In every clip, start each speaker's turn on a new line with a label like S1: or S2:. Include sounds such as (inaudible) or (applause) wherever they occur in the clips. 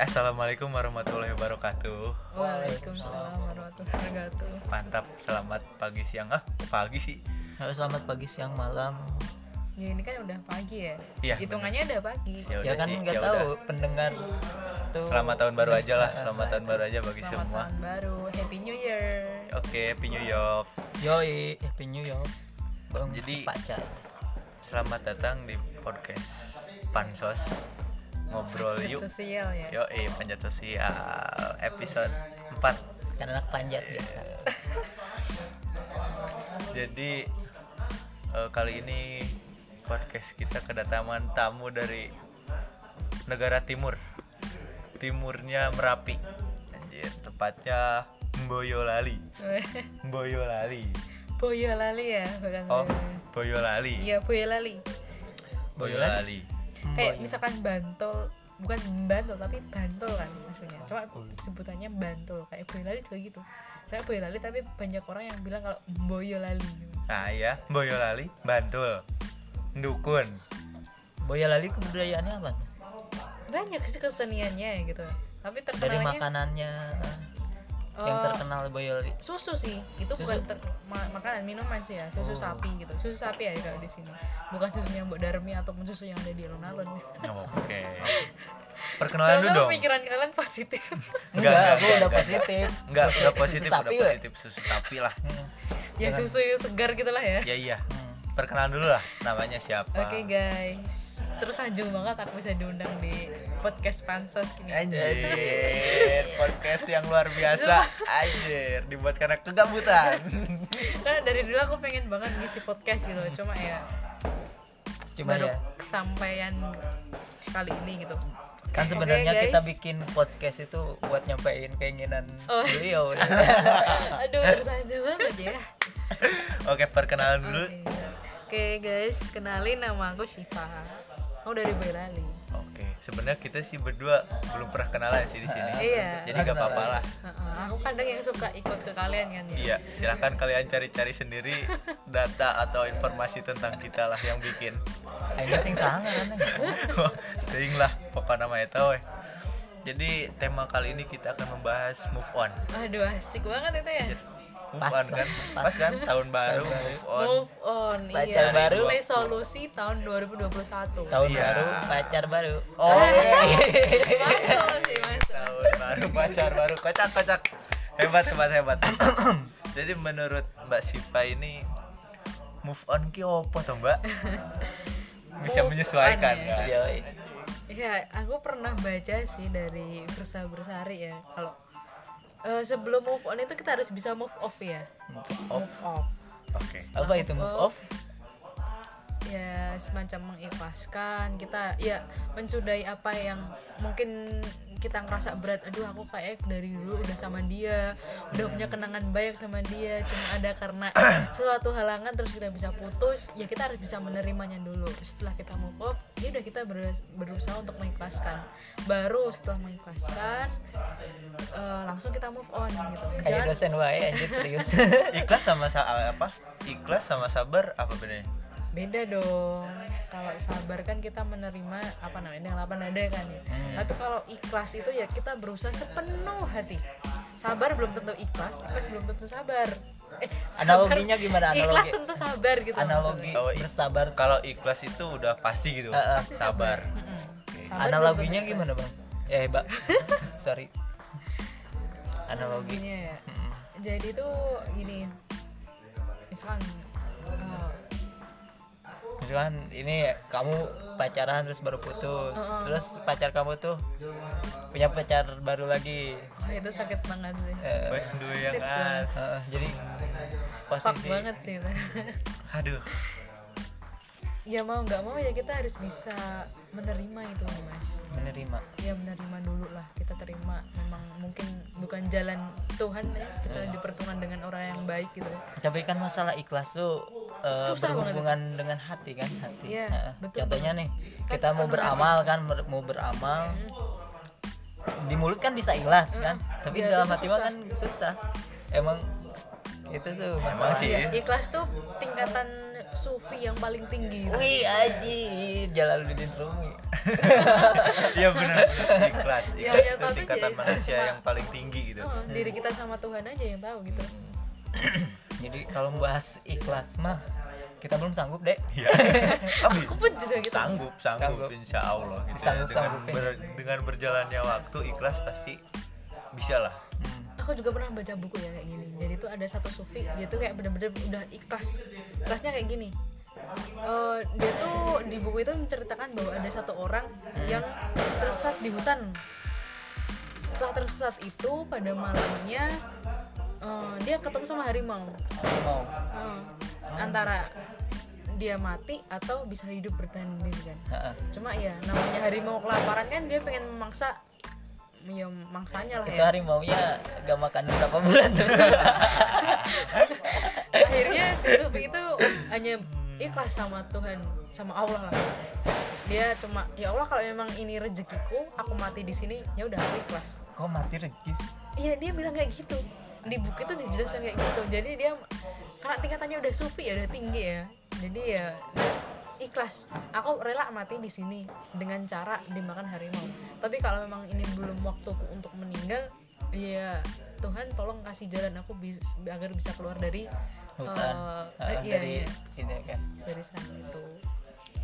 S1: Assalamualaikum warahmatullahi wabarakatuh.
S2: Waalaikumsalam warahmatullahi wabarakatuh.
S1: Mantap, selamat pagi siang. Ah, pagi sih.
S3: Halo selamat pagi siang malam.
S2: Ya, ini kan udah pagi ya.
S1: Iya,
S2: Hitungannya udah pagi.
S1: Ya
S3: ya
S1: udah
S3: kan
S1: sih,
S3: nggak
S1: ya
S3: tahu
S1: udah.
S3: pendengar tuh.
S1: Selamat tahun baru aja lah, selamat tahun baru aja bagi
S2: Selamat
S1: semua.
S2: tahun baru, Happy New Year.
S1: Oke, Happy New York.
S3: Yoi, happy new year. Bang
S1: Jadi-
S3: Jadi pacar.
S1: Selamat datang di podcast Pansos Ngobrol
S2: Panjat
S1: Yuk.
S2: sosial ya.
S1: Yo, eh panjat sosial episode 4
S3: Kan anak panjat biasa.
S1: Jadi eh, kali ini podcast kita kedatangan tamu dari negara timur. Timurnya Merapi. Anjir, tepatnya Boyolali. Boyolali.
S2: (laughs) Boyolali ya, bukan.
S1: Oh, Boyolali.
S2: Iya, Boyolali.
S1: Boyolali. Iya.
S2: Kayak misalkan Bantul, bukan Bantul tapi Bantul kan maksudnya. Cuma sebutannya Bantul, kayak Boyolali juga gitu. Saya Boyolali tapi banyak orang yang bilang kalau Boyolali.
S1: Nah, ya, Boyolali, Bantul. Dukun.
S3: Boyolali kebudayaannya apa?
S2: Banyak sih keseniannya gitu. Tapi
S3: Dari
S2: terkenalnya
S3: makanannya yang
S2: eh,
S3: terkenal Boyolali.
S2: susu sih itu bukan ter- ma- makanan minuman sih ya
S3: Oh.
S2: susu sapi gitu susu sapi ya kalau di sini bukan susunya Mbok Darmi ataupun susu yang ada di alun-alun
S1: Oh, Oke. Perkenalan
S2: soalnya
S1: dulu dong.
S2: pikiran kalian
S3: (laughs)
S2: positif
S1: Enggak, enggak,
S3: aku
S1: enggak,
S3: udah
S1: enggak.
S3: positif.
S1: Enggak,
S3: Susu-
S1: udah
S3: susu
S1: positif, udah
S3: sapi, weh.
S1: positif susu tapi lah.
S3: Hmm.
S2: ya susu segar gitulah ya
S1: Ya iya.
S3: Hmm.
S1: Perkenalan dulu lah namanya siapa.
S3: Iya.
S2: oke guys terus anjung banget aku bisa diundang di podcast pansos ini
S1: Anjir, podcast yang luar biasa. Anjir, dibuat karena kegabutan.
S2: karena dari dulu aku pengen banget ngisi podcast gitu cuma ya
S3: Cuma
S2: baru
S3: Hmm. ya.
S2: kesampaian kali ini gitu (laughs)
S3: Kan
S2: Oke,
S3: sebenarnya kita
S2: guys.
S3: bikin podcast itu buat nyampein keinginan
S2: Oh. (laughs)
S3: beliau.
S2: (laughs) aduh terus anjung banget ya
S1: Oke, perkenalan dulu.
S2: Oke guys, kenalin nama aku Siva. Aku dari Boyolali.
S1: Oke, sebenarnya kita sih berdua belum pernah kenalan sih di sini.
S2: Iya.
S1: Jadi gak apa-apa lah.
S2: Heeh, aku kadang yang suka ikut ke kalian kan ya.
S1: Iya, silahkan kalian cari-cari sendiri data atau informasi tentang kita lah yang bikin.
S3: Yang penting sangat
S1: Ting lah, pokoknya nama itu weh. eh. Jadi tema kali ini kita akan membahas move on.
S2: Aduh, asik banget itu ya.
S1: Move
S3: Pas
S1: on
S3: lah,
S1: kan?
S3: pas.
S1: Pas kan? Tahun baru
S3: baru.
S1: move on.
S2: Move on.
S3: Pacar
S2: iya.
S3: baru.
S2: Resolusi tahun 2021.
S3: Tahun
S1: Iya.
S3: baru, pacar baru.
S1: Oh.
S2: masuk sih, masuk.
S1: tahun baru pacar baru kocak kocak hebat hebat
S2: (coughs)
S1: hebat jadi menurut mbak Siva ini move on ki opo toh
S2: (laughs)
S1: mbak bisa
S2: Move on
S1: menyesuaikan
S2: ya.
S1: kan?
S3: Yoi.
S2: Iya, aku pernah baca sih dari Versa Bersari ya, kalau eh, sebelum move on itu kita harus bisa move off ya. Move off.
S1: oke
S3: Apa itu move off?
S2: ya semacam mengikhlaskan kita ya mensudahi apa yang mungkin kita ngerasa berat aduh aku kayak dari dulu udah sama dia udah punya kenangan banyak sama dia cuma ada karena suatu halangan terus kita bisa putus ya kita harus bisa menerimanya dulu setelah kita move off ya udah kita berus- berusaha untuk mengikhlaskan baru setelah mengikhlaskan eh, langsung kita move on gitu
S3: Kayak
S2: jangan Gitu,
S3: dosen wae anjir
S2: (laughs)
S3: serius.
S1: ikhlas sama sa eh, apa ikhlas sama sabar apa bedanya
S2: beda dong kalau sabar kan kita menerima apa namanya yang lapan ada kan ya
S3: Hmm.
S2: tapi kalau ikhlas itu ya kita berusaha sepenuh hati sabar belum tentu ikhlas ikhlas belum tentu sabar eh sabar-
S3: Analoginya gimana? Analogi.
S2: ikhlas tentu sabar gitu
S3: Analogi
S2: maksudnya.
S1: Oh, i-
S3: bersabar.
S1: kalau ikhlas itu udah pasti gitu
S3: Eh, eh.
S2: Pasti
S1: sabar
S2: Mm-mm. Sabar belum
S3: Analoginya
S2: tentu
S3: gimana
S2: ikhlas.
S3: bang? Eh mbak, (laughs) sorry. Analogi.
S2: analoginya ya
S3: Hmm.
S2: jadi tuh gini misalkan eh,
S3: Misalkan ini kamu pacaran terus baru putus, terus pacar kamu tuh punya pacar baru lagi.
S2: wah eh, itu sakit banget sih
S3: Eh,
S1: wes duwe yang kan?
S2: Sip, Bang.
S1: as
S3: eh, jadi
S2: fuck
S3: posisi
S2: banget sih itu
S1: aduh
S2: (laughs)
S1: (laughs)
S2: ya mau nggak mau ya kita harus bisa menerima itu mas
S3: menerima.
S2: ya menerima dulu lah kita terima memang mungkin bukan jalan Tuhan ya kita dipertemukan dengan orang yang baik gitu
S3: Tapi kan masalah ikhlas tuh eh,
S2: Susah banget
S3: berhubungan dengan hati kan, hati.
S2: Iya,
S3: Heeh.
S2: betul
S3: Contohnya nih,
S2: Kan
S3: kita mau
S2: anu
S3: beramal kan, ber- mau beramal. Di mulut kan bisa ikhlas kan, tapi
S2: Di hati
S3: dalam
S2: tuh
S3: hati mah
S2: Iya, susah.
S3: kan susah. Emang itu tuh
S1: emang
S3: masalah.
S1: sih
S2: ya ikhlas tuh Iya, tingkatan sufi yang paling tinggi gitu.
S3: Wih anjir Jalaluddin Rumi.
S1: Iya benar benar, ikhlas.
S2: Ya,
S1: Ikhlas
S2: ya,
S1: itu
S2: tapi
S1: tingkatan
S2: jadi
S1: manusia
S2: cuma-
S1: yang paling tinggi gitu.
S2: Oh, diri kita sama Tuhan aja yang tahu gitu
S3: Jadi kalau membahas ikhlas mah kita belum sanggup dek.
S1: Iya. Tapi
S2: (laughs) aku pun juga gitu
S1: sanggup, sanggup,
S3: Sanggup.
S1: insya Allah gitu. ya.
S3: Sanggup,
S1: dengan,
S3: sanggupin.
S1: ber- dengan berjalannya waktu ikhlas pasti bisa lah.
S3: Hmm.
S2: aku juga pernah baca buku ya kayak gini jadi tuh ada satu sufi dia tuh kayak bener-bener udah ikhlas ikhlasnya kayak gini Eh, dia tuh di buku itu menceritakan bahwa ada satu orang yang tersesat di hutan setelah tersesat itu pada malamnya eh, dia ketemu sama harimau
S3: Mau.
S2: Eh, antara dia mati atau bisa hidup bertahan diri kan
S3: Ha-ha.
S2: cuma ya namanya harimau kelaparan kan dia pengen memaksa ya mangsanya lah
S3: Itu
S2: ya
S3: hari maunya gak makan berapa
S2: (laughs)
S3: bulan tuh.
S2: akhirnya si Sufi itu hanya ikhlas sama Tuhan sama Allah lah dia cuma ya Allah kalau memang ini rezekiku aku mati di sini ya udah aku ikhlas
S3: Kok mati rezeki sih?
S2: iya dia bilang kayak gitu di buku itu dijelaskan kayak gitu jadi dia karena tingkatannya udah sufi ya udah tinggi ya jadi ya ikhlas aku rela mati di sini dengan cara dimakan harimau tapi kalau memang ini belum waktuku untuk meninggal ya Tuhan tolong kasih jalan aku bis- agar bisa keluar dari eh,
S3: Hutan. Ha-ha,
S2: eh, iya,
S3: dari
S2: iya,
S3: sini kan.
S2: dari sana itu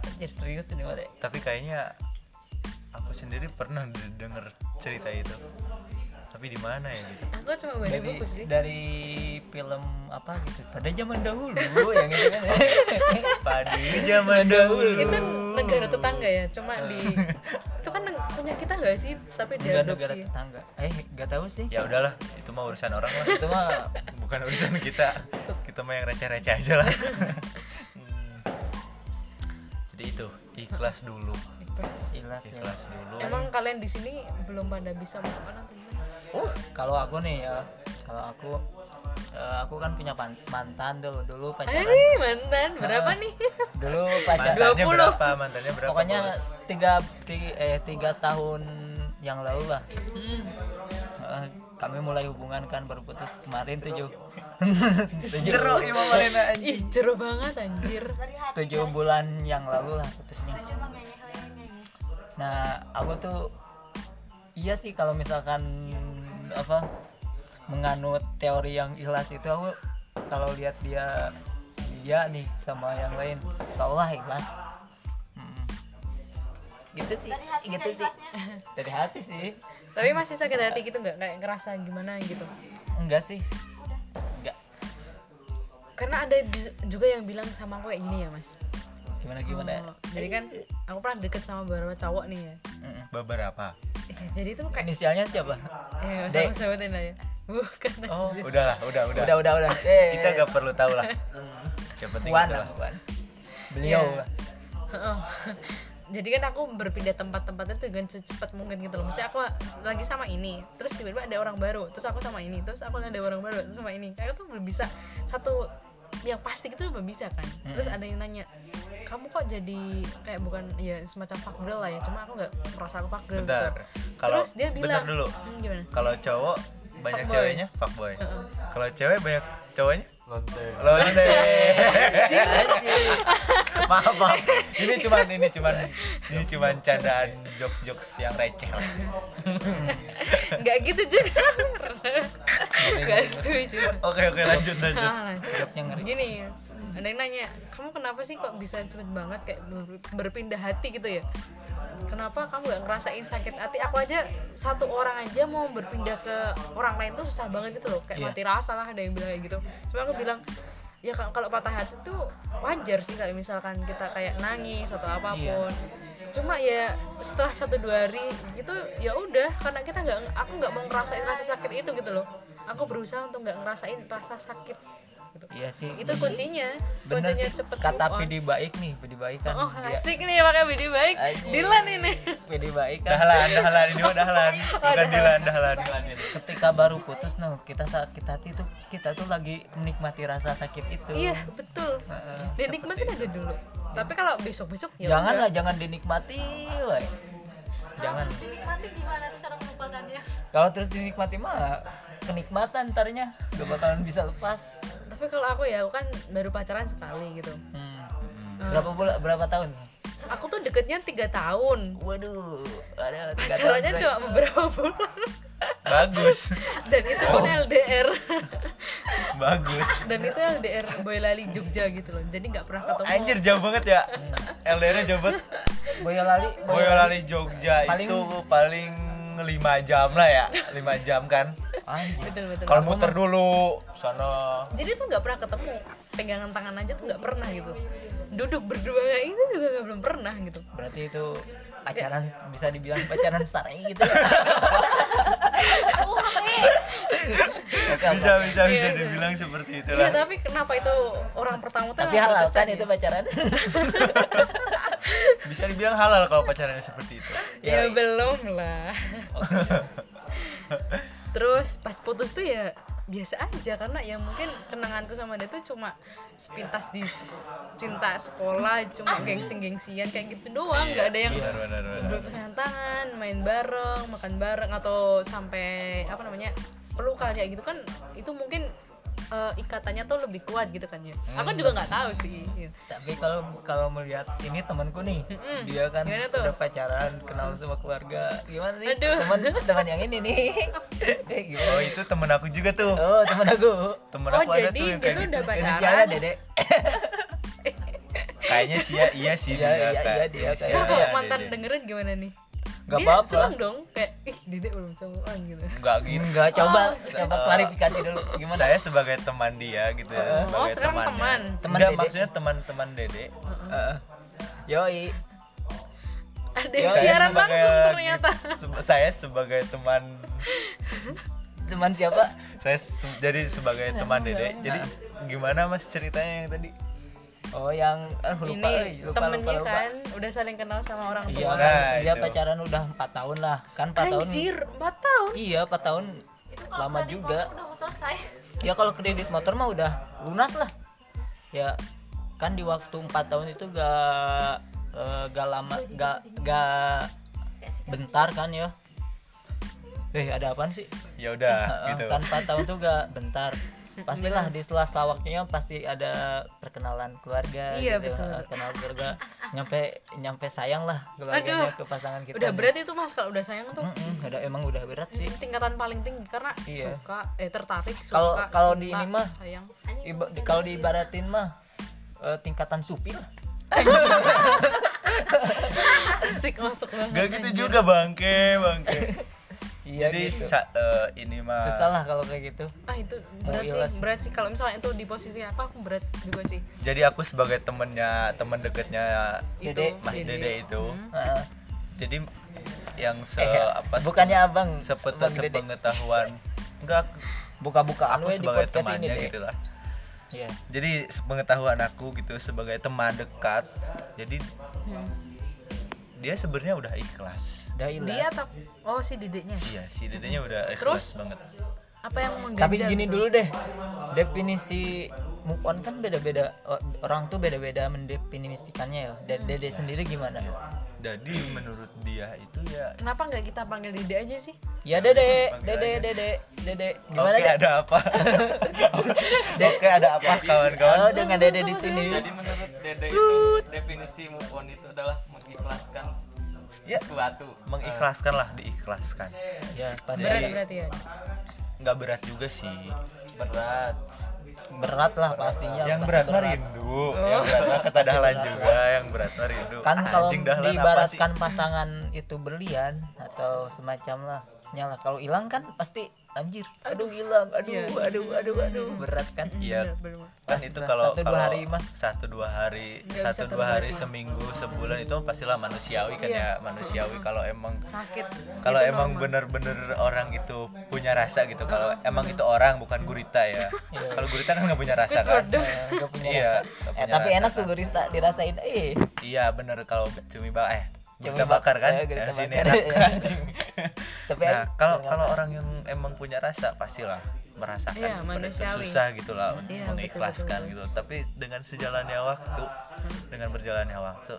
S3: Anjir serius ini mah dek.
S1: Tapi kayaknya aku sendiri pernah d- denger cerita itu. Tapi di mana ya gitu?
S2: aku cuma baca
S3: Dari,
S2: buku sih
S3: dari film apa gitu pada zaman dahulu (laughs) yang itu kan ya.
S1: Pada zaman dahulu.
S2: itu negara tetangga ya cuma di
S3: (laughs)
S2: itu kan neg- punya kita nggak sih tapi
S3: Enggak negara
S2: diadopsi
S3: tetangga. Eh nggak tahu sih.
S1: Ya udahlah, itu mah urusan orang lah.
S3: Itu mah
S1: Bukan urusan kita. Kita mah yang receh-receh aja lah. Hmm. Jadi itu ikhlas dulu.
S3: jelas ya.
S1: Ikhlas dulu.
S2: emang kalian di sini belum pada bisa move on atau gimana?
S3: Uh, kalau aku nih ya, kalau aku eh, aku kan punya pan- mantan dulu dulu pacaran.
S2: Eh mantan berapa nih?
S3: Dulu pacaran.
S1: Mantannya
S2: 20.
S1: berapa? Mantannya berapa?
S3: Pokoknya
S1: Bos?
S3: tiga, tiga eh tiga tahun yang lalu lah. Eh, kami mulai hubungan kan baru putus kemarin tujuh (laughs) tujuh,
S2: Ih jero banget anjir.
S3: tujuh bulan yang lalu lah putusnya. Nah aku tuh iya sih kalau misalkan apa menganut teori yang ikhlas itu aku kalau lihat dia dia nih sama yang lain seolah ikhlas Mm. gitu sih gitu sih (laughs) dari hati sih
S2: Tapi masih sakit hati gitu nggak kayak ngerasa gimana gitu.
S3: enggak sih enggak
S2: Karena ada ju- juga yang bilang sama aku kayak gini ya mas.
S3: gimana gimana
S2: Oh, jadi kan aku pernah deket sama beberapa cowok nih ya.
S3: Mm-mm.
S1: Beberapa.
S2: Eh, jadi tuh kayak
S3: inisialnya siapa
S2: ya sama
S3: Dek.
S2: sebutin lah ya. Bukan.
S3: (laughs)
S1: Oh, udahlah, udah, udah.
S3: udah udah udah
S1: (laughs) Kita gak perlu tahu (laughs) lah. Yang penting
S3: Puan
S1: itu
S3: gitu lah,
S1: lah.
S3: Puan. beliau
S2: Iya. Heeh. (laughs) Jadi kan aku berpindah tempat-tempatnya tuh dengan secepat mungkin gitu loh. Misalnya aku lagi sama ini, terus tiba-tiba ada orang baru, terus aku sama ini, terus aku ada orang baru, terus sama ini. Kayak tuh belum bisa satu yang pasti gitu belum bisa kan. Terus ada yang nanya, kamu kok jadi kayak bukan ya semacam fuckgirl lah ya. Cuma aku nggak merasa aku fuckgirl gitu.
S1: Bentar. Kalau
S2: terus dia
S1: bentar
S2: bilang,
S1: dulu.
S2: "Hmm, gimana? (laughs)
S1: Kalau cowok banyak
S2: Fuckboy.
S1: ceweknya fuckboy. Kalau cewek banyak cowoknya
S4: Lonte.
S1: lonte. (laughs) maaf, maaf. Ini cuman ini cuman ini cuman candaan jokes-jokes yang receh lah.
S2: Nggak gitu juga.
S1: (laughs)
S2: Nggak setuju.
S1: Oke, oke, lanjut lanjut.
S2: Ah, lanjut. Gini, ada yang nanya, kamu kenapa sih kok bisa cepet banget kayak ber- berpindah hati gitu ya? Kenapa kamu gak ngerasain sakit hati? Aku aja satu orang aja mau berpindah ke orang lain tuh susah banget gitu loh, kayak mati rasa lah ada yang bilang kayak gitu. Cuma aku bilang ya kalau kalau patah hati tuh wajar sih kayak misalkan kita kayak nangis atau apapun. Cuma ya setelah satu dua hari gitu ya udah karena kita nggak aku nggak mau ngerasain rasa sakit itu gitu loh. Aku berusaha untuk nggak ngerasain rasa sakit gitu
S3: iya sih
S2: itu kuncinya
S3: bener
S2: kuncinya
S3: sih
S2: cepet
S3: kata kan.
S2: move on.
S3: pidi baik nih pidi baik kan
S2: oh
S3: (laughs) dia-
S2: asik nih pakai video baik
S3: Anjing.
S2: Dilan ini
S3: pidi baik kan
S1: Dahlan, dahlan ini mah dahlan.
S2: Oh,
S1: Bukan dilan, dahlan, dahlan ini.
S3: ketika baru putus no kita sakit hati tuh kita tuh lagi menikmati rasa sakit itu
S2: iya betul dan nikmatin aja dulu tapi kalau besok besok ya
S3: janganlah jangan dinikmati woy. jangan
S2: nikmati gimana tuh cara melupakannya
S3: kalau terus dinikmati mah kenikmatan ntarnya gak bakalan bisa lepas
S2: tapi kalau aku ya aku kan baru pacaran sekali gitu
S3: Hmm. berapa bulan berapa tahun
S2: aku tuh deketnya tiga tahun
S3: waduh ada tiga tahun,
S2: caranya
S3: Bray.
S2: cuma beberapa bulan (laughs)
S1: bagus
S2: dan itu pun
S3: Oh.
S2: LDR
S1: bagus
S2: (laughs) dan itu LDR Boyolali Jogja gitu loh jadi nggak pernah ketemu Hmm.
S1: anjir jauh banget ya LDR jauh banget
S3: Boyolali
S1: Boyolali Jogja
S3: Paling-
S1: itu paling 5 jam lah ya 5 jam kan
S3: anjir
S2: betul betul
S1: kalau muter dulu sana
S2: jadi tuh nggak pernah ketemu pegangan tangan aja tuh nggak pernah gitu duduk berdua kayak ini juga nggak belum pernah gitu
S3: berarti itu pacaran bisa dibilang pacaran sarai gitu ya
S1: (laughs)
S3: Oke, oke.
S1: bisa bisa
S2: Iya,
S1: bisa
S2: iya.
S1: dibilang seperti
S2: Iya
S1: itulah
S2: tapi kenapa itu orang pertama tuh
S3: tapi
S2: emang
S3: halal
S2: berkesan
S3: kan
S2: ya?
S3: itu pacaran (laughs)
S1: bisa dibilang halal kalau pacarannya seperti itu
S2: Ya belum lah. Terus pas putus tuh ya biasa aja karena ya mungkin kenanganku sama dia tuh cuma sepintas di s- cinta sekolah cuma gengsi-gengsian kayak gitu doang nggak ada yang
S1: benar benar benar
S2: berpegangan tangan main bareng makan bareng atau sampai apa namanya pelukan kayak gitu kan itu mungkin eh, ikatannya tuh lebih kuat gitu kan ya aku
S1: Hmm.
S2: juga nggak tahu sih gitu.
S3: tapi kalau kalau melihat ini temanku nih dia kan
S2: Gimana tuh?
S3: udah pacaran kenal sama keluarga gimana nih
S2: Aduh.
S3: teman teman yang ini
S2: (laughs)
S3: nih eh gimana
S1: oh itu temen aku juga tuh
S3: oh teman aku
S1: temen
S2: oh
S1: aku ada
S2: jadi
S1: tuh yang
S2: dia
S1: kayak
S2: tuh
S1: gitu
S2: udah
S3: inisialnya
S2: pacaran
S3: dede
S1: kayaknya sih ya iya sih dia
S3: Iya, iya,
S1: Kak.
S3: iya, dia,
S1: Iya,
S3: kayak-
S1: iya,
S2: Ntar kalau
S1: iya,
S2: mantan
S1: dia.
S2: dengerin gimana nih?
S3: Gak
S2: Dia
S3: apa-apa.
S2: seneng dong kayak ih Dedek belum cowok gitu.
S1: enggak gitu
S3: enggak coba
S2: Oh,
S3: coba klarifikasi dulu gimana
S1: saya sebagai teman dia gitu ya
S2: Oh,
S1: sebagai
S2: sekarang
S1: temannya.
S2: teman.
S3: Teman
S1: Enggak,
S3: Dede.
S1: maksudnya teman-teman dede
S3: Heeh. yoi
S2: Ada
S1: Iya,
S2: yang
S3: Saya
S2: siaran
S1: sebagai-
S2: langsung ternyata.
S1: se- saya sebagai teman
S3: teman siapa
S1: saya se- jadi sebagai teman dede jadi gimana mas ceritanya yang tadi
S3: oh yang ah, lupa
S2: Ini
S3: eh, lupa, lupa,
S2: temennya
S3: lupa.
S2: kan udah saling kenal sama orang
S3: Iya,
S2: tua.
S1: Nah,
S3: kan, dia
S1: itu.
S3: pacaran udah 4 tahun lah. Kan 4 tahun.
S2: Anjir, 4 tahun.
S3: Iya, 4 tahun lama juga.
S2: Udah mau selesai.
S3: Ya kalau kredit motor mah udah lunas lah. Ya kan di waktu 4 tahun itu gak eh, gak lama gak gak bentar kan ya. Eh, ada apaan sih?
S1: ya udah
S3: Heeh,
S1: gitu
S3: Kan 4 tahun tuh gak
S2: (laughs)
S3: bentar. Pastilah di sela-sela waktunya pasti ada perkenalan keluarga
S2: Iya,
S3: gitu.
S2: betul.
S3: Heeh, Kenal keluarga nyampe nyampe sayang lah keluarganya ke pasangan kita.
S2: Udah berat itu Mas kalau udah sayang tuh
S3: Mm-mm, udah emang udah berat sih.
S2: tingkatan paling tinggi karena
S3: Iya.
S2: suka eh tertarik suka
S3: Kalau- kalau di
S2: cinta,
S3: ini mah-
S2: sayang (laughs)
S3: Iba- di- kalau diibaratin mah eh, tingkatan supir lah.
S2: asik masuk banget
S1: Gak gitu
S2: anjir.
S1: juga bangke, bangke.
S3: (laughs) Iya
S1: Jadi
S3: gitu.
S1: sa- eh, ini mah
S3: Susah lah kalau kayak gitu.
S2: ah itu berat
S3: Mau
S2: sih
S3: ilas.
S2: berat sih kalau misalnya itu di posisi aku aku berat juga sih
S1: Jadi aku sebagai temennya, temen deketnya
S3: Dede,
S2: itu
S1: Mas Dede, itu.
S3: Heeh.
S1: Jadi yang se
S3: Hmm. Eh,
S1: apa sih?
S3: bukannya abang
S1: sepeta
S3: Abang Dede.
S1: sepengetahuan enggak
S3: buka-bukaan
S1: aku
S3: we anu ya di
S1: sebagai
S3: podcast ini
S1: temannya
S3: deh.
S1: gitu lah.
S3: Iya.
S1: Jadi sepengetahuan aku gitu sebagai teman dekat. Jadi
S2: Hmm.
S1: dia sebenarnya udah ikhlas.
S3: Udah ilas.
S2: dia atau oh si didiknya
S1: Iya, si Dedenya udah
S2: Terus?
S1: ikhlas banget.
S2: apa yang mengganjal
S3: Tapi gini
S2: gitu?
S3: dulu deh. Definisi move on kan beda-beda O- orang tuh beda-beda mendefinisikannya ya. Dan Dede sendiri gimana?
S1: Iya. Jadi menurut dia itu ya
S2: kenapa nggak kita panggil dedek aja sih
S3: Ya Dede,
S1: Panggil
S3: Dede,
S1: aja.
S3: Dede, Dede. Gimana
S1: Oke,
S3: Dede?
S1: ada
S3: (laughs)
S1: apa? Oke, ada apa kawan-kawan?
S3: Oh, dengan Dede di sini.
S4: Jadi menurut Dede itu definisi move on itu adalah mengikhlaskan
S1: Ya.
S4: sesuatu.
S1: mengikhlaskan lah diikhlaskan
S3: Ya, pasti
S2: berat
S1: Jadi-
S2: berarti ya
S1: nggak berat juga sih
S4: Berat.
S3: berat lah pastinya.
S1: yang
S3: pasti
S1: berat mah rindu yang berat mah ketadalan juga yang berat mah rindu
S3: Oh. kan
S1: Ah,
S3: kalau
S1: Anjing, dahlan apa sih?
S3: diibaratkan pasangan itu berlian atau semacamnya nyala kalau hilang kan pasti anjir aduh hilang aduh
S2: Iya.
S3: aduh aduh aduh berat kan
S1: iya
S2: Bener, bener.
S1: kan
S3: Pasti
S1: itu
S3: berat.
S1: kalau
S3: Nah, Satu, dua
S1: kalau
S3: hari mah.
S1: satu dua hari
S2: Nggak
S1: satu
S2: bisa
S1: dua hari
S3: ya.
S2: terobati.
S1: seminggu sebulan itu pastilah manusiawi kan
S2: Iya.
S1: ya manusiawi kalau emang
S2: sakit
S1: kalau
S2: Itu
S1: emang
S2: normal. Oh.
S1: bener-bener orang itu punya rasa gitu kalau emang itu orang bukan gurita
S2: (laughs)
S1: ya
S2: Iya.
S1: kalau gurita kan nggak punya rasa kan
S2: Squidward dong.
S3: Eh, nggak punya
S1: Iya,
S3: rasa
S1: nggak
S3: eh,
S1: punya
S3: tapi
S1: rasa
S3: enak tuh barista dirasain eh
S1: iya bener kalau cumi bakar eh
S3: Cumi
S1: gurita bakar kan
S3: bakar, eh, gurita
S1: Eh, sini
S3: bakar.
S1: enak
S3: (laughs) Iya.
S1: anjing.
S3: tapi
S1: nah
S3: enak.
S1: kalau kalau orang yang emang punya rasa pastilah merasakan
S2: Iya,
S1: seperti itu.
S2: manusiawi.
S1: susah gitulah untuk
S2: Iya,
S1: mengikhlaskan
S2: betul,
S1: gitu tapi dengan sejalannya waktu dengan berjalannya waktu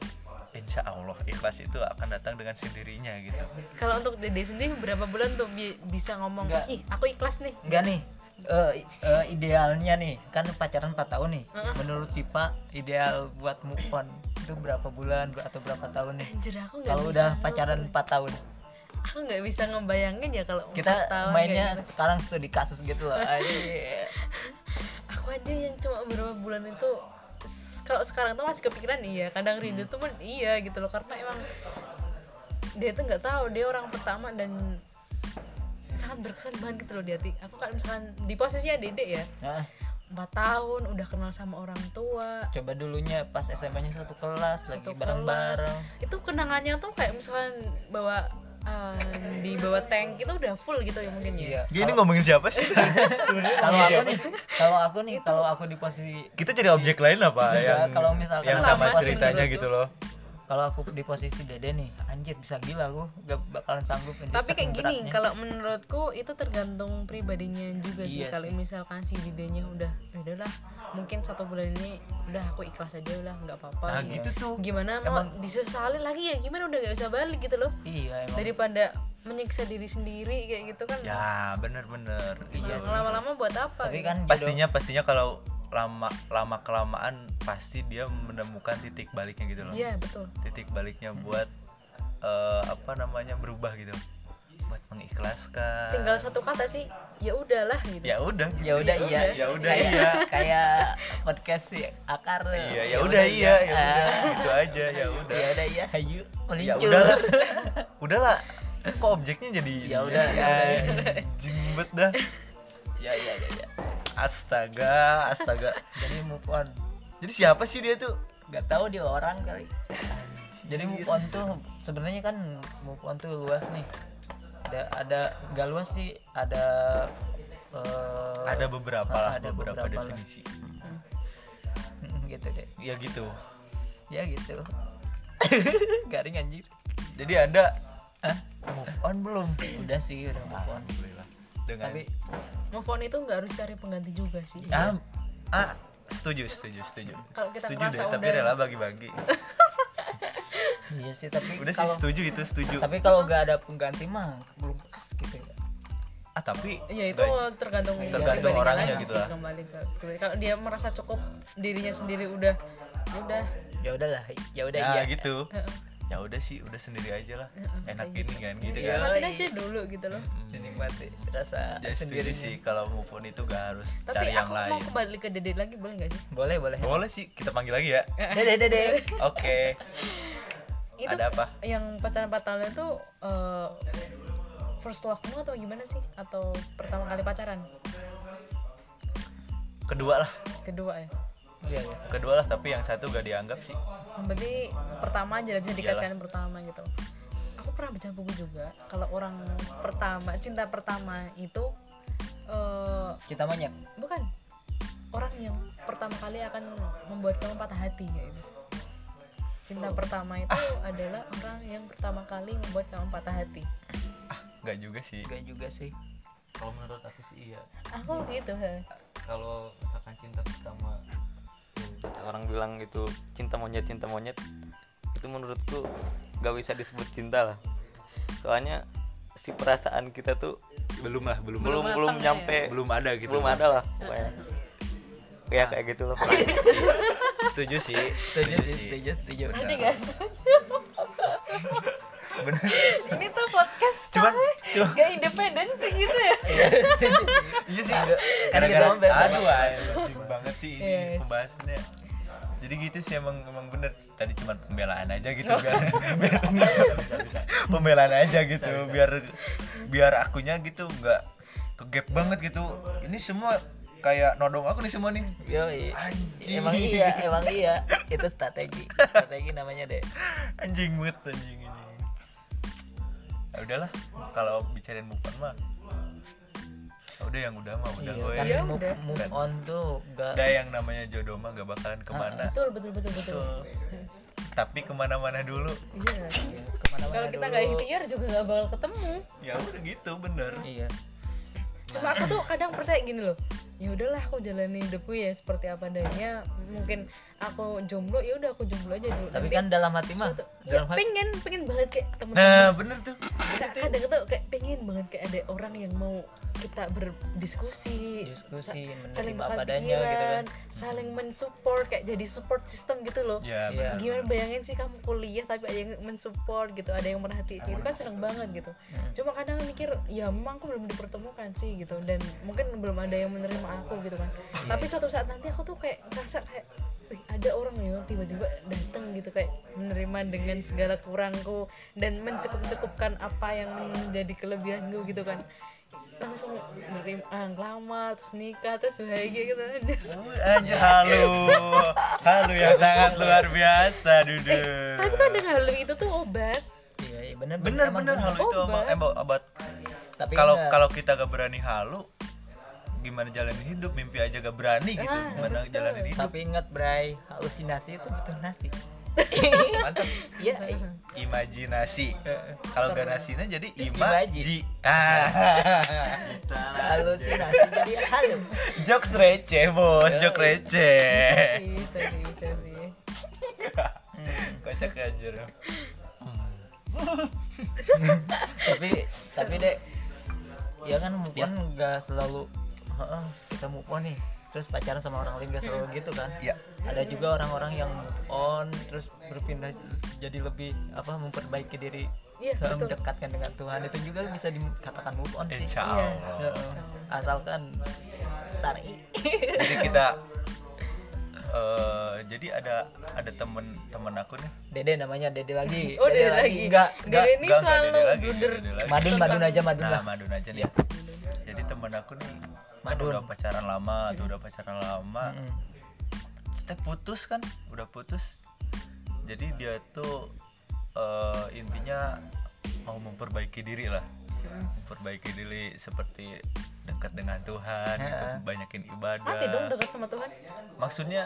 S1: insya Allah ikhlas itu akan datang dengan sendirinya gitu
S2: kalau untuk dede sendiri berapa bulan tuh bi- bisa ngomong
S3: Nggak.
S2: ih aku ikhlas nih
S3: enggak nih eh, i- eh, idealnya nih kan pacaran 4 tahun nih menurut Sipa ideal buat move on itu berapa bulan ber- atau berapa tahun nih
S2: anjir aku nggak
S3: kalau
S2: bisa
S3: udah
S2: nge-
S3: pacaran 4 tahun
S2: aku nggak bisa ngebayangin ya kalau
S3: kita
S2: empat tahun
S3: mainnya
S2: kayak gitu.
S3: sekarang studi kasus gitu
S1: (laughs)
S3: loh Anjir.
S2: aku aja yang cuma beberapa bulan itu s- kalau sekarang tuh masih kepikiran iya
S3: Hmm.
S2: kadang rindu tuh pun iya gitu loh karena emang dia tuh nggak tahu dia orang pertama dan sangat berkesan banget gitu loh di hati aku kan misalkan di posisinya dedek ya
S3: Nah,
S2: empat tahun udah kenal sama orang tua
S3: coba dulunya pas SMA nya satu kelas lagi
S2: satu kelas
S3: bareng-bareng
S2: itu kenangannya tuh kayak misalkan bawa eh, di bawah tank itu udah full gitu ya mungkin ya
S3: iya
S1: Gini ngomongin siapa sih? (laughs)
S3: kalau
S1: Iya.
S3: aku nih kalau aku nih kalau aku di posisi
S1: Kita jadi objek lain apa
S3: Enggak,
S1: yang
S3: kalau misalkan
S1: yang
S2: sama
S1: sama
S2: sih
S1: ceritanya
S2: menurutku.
S1: gitu loh.
S3: kalau aku di posisi dede nih anjir bisa gila aku gak bakalan sanggup anjir,
S2: tapi kayak
S3: saking
S2: gini
S3: beratnya.
S2: kalau menurutku itu tergantung pribadinya juga sih
S3: Iya
S2: kalau misalkan si didenya udah "Ya udahlah mungkin satu bulan ini udah aku ikhlas aja udah nggak apa-apa
S1: Nah,
S2: gitu.
S1: gitu tuh.
S2: gimana mau disesali lagi ya gimana udah nggak usah balik gitu loh
S3: iya emang
S2: daripada menyiksa diri sendiri kayak gitu kan
S1: Ya, bener-bener. Iya.
S2: Nah, lama-lama buat apa
S3: tapi
S2: gitu.
S3: kan jodoh-
S1: Pastinya pastinya kalau lama lama kelamaan pasti dia menemukan titik baliknya gitu loh.
S2: iya betul
S1: Titik baliknya buat eh, apa namanya berubah gitu. Buat mengikhlaskan.
S2: tinggal satu kata sih ya udahlah gitu
S1: Ya udah.
S3: ya udah iya
S1: Ya udah
S3: Kayak-
S1: iya.
S3: kayak podcast si akar
S1: Iya, ya udah iya, ya udah. Gitu aja, ya
S3: Ah,
S1: udah.
S3: ya udah iya hayu
S1: Ya
S3: meluncur
S1: udah. Udahlah. Kok objeknya jadi
S3: Ya udah, ya udah, ya
S1: Jimbet dah.
S3: (laughs) ya ya ya ya.
S1: Astaga, astaga.
S3: jadi move on
S1: Jadi siapa sih dia tuh?
S3: nggak tahu dia orang kali jadi move on tuh sebenarnya kan move on tuh luas nih ada ada nggak luas sih ada eh,
S1: Ada beberapa
S3: ah,
S1: lah,
S3: ada
S1: beberapa,
S3: beberapa lah.
S1: definisi.
S3: (laughs) gitu deh
S1: Ya gitu.
S3: ya gitu (laughs) garing anjir
S1: Jadi Anda
S3: Hah?
S1: move on belum?
S3: Ah, udah sih udah
S1: Ah,
S3: move on
S1: Alhamdulillah. Dengan
S3: tapi
S2: move on itu nggak harus cari pengganti juga sih
S1: ah, ah, setuju, setuju, setuju.
S2: Kalau kita
S1: setuju
S2: ngerasa
S1: deh, tapi
S2: udah- ya.
S1: rela bagi-bagi.
S3: iya sih tapi
S1: Udah sih
S3: kalau
S1: setuju itu, setuju.
S3: tapi kalau nggak ada pengganti mah belum pas gitu ya
S1: Ah, tapi
S2: ya itu
S1: baik.
S2: tergantung
S1: Tergantung
S2: pribadinya
S1: orangnya
S2: lagi
S1: gitu
S2: sih,
S1: lah.
S2: kembali ke pribadi. kalau dia merasa cukup dirinya sendiri udah ya udah
S3: ya udahlah ya udah
S1: ya
S3: iya
S1: gitu.
S2: Heeh.
S1: Ya udah sih, udah sendiri aja lah.
S2: Heeh,
S1: Enak
S2: kayak
S1: ini kan gitu
S2: ya,
S1: kan.
S2: matiin aja dulu gitu loh
S3: nikmati rasa
S1: Jadi Ya, setuju
S3: sendiri
S1: sih kalau move on itu gak harus
S2: tapi
S1: cari yang
S2: aku mau
S1: lain.
S2: kembali ke dede lagi boleh nggak sih
S3: boleh boleh
S1: Boleh sih, kita panggil lagi ya.
S3: dede dede
S2: (laughs)
S1: Oke.
S2: itu
S1: Ada apa?
S2: yang pacaran empat tahun itu eh, first love-mu atau gimana sih atau pertama kali pacaran
S1: Kedua lah.
S2: kedua ya
S3: iya iya
S1: Kedua lah, tapi yang satu gak dianggap sih.
S2: berarti pertama aja bisa dikatakan pertama gitu aku pernah baca buku juga kalau orang pertama cinta pertama itu eh,
S3: kita banyak
S2: bukan orang yang pertama kali akan membuat kamu patah hati kayak gitu.
S1: Oh.
S2: cinta pertama itu adalah orang yang pertama kali membuat kamu patah hati
S1: Ah, gak juga sih.
S3: juga juga sih
S4: kalau menurut aku sih iya
S2: aku gitu he.
S4: kalau misalkan cinta pertama yang kata orang bilang itu cinta monyet cinta monyet itu menurutku gak bisa disebut cinta lah soalnya si perasaan kita tuh
S1: Belum lah, belum.
S4: belum belum
S2: matang ya.
S4: nyampe
S1: Belum ada gitu.
S4: belum ada lah pokoknya ya kayak gitu loh
S1: Setuju sih. Setuju
S3: setuju sih
S1: sih.
S3: setuju setuju
S2: tadi gak setuju
S1: Bener.
S2: ini tuh podcast
S1: Cuman
S2: coy. gak independen sih gitu ya
S3: Setuju sih.
S1: iya sih.
S2: kan
S1: Gara-gara
S3: Ada- kita mau
S1: aduh aduh anjing banget sih ini
S2: gitu Yes.
S1: pembahasannya. Jadi gitu sih emang emang bener tadi cuma pembelaan aja gitu
S2: Oh. (laughs)
S1: biar, biar- pembelaan aja gitu biar biar akunya gitu nggak kegap banget gitu. Ini semua kayak nodong aku nih semua nih.
S3: Yoi.
S1: Anjing.
S3: Emang iya, emang iya. Itu strategi, strategi namanya deh.
S1: anjing banget anjing ini ya udahlah kalau bicarain move on mah ya udah yang udah mah Oh, udah gue
S3: kan
S2: Iya,
S3: move,
S2: udah.
S3: move on tuh gak
S1: udah yang namanya jodoh mah gak bakalan kemana
S2: betul betul betul betul
S1: tapi kemana-mana dulu
S2: iya
S3: kemana-mana
S2: kalau kita
S3: dulu.
S2: gak ikhtiar juga gak bakal ketemu
S1: ya udah gitu bener
S3: Iya.
S2: cuma aku tuh kadang percaya gini loh ya udahlah aku jalani hidupku ya seperti apa adanya mungkin aku jomblo ya udah aku jomblo aja dulu
S3: tapi
S2: Nanti
S3: kan dalam hati mah
S2: suatu- ya,
S3: dalam hati
S2: pengen pengen banget kayak temen-temen
S1: nah bener tuh
S2: Sa- kadang tuh kayak pengen banget kayak ada orang yang mau kita berdiskusi
S3: Diskusi, menerima
S2: saling
S3: apa
S2: tukar
S3: adanya gitu
S2: pikiran
S3: kan.
S2: saling mensupport kayak jadi support system gitu loh
S1: ya bener.
S3: Iya.
S2: gimana bayangin sih kamu kuliah tapi ada yang mensupport gitu ada yang merhatiin itu kan seneng banget gitu cuma kadang mikir ya memang aku belum dipertemukan sih gitu dan mungkin belum ada yang menerima aku gitu kan tapi suatu saat nanti aku tuh kayak ngerasa kayak Wih, ada orang yang tiba-tiba datang gitu kayak menerima dengan segala kurangku dan mencukup-cukupkan apa yang menjadi kelebihanku gitu kan langsung menerima ah, lama terus nikah terus bahagia gitu aja
S1: Wuh, anjir Ya, halu halu yang sangat luar biasa
S2: eh
S1: duduk
S2: tapi kan dengan hal itu tuh obat
S3: iya iya, bener
S1: bener
S3: emang
S1: bener halu itu
S2: Obat.
S1: emang emang obat
S3: tapi
S1: kalau
S3: enggak.
S1: kalau kita gak berani halu gimana jalanin hidup mimpi aja gak berani gitu
S2: Ah,
S1: gimana
S2: betul.
S1: jalanin hidup
S3: tapi ingat Bray halusinasi itu butuh nasi
S1: mantap
S3: iya iya.
S1: imajinasi kalau gak nasinya jadi imaji
S3: Imaji.
S1: ah (laughs)
S3: halusinasi jadi halu
S1: jokes receh bos jokes
S2: bisa
S3: Eh.
S1: receh
S2: sih bisa sih bisa sih
S1: kocak anjir
S3: tapi tapi dek ya kan move on nggak selalu "Heeh, kita move on nih terus pacaran sama orang lain nggak selalu
S2: Hmm.
S3: gitu kan
S2: Ya.
S1: Iya.
S3: ada juga orang-orang yang move on terus berpindah jadi lebih apa memperbaiki diri
S2: Iya,
S3: eh,
S2: betul.
S3: mendekatkan dengan Tuhan itu juga bisa dikatakan move on sih
S1: insya
S2: Iya.
S1: Allah
S3: Heeh, asalkan stari
S1: jadi kita eh, jadi ada ada temen temen aku nih
S3: (laughs) dede namanya dede lagi
S2: (laughs) Oh, Dede lagi.
S3: enggak
S2: Dede
S3: enggak
S1: Enggak,
S2: Ini
S1: enggak,
S2: selalu
S1: Dede lagi,
S2: blunder.
S1: Dede lagi.
S3: madun madun aja madun
S1: Nah,
S3: lah Iya.
S1: Madun aja nih. Jadi temen aku nih kan
S3: Madun.
S1: udah pacaran lama, tuh udah pacaran lama.
S3: Mm.
S1: Kita putus kan, udah putus. Jadi dia tuh eh, intinya mau memperbaiki diri lah. Memperbaiki diri seperti dekat dengan Tuhan, gitu, banyakin ibadah.
S2: mati
S3: Iya.
S2: dong dekat sama Tuhan
S1: Maksudnya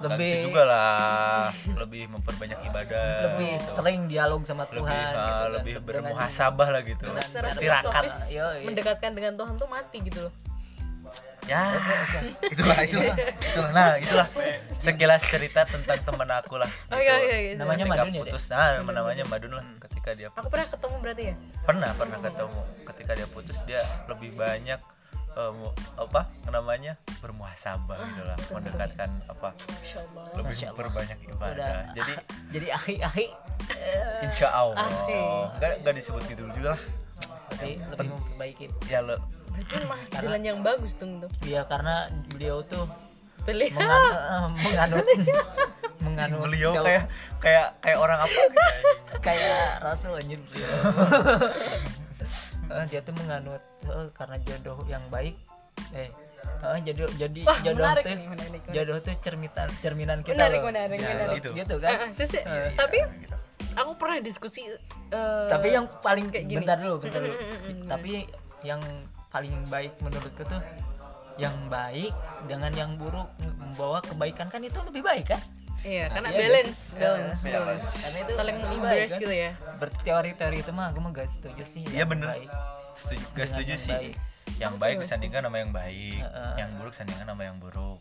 S1: nggak
S3: Lebih-
S1: gitu juga lah, lebih memperbanyak ibadah.
S3: lebih
S2: Oh.
S3: sering dialog sama
S1: lebih
S3: Tuhan gitu
S1: ah,
S3: kan.
S1: lebih
S3: Dengan-
S1: bermuhasabah lah gitu.
S2: secara
S1: Tirakat.
S2: filosofis
S3: yoi.
S2: mendekatkan dengan Tuhan tuh mati gitu loh
S1: ya itulah itulah itulah nah itulah sekilas cerita tentang teman aku lah
S2: Oke, oke, oke.
S3: Namanya
S1: ketika
S3: Madun ya, Dek?
S1: putus nah namanya Madun lah ketika dia
S2: iya. aku pernah ketemu berarti ya
S1: pernah pernah ketemu ketika dia putus dia lebih banyak eh, mu- apa namanya bermuasabah gitu lah mendekatkan apa
S2: Masya Allah
S1: lebih berbanyak
S3: Udah.
S1: ibadah jadi
S3: jadi ahi ahi
S1: insya Allah
S2: Asik.
S1: nggak nggak disebut gitu dulu lah
S3: tapi
S2: Iya.
S3: lebih memperbaiki
S1: ya lo
S2: berarti mah jalan yang bagus dong itu
S3: dia Iya, karena beliau tuh
S2: (laughs) pilihan
S3: mengan- eh, menganut
S2: Iya.
S3: menganut
S1: beliau
S3: jauh-
S1: kayak kayak kayak orang apa
S3: kayak rasul anjir beliau Eh, dia tuh menganut eh, karena jodoh yang baik eh eh, jodoh jadi
S2: Wah,
S3: jodoh
S2: menarik
S3: tuh
S2: nih, menarik, menarik.
S3: jodoh tuh cerminan cerminan kita
S2: menarik
S3: loh.
S2: menarik
S1: Ya,
S2: menarik
S1: gitu.
S3: gitu
S2: Ah, ah,
S3: kan
S2: sih, sih. tapi
S3: gitu.
S2: aku pernah diskusi eh,
S3: tapi yang paling
S2: kayak gini.
S3: bentar dulu bentar dulu
S2: Mm, mm, mm, mm,
S3: tapi yang paling baik menurutku tuh yang baik dengan yang buruk membawa kebaikan kan itu lebih baik kan
S2: iya karena
S3: Iya, guys.
S2: balance
S3: Iya,
S2: balance
S1: balance.
S2: balance
S3: karena itu
S2: saling
S3: lebih
S2: embrace
S3: baik, kan?
S2: gitu ya
S3: berteori-teori itu mah aku mah gak setuju sih
S1: Iya
S3: yang
S1: bener.
S3: baik.
S1: Setuju, gak
S3: Dengan
S1: setuju
S3: yang
S1: sih.
S3: baik.
S1: Yang
S2: Aku
S1: baik
S2: juga
S1: disandingkan sama yang baik,
S3: Heeh.
S1: yang buruk sandingan sama yang buruk.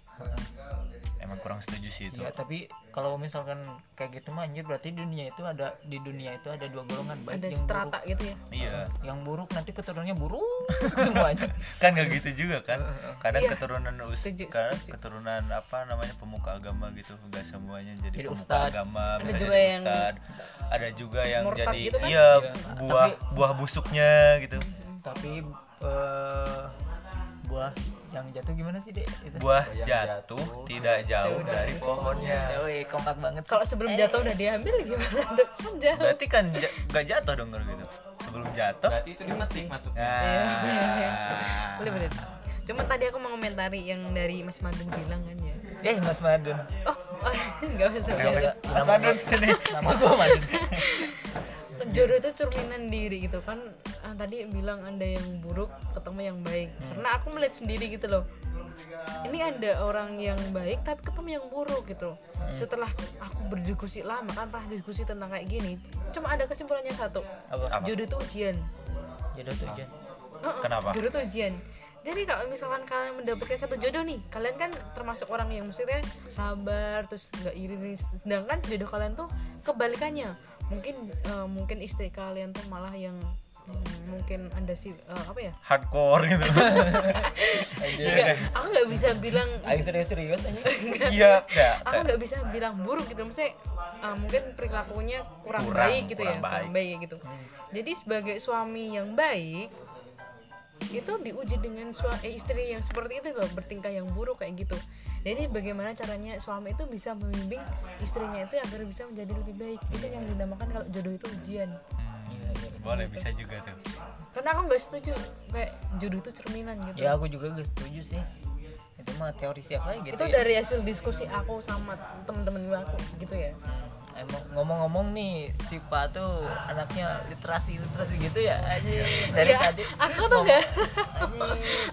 S1: Emang kurang setuju sih itu.
S3: Iya, tapi kalau misalkan kayak gitu mah anjir berarti dunia itu ada di dunia itu ada dua golongan baik
S2: ada
S3: yang
S2: strata gitu ya
S1: Iya.
S3: buruk. Yang buruk nanti keturunannya buruk (laughs) semuanya.
S1: Kan gak gitu juga kan. Kadang
S2: Iya,
S1: keturunan us,
S2: setuju,
S1: kadang
S2: setuju.
S1: keturunan apa namanya pemuka agama gitu, gak semuanya jadi,
S3: Jadi
S1: pemuka
S3: ustad.
S1: agama, bisa
S2: juga
S1: jadi
S2: yang
S1: ustad. Ada juga yang
S2: murtad
S1: jadi
S2: gitu kan?
S1: iya
S3: Iya.
S1: buah
S3: Tapi-
S1: buah busuknya gitu.
S3: tapi eh buah yang jatuh gimana sih, Dek? Itu.
S1: Buah
S4: Yang
S1: jatuh
S4: jatuh
S1: tidak jauh dari
S3: Ya,
S1: pohonnya.
S3: weh, kompak banget. sih.
S2: kalau sebelum jatuh udah diambil gimana dong kan jauh
S1: Berarti kan ja- gak jatuh dong kalau gitu. Sebelum jatuh.
S4: berarti itu dimetik maksudnya
S3: Iya.
S1: Nah.
S2: Iya, boleh boleh cuma tadi aku mau komentari yang dari Mas Madun bilang kan ya
S3: Eh, Mas Madun.
S2: oh, oh (laughs) nggak ya. usah
S1: Ayo,
S3: Iya,
S1: Mas Mas Madun sini.
S3: Nama gua Madun.
S2: jodoh itu cerminan diri gitu kan ah, tadi bilang anda yang buruk ketemu yang baik karena aku melihat sendiri gitu loh ini ada orang yang baik tapi ketemu yang buruk gitu loh. setelah aku berdiskusi lama kan pernah diskusi tentang kayak gini cuma ada kesimpulannya satu
S3: Apa?
S1: Apa?
S2: jodoh itu ujian
S3: Ya, Jodoh tuh ujian.
S2: Uh-uh,
S1: Kenapa?
S2: jodoh itu ujian jadi kalau misalkan kalian mendapatkan satu jodoh nih kalian kan termasuk orang yang maksudnya sabar terus nggak iri iri. sedangkan jodoh kalian tuh kebalikannya mungkin eh, mungkin istri kalian tuh malah yang hmm, mungkin anda sih eh, apa ya
S1: hardcore gitu
S3: Iya.
S2: Enggak, aku nggak bisa bilang
S3: Ayo serius-serius aja.
S1: iya ya,
S2: aku nggak bisa bilang buruk gitu maksudnya uh, mungkin perilakunya kurang,
S1: Kurang,
S2: baik gitu
S1: kurang
S2: ya kurang baik gitu
S3: Hmm.
S2: jadi sebagai suami yang baik itu diuji dengan sua- eh, istri yang seperti itu loh bertingkah yang buruk kayak gitu jadi bagaimana caranya suami itu bisa membimbing istrinya itu agar bisa menjadi lebih baik itu yang dinamakan kalau jodoh itu ujian
S3: iya.
S1: Hmm, boleh bisa juga tuh
S2: karena aku nggak setuju kayak jodoh itu cerminan gitu
S3: Ya aku juga gak setuju sih. Itu mah teori siapa
S2: itu
S3: lagi gitu ya.
S2: dari hasil diskusi aku sama temen-temen gue aku gitu ya
S3: Emang Eh, ngomong-ngomong nih si Pak tuh anaknya literasi literasi gitu ya aja dari
S2: Ya,
S3: tadi
S2: aku tuh nggak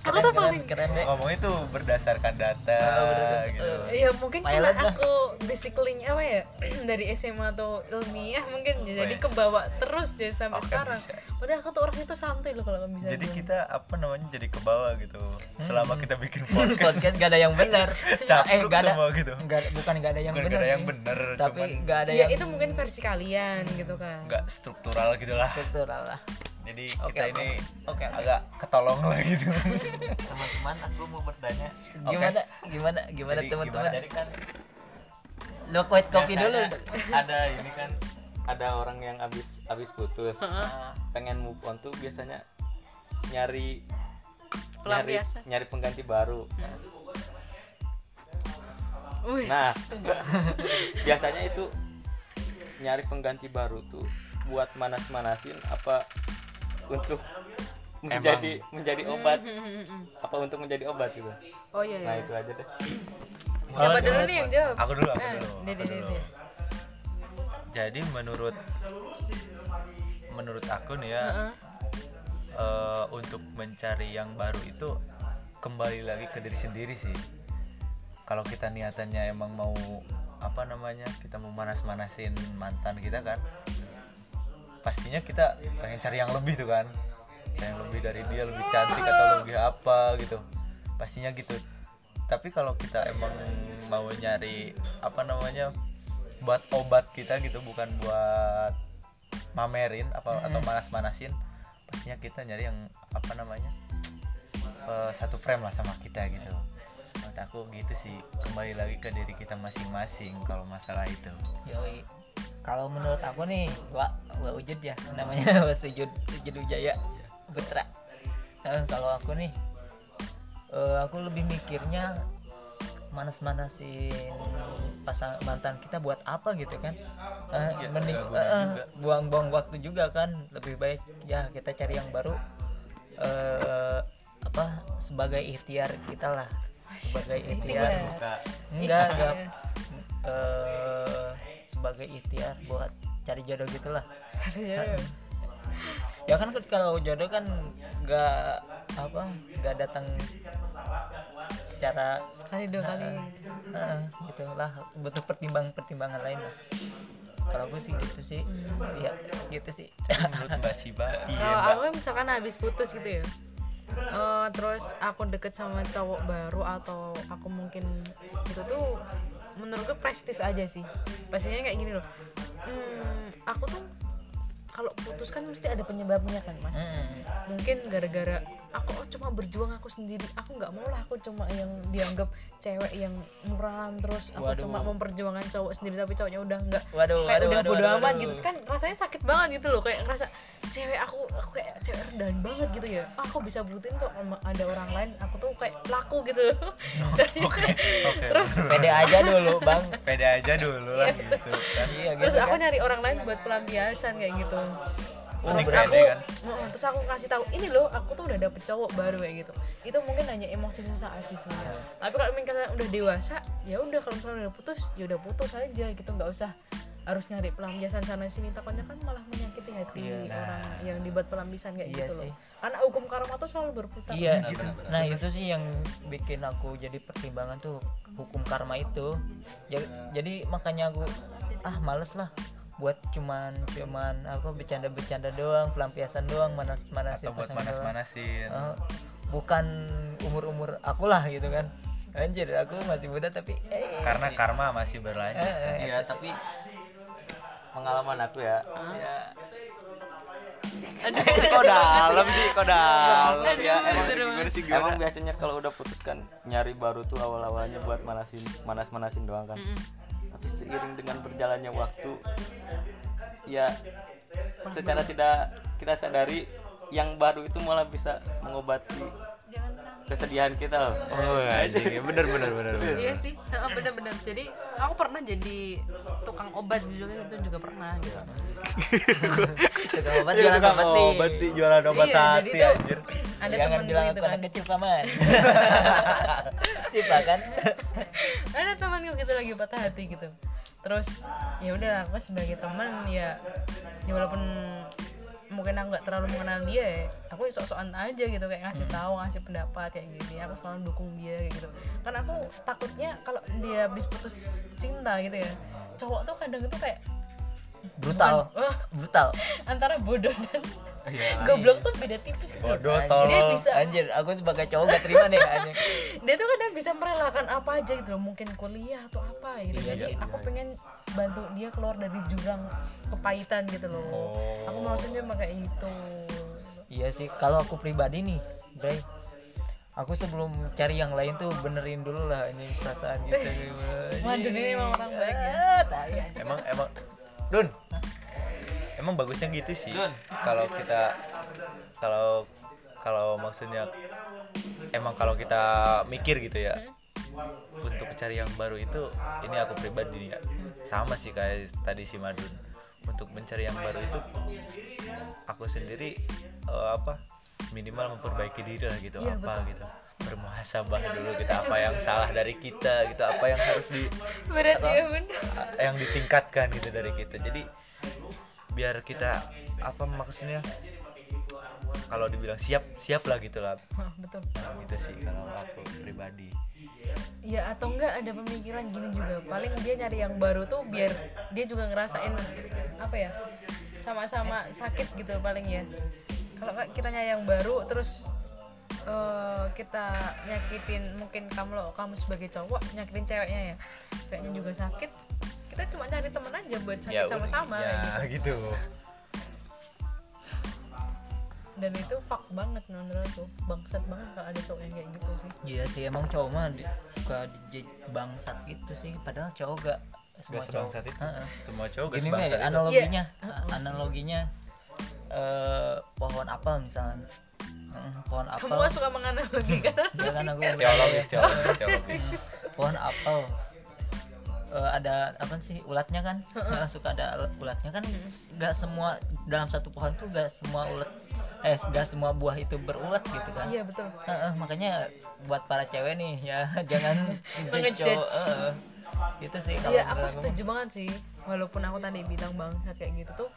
S3: keren
S2: tuh
S3: keren
S2: paling-
S3: keren deh
S1: ngomong itu berdasarkan data
S3: Ah,
S1: gitu
S2: Ya mungkin
S3: Pilot
S2: karena aku basically apa ya (clears throat) dari SMA atau ilmiah mungkin ya, jadi
S1: Wes.
S2: kebawa terus deh sampai
S1: Oke,
S2: sekarang.
S1: bisa.
S2: Padahal aku tuh orang itu santai loh kalau bisa.
S1: jadi
S3: Iya.
S2: bilang.
S1: kita apa namanya jadi ke bawah gitu
S3: Hmm.
S1: selama kita
S3: (laughs)
S1: bikin podcast
S3: podcast gak ada yang benar
S1: Capluk
S3: eh gak ada
S1: semua gitu.
S3: nggak ada- bukan gak ada yang
S1: Bukan nggak
S3: benar
S1: ada yang benar,
S3: tapi
S1: cuman-
S3: gak ada
S2: ya
S3: yang
S2: itu mungkin versi kalian gitu kan.
S1: nggak struktural gitu lah
S3: struktural lah
S1: jadi
S3: Oke,
S1: kita
S3: oke.
S1: ini
S3: Oke, oke.
S1: agak ketolong lah
S3: (laughs)
S1: gitu
S4: teman-teman aku mau bertanya
S1: Oke.
S3: gimana gimana gimana
S1: Jadi
S3: teman-teman
S1: gimana?
S4: jadi kan
S3: lo kuat kopi dulu
S4: biasanya ada ini kan ada orang yang abis abis putus pengen move on tuh biasanya nyari nyari
S2: Pelampiasan.
S4: nyari pengganti baru
S2: Wis.
S4: Nah. (laughs) biasanya itu nyari pengganti baru tuh buat manas-manasin apa untuk menjadi menjadi obat apa untuk menjadi obat gitu
S2: (laughs) oh Hmm. iya ya.
S4: nah itu aja deh
S2: Siapa dulu nih yang jawab?
S1: aku dulu aku
S2: Ah,
S1: dulu,
S2: Dede,
S1: aku dulu.
S2: Dede.
S1: jadi menurut menurut aku nih ya
S2: Heeh.
S1: eh, untuk mencari yang baru itu kembali lagi ke diri sendiri sih kalau kita niatannya emang mau apa namanya kita mau manas-manasin mantan kita kan pastinya kita pengen cari yang lebih tuh kan Cari yang lebih dari dia lebih cantik atau lebih apa gitu pastinya gitu tapi kalau kita emang mau nyari apa namanya buat obat kita gitu bukan buat mamerin apa atau manas-manasin pastinya kita nyari yang apa namanya eh, satu frame lah sama kita gitu menurut aku gitu sih kembali lagi ke diri kita masing-masing kalau masalah itu
S3: Yoi. Kalau menurut aku nih, wa, wa Ujud ya namanya (laughs) wa sujud sujud ujaya putra. Nah, kalau aku nih, eh, aku lebih mikirnya manas-manasin pasang mantan kita buat apa gitu kan? Eh, mending
S1: nggak guna
S3: eh, eh,
S1: juga.
S3: buang-buang waktu juga kan, lebih baik ya kita cari yang baru. eh apa sebagai ikhtiar kita lah, sebagai
S1: Iya,
S3: ikhtiar
S2: Ikhtiar.
S4: Buka.
S3: enggak
S2: Iya.
S3: enggak eh sebagai ikhtiar buat cari jodoh gitulah
S2: Cari jodoh.
S3: ya kan kalau jodoh kan enggak apa enggak datang secara
S2: Sekali dua kali.
S3: eh, gitulah butuh pertimbangan pertimbangan lain lah kalau aku sih gitu sih ya gitu sih (laughs)
S1: menurut mbak Siba iya
S2: Kalau
S1: mbak
S2: aku misalkan habis putus gitu ya. Eh, terus aku deket sama cowok baru atau aku mungkin itu tuh menurutku prestis aja sih pastinya kayak gini loh hmm, aku tuh kalau putus kan mesti ada penyebabnya kan mas
S3: Hmm.
S2: mungkin gara-gara aku oh, cuma berjuang aku sendiri aku nggak mau lah aku cuma yang dianggap cewek yang murahan terus aku
S3: Waduh.
S2: cuma memperjuangkan cowok sendiri tapi cowoknya udah nggak
S3: Waduh,
S2: kayak
S3: waduh,
S2: udah
S3: waduh,
S2: bodo
S3: waduh,
S2: amat
S3: waduh.
S2: gitu kan rasanya sakit banget gitu loh kayak ngerasa cewek aku aku kayak cewek rendahan banget gitu ya Ah, aku bisa butuhin kok sama ada orang lain aku tuh kayak laku gitu (laughs) Sedangkan-
S1: Oh, oke.
S2: terus
S3: pede aja dulu bang
S1: pede aja dulu lah gitu kan
S3: iya
S2: terus
S3: gitu
S2: aku
S3: kan Oh,
S2: nyari orang lain buat pelampiasan kayak gitu
S1: unik
S2: terus
S1: kan
S2: aku
S1: ya kan
S2: Heeh, terus aku kasih tahu ini loh aku tuh udah dapet cowok baru kayak gitu itu mungkin hanya emosi sesaat sih sebenarnya
S3: Iya.
S2: tapi kalau misalnya udah dewasa ya udah kalau misalnya udah putus ya udah putus aja gitu nggak usah harus nyari pelampiasan sana sini takutnya kan malah menyakiti hati orang yang dibuat pelampiasan kayak
S3: nah. Iya
S2: gitu
S3: sih.
S2: loh karena hukum karma tuh selalu berputar
S3: Iya, nah itu sih yang bikin aku jadi pertimbangan tuh hukum karma itu. Ja- Jadi makanya aku ah males lah buat cuman cuman apa bercanda-bercanda doang, pelampiasan doang, manas-manasin
S1: atau buat
S3: pasangan doang.
S1: manas-manasin
S3: Eh, bukan umur umur aku lah gitu kan anjir aku masih muda tapi eh
S1: karena karma masih berlanjut
S3: eh,
S4: iya
S3: apa sih?
S4: tapi pengalaman aku ya
S3: Ya,
S2: Ah. Aduh,
S4: (laughs) kok dalam sih kok dalam
S2: Aduh,
S4: ya emang,
S2: seru
S4: gimana sih, gimana? Emang biasanya kalau udah putus kan nyari baru tuh awal awalnya buat manasin manas manasin doang kan tapi seiring dengan berjalannya waktu ya secara tidak kita sadari yang baru itu malah bisa mengobati kesedihan kita loh
S1: oh anjing bener bener bener bener
S2: iya sih (laughs) heeh, bener-bener jadi aku pernah jadi tukang obat juga itu juga pernah gitu
S3: tukang obat
S4: iya,
S3: jualan obat nih
S1: obat sih jualan obat
S2: Iya,
S1: hati
S2: jadi tuh-
S1: anjir
S2: ada
S3: jangan
S2: temen
S3: bilang
S2: gue
S3: aku
S2: itu kan
S3: anak kecil paman (laughs) sip lah kan
S2: (laughs) ada temanku gitu lagi patah hati gitu terus ya udah aku sebagai teman ya ya walaupun mungkin aku nggak terlalu mengenal dia ya aku sok-sokan aja gitu kayak ngasih
S3: Hmm.
S2: tahu ngasih pendapat kayak gini aku selalu dukung dia kayak gitu karena aku takutnya kalau dia habis putus cinta gitu ya cowok tuh kadang itu kayak
S3: brutal
S2: wah,
S3: brutal
S2: antara bodoh dan
S3: Iya,
S2: (laughs) goblok tuh beda tipis gitu
S1: bodoh
S2: dia
S1: tolol
S2: bisa
S3: anjir aku sebagai cowok gak terima nih anjir
S2: dia tuh kadang bisa merelakan apa aja gitu loh mungkin kuliah atau apa gitu jadi aku pengen bantu dia keluar dari jurang kepahitan gitu loh aku maksudnya emang kayak gitu
S3: Iya sih, kalau aku pribadi nih, Bray. Aku sebelum cari yang lain tuh benerin dulu lah ini perasaan gitu.
S2: wah dunia Eh, ini emang orang baik ya
S3: Ah, tai aja.
S1: emang emang Dun emang bagusnya gitu sih kalau kita kalau kalau maksudnya emang kalau kita mikir gitu ya untuk cari yang baru itu ini aku pribadi ya sama sih kayak tadi si Madun untuk mencari yang baru itu aku sendiri eh, apa minimal memperbaiki diri lah gitu
S2: Iya,
S1: apa gitu bermuhasabah dulu kita apa yang salah dari kita gitu apa yang harus di
S2: berat
S1: apa,
S2: ya bun
S1: yang ditingkatkan gitu dari kita jadi biar kita apa maksudnya kalau dibilang siap siap lah gitu lah
S2: Hah, betul
S1: Nah, gitu sih kalau aku pribadi
S2: ya atau enggak ada pemikiran gini juga paling dia nyari yang baru tuh biar dia juga ngerasain apa ya sama-sama sakit gitu paling ya kalau nggak kita nyari yang baru terus eh, kita nyakitin mungkin kamu lo kamu sebagai cowok nyakitin ceweknya ya ceweknya juga sakit kita cuma cari temen aja buat sakit sama-sama
S1: ya
S2: kayak
S1: gitu
S2: gitu. dan itu fuck banget menurut aku bangsat banget kalau ada cowok yang kayak gitu sih
S3: Iya sih, emang cowok mah di- suka dije- bangsat gitu sih, padahal cowok gak semua
S1: gak sebangsat
S3: cowok.
S1: itu
S3: Heeh.
S1: semua cowok gak
S3: Gini Bray,
S1: sebangsat itu
S3: analoginya,
S2: Iya.
S3: a- analoginya eh, pohon apel misalnya. Heeh, pohon apel.
S2: kamu gak suka
S1: (laughs)
S2: menganalogikan
S3: Ya kan aku
S1: teologis teologis (laughs) teologis
S3: pohon apel Eh, ada apa sih ulatnya kan Eh, suka ada ul- ulatnya kan nggak semua dalam satu pohon tuh nggak semua ulat eh nggak semua buah itu berulat gitu kan
S2: iya betul
S3: Eh, eh, makanya buat para cewek nih ya (laughs) jangan
S2: Ngejudge.
S3: ngejudge cowok, eh, eh. itu sih kalau
S2: Iya, aku
S3: menurut
S2: setuju banget sih. Walaupun aku tadi bilang bangsat kayak gitu tuh,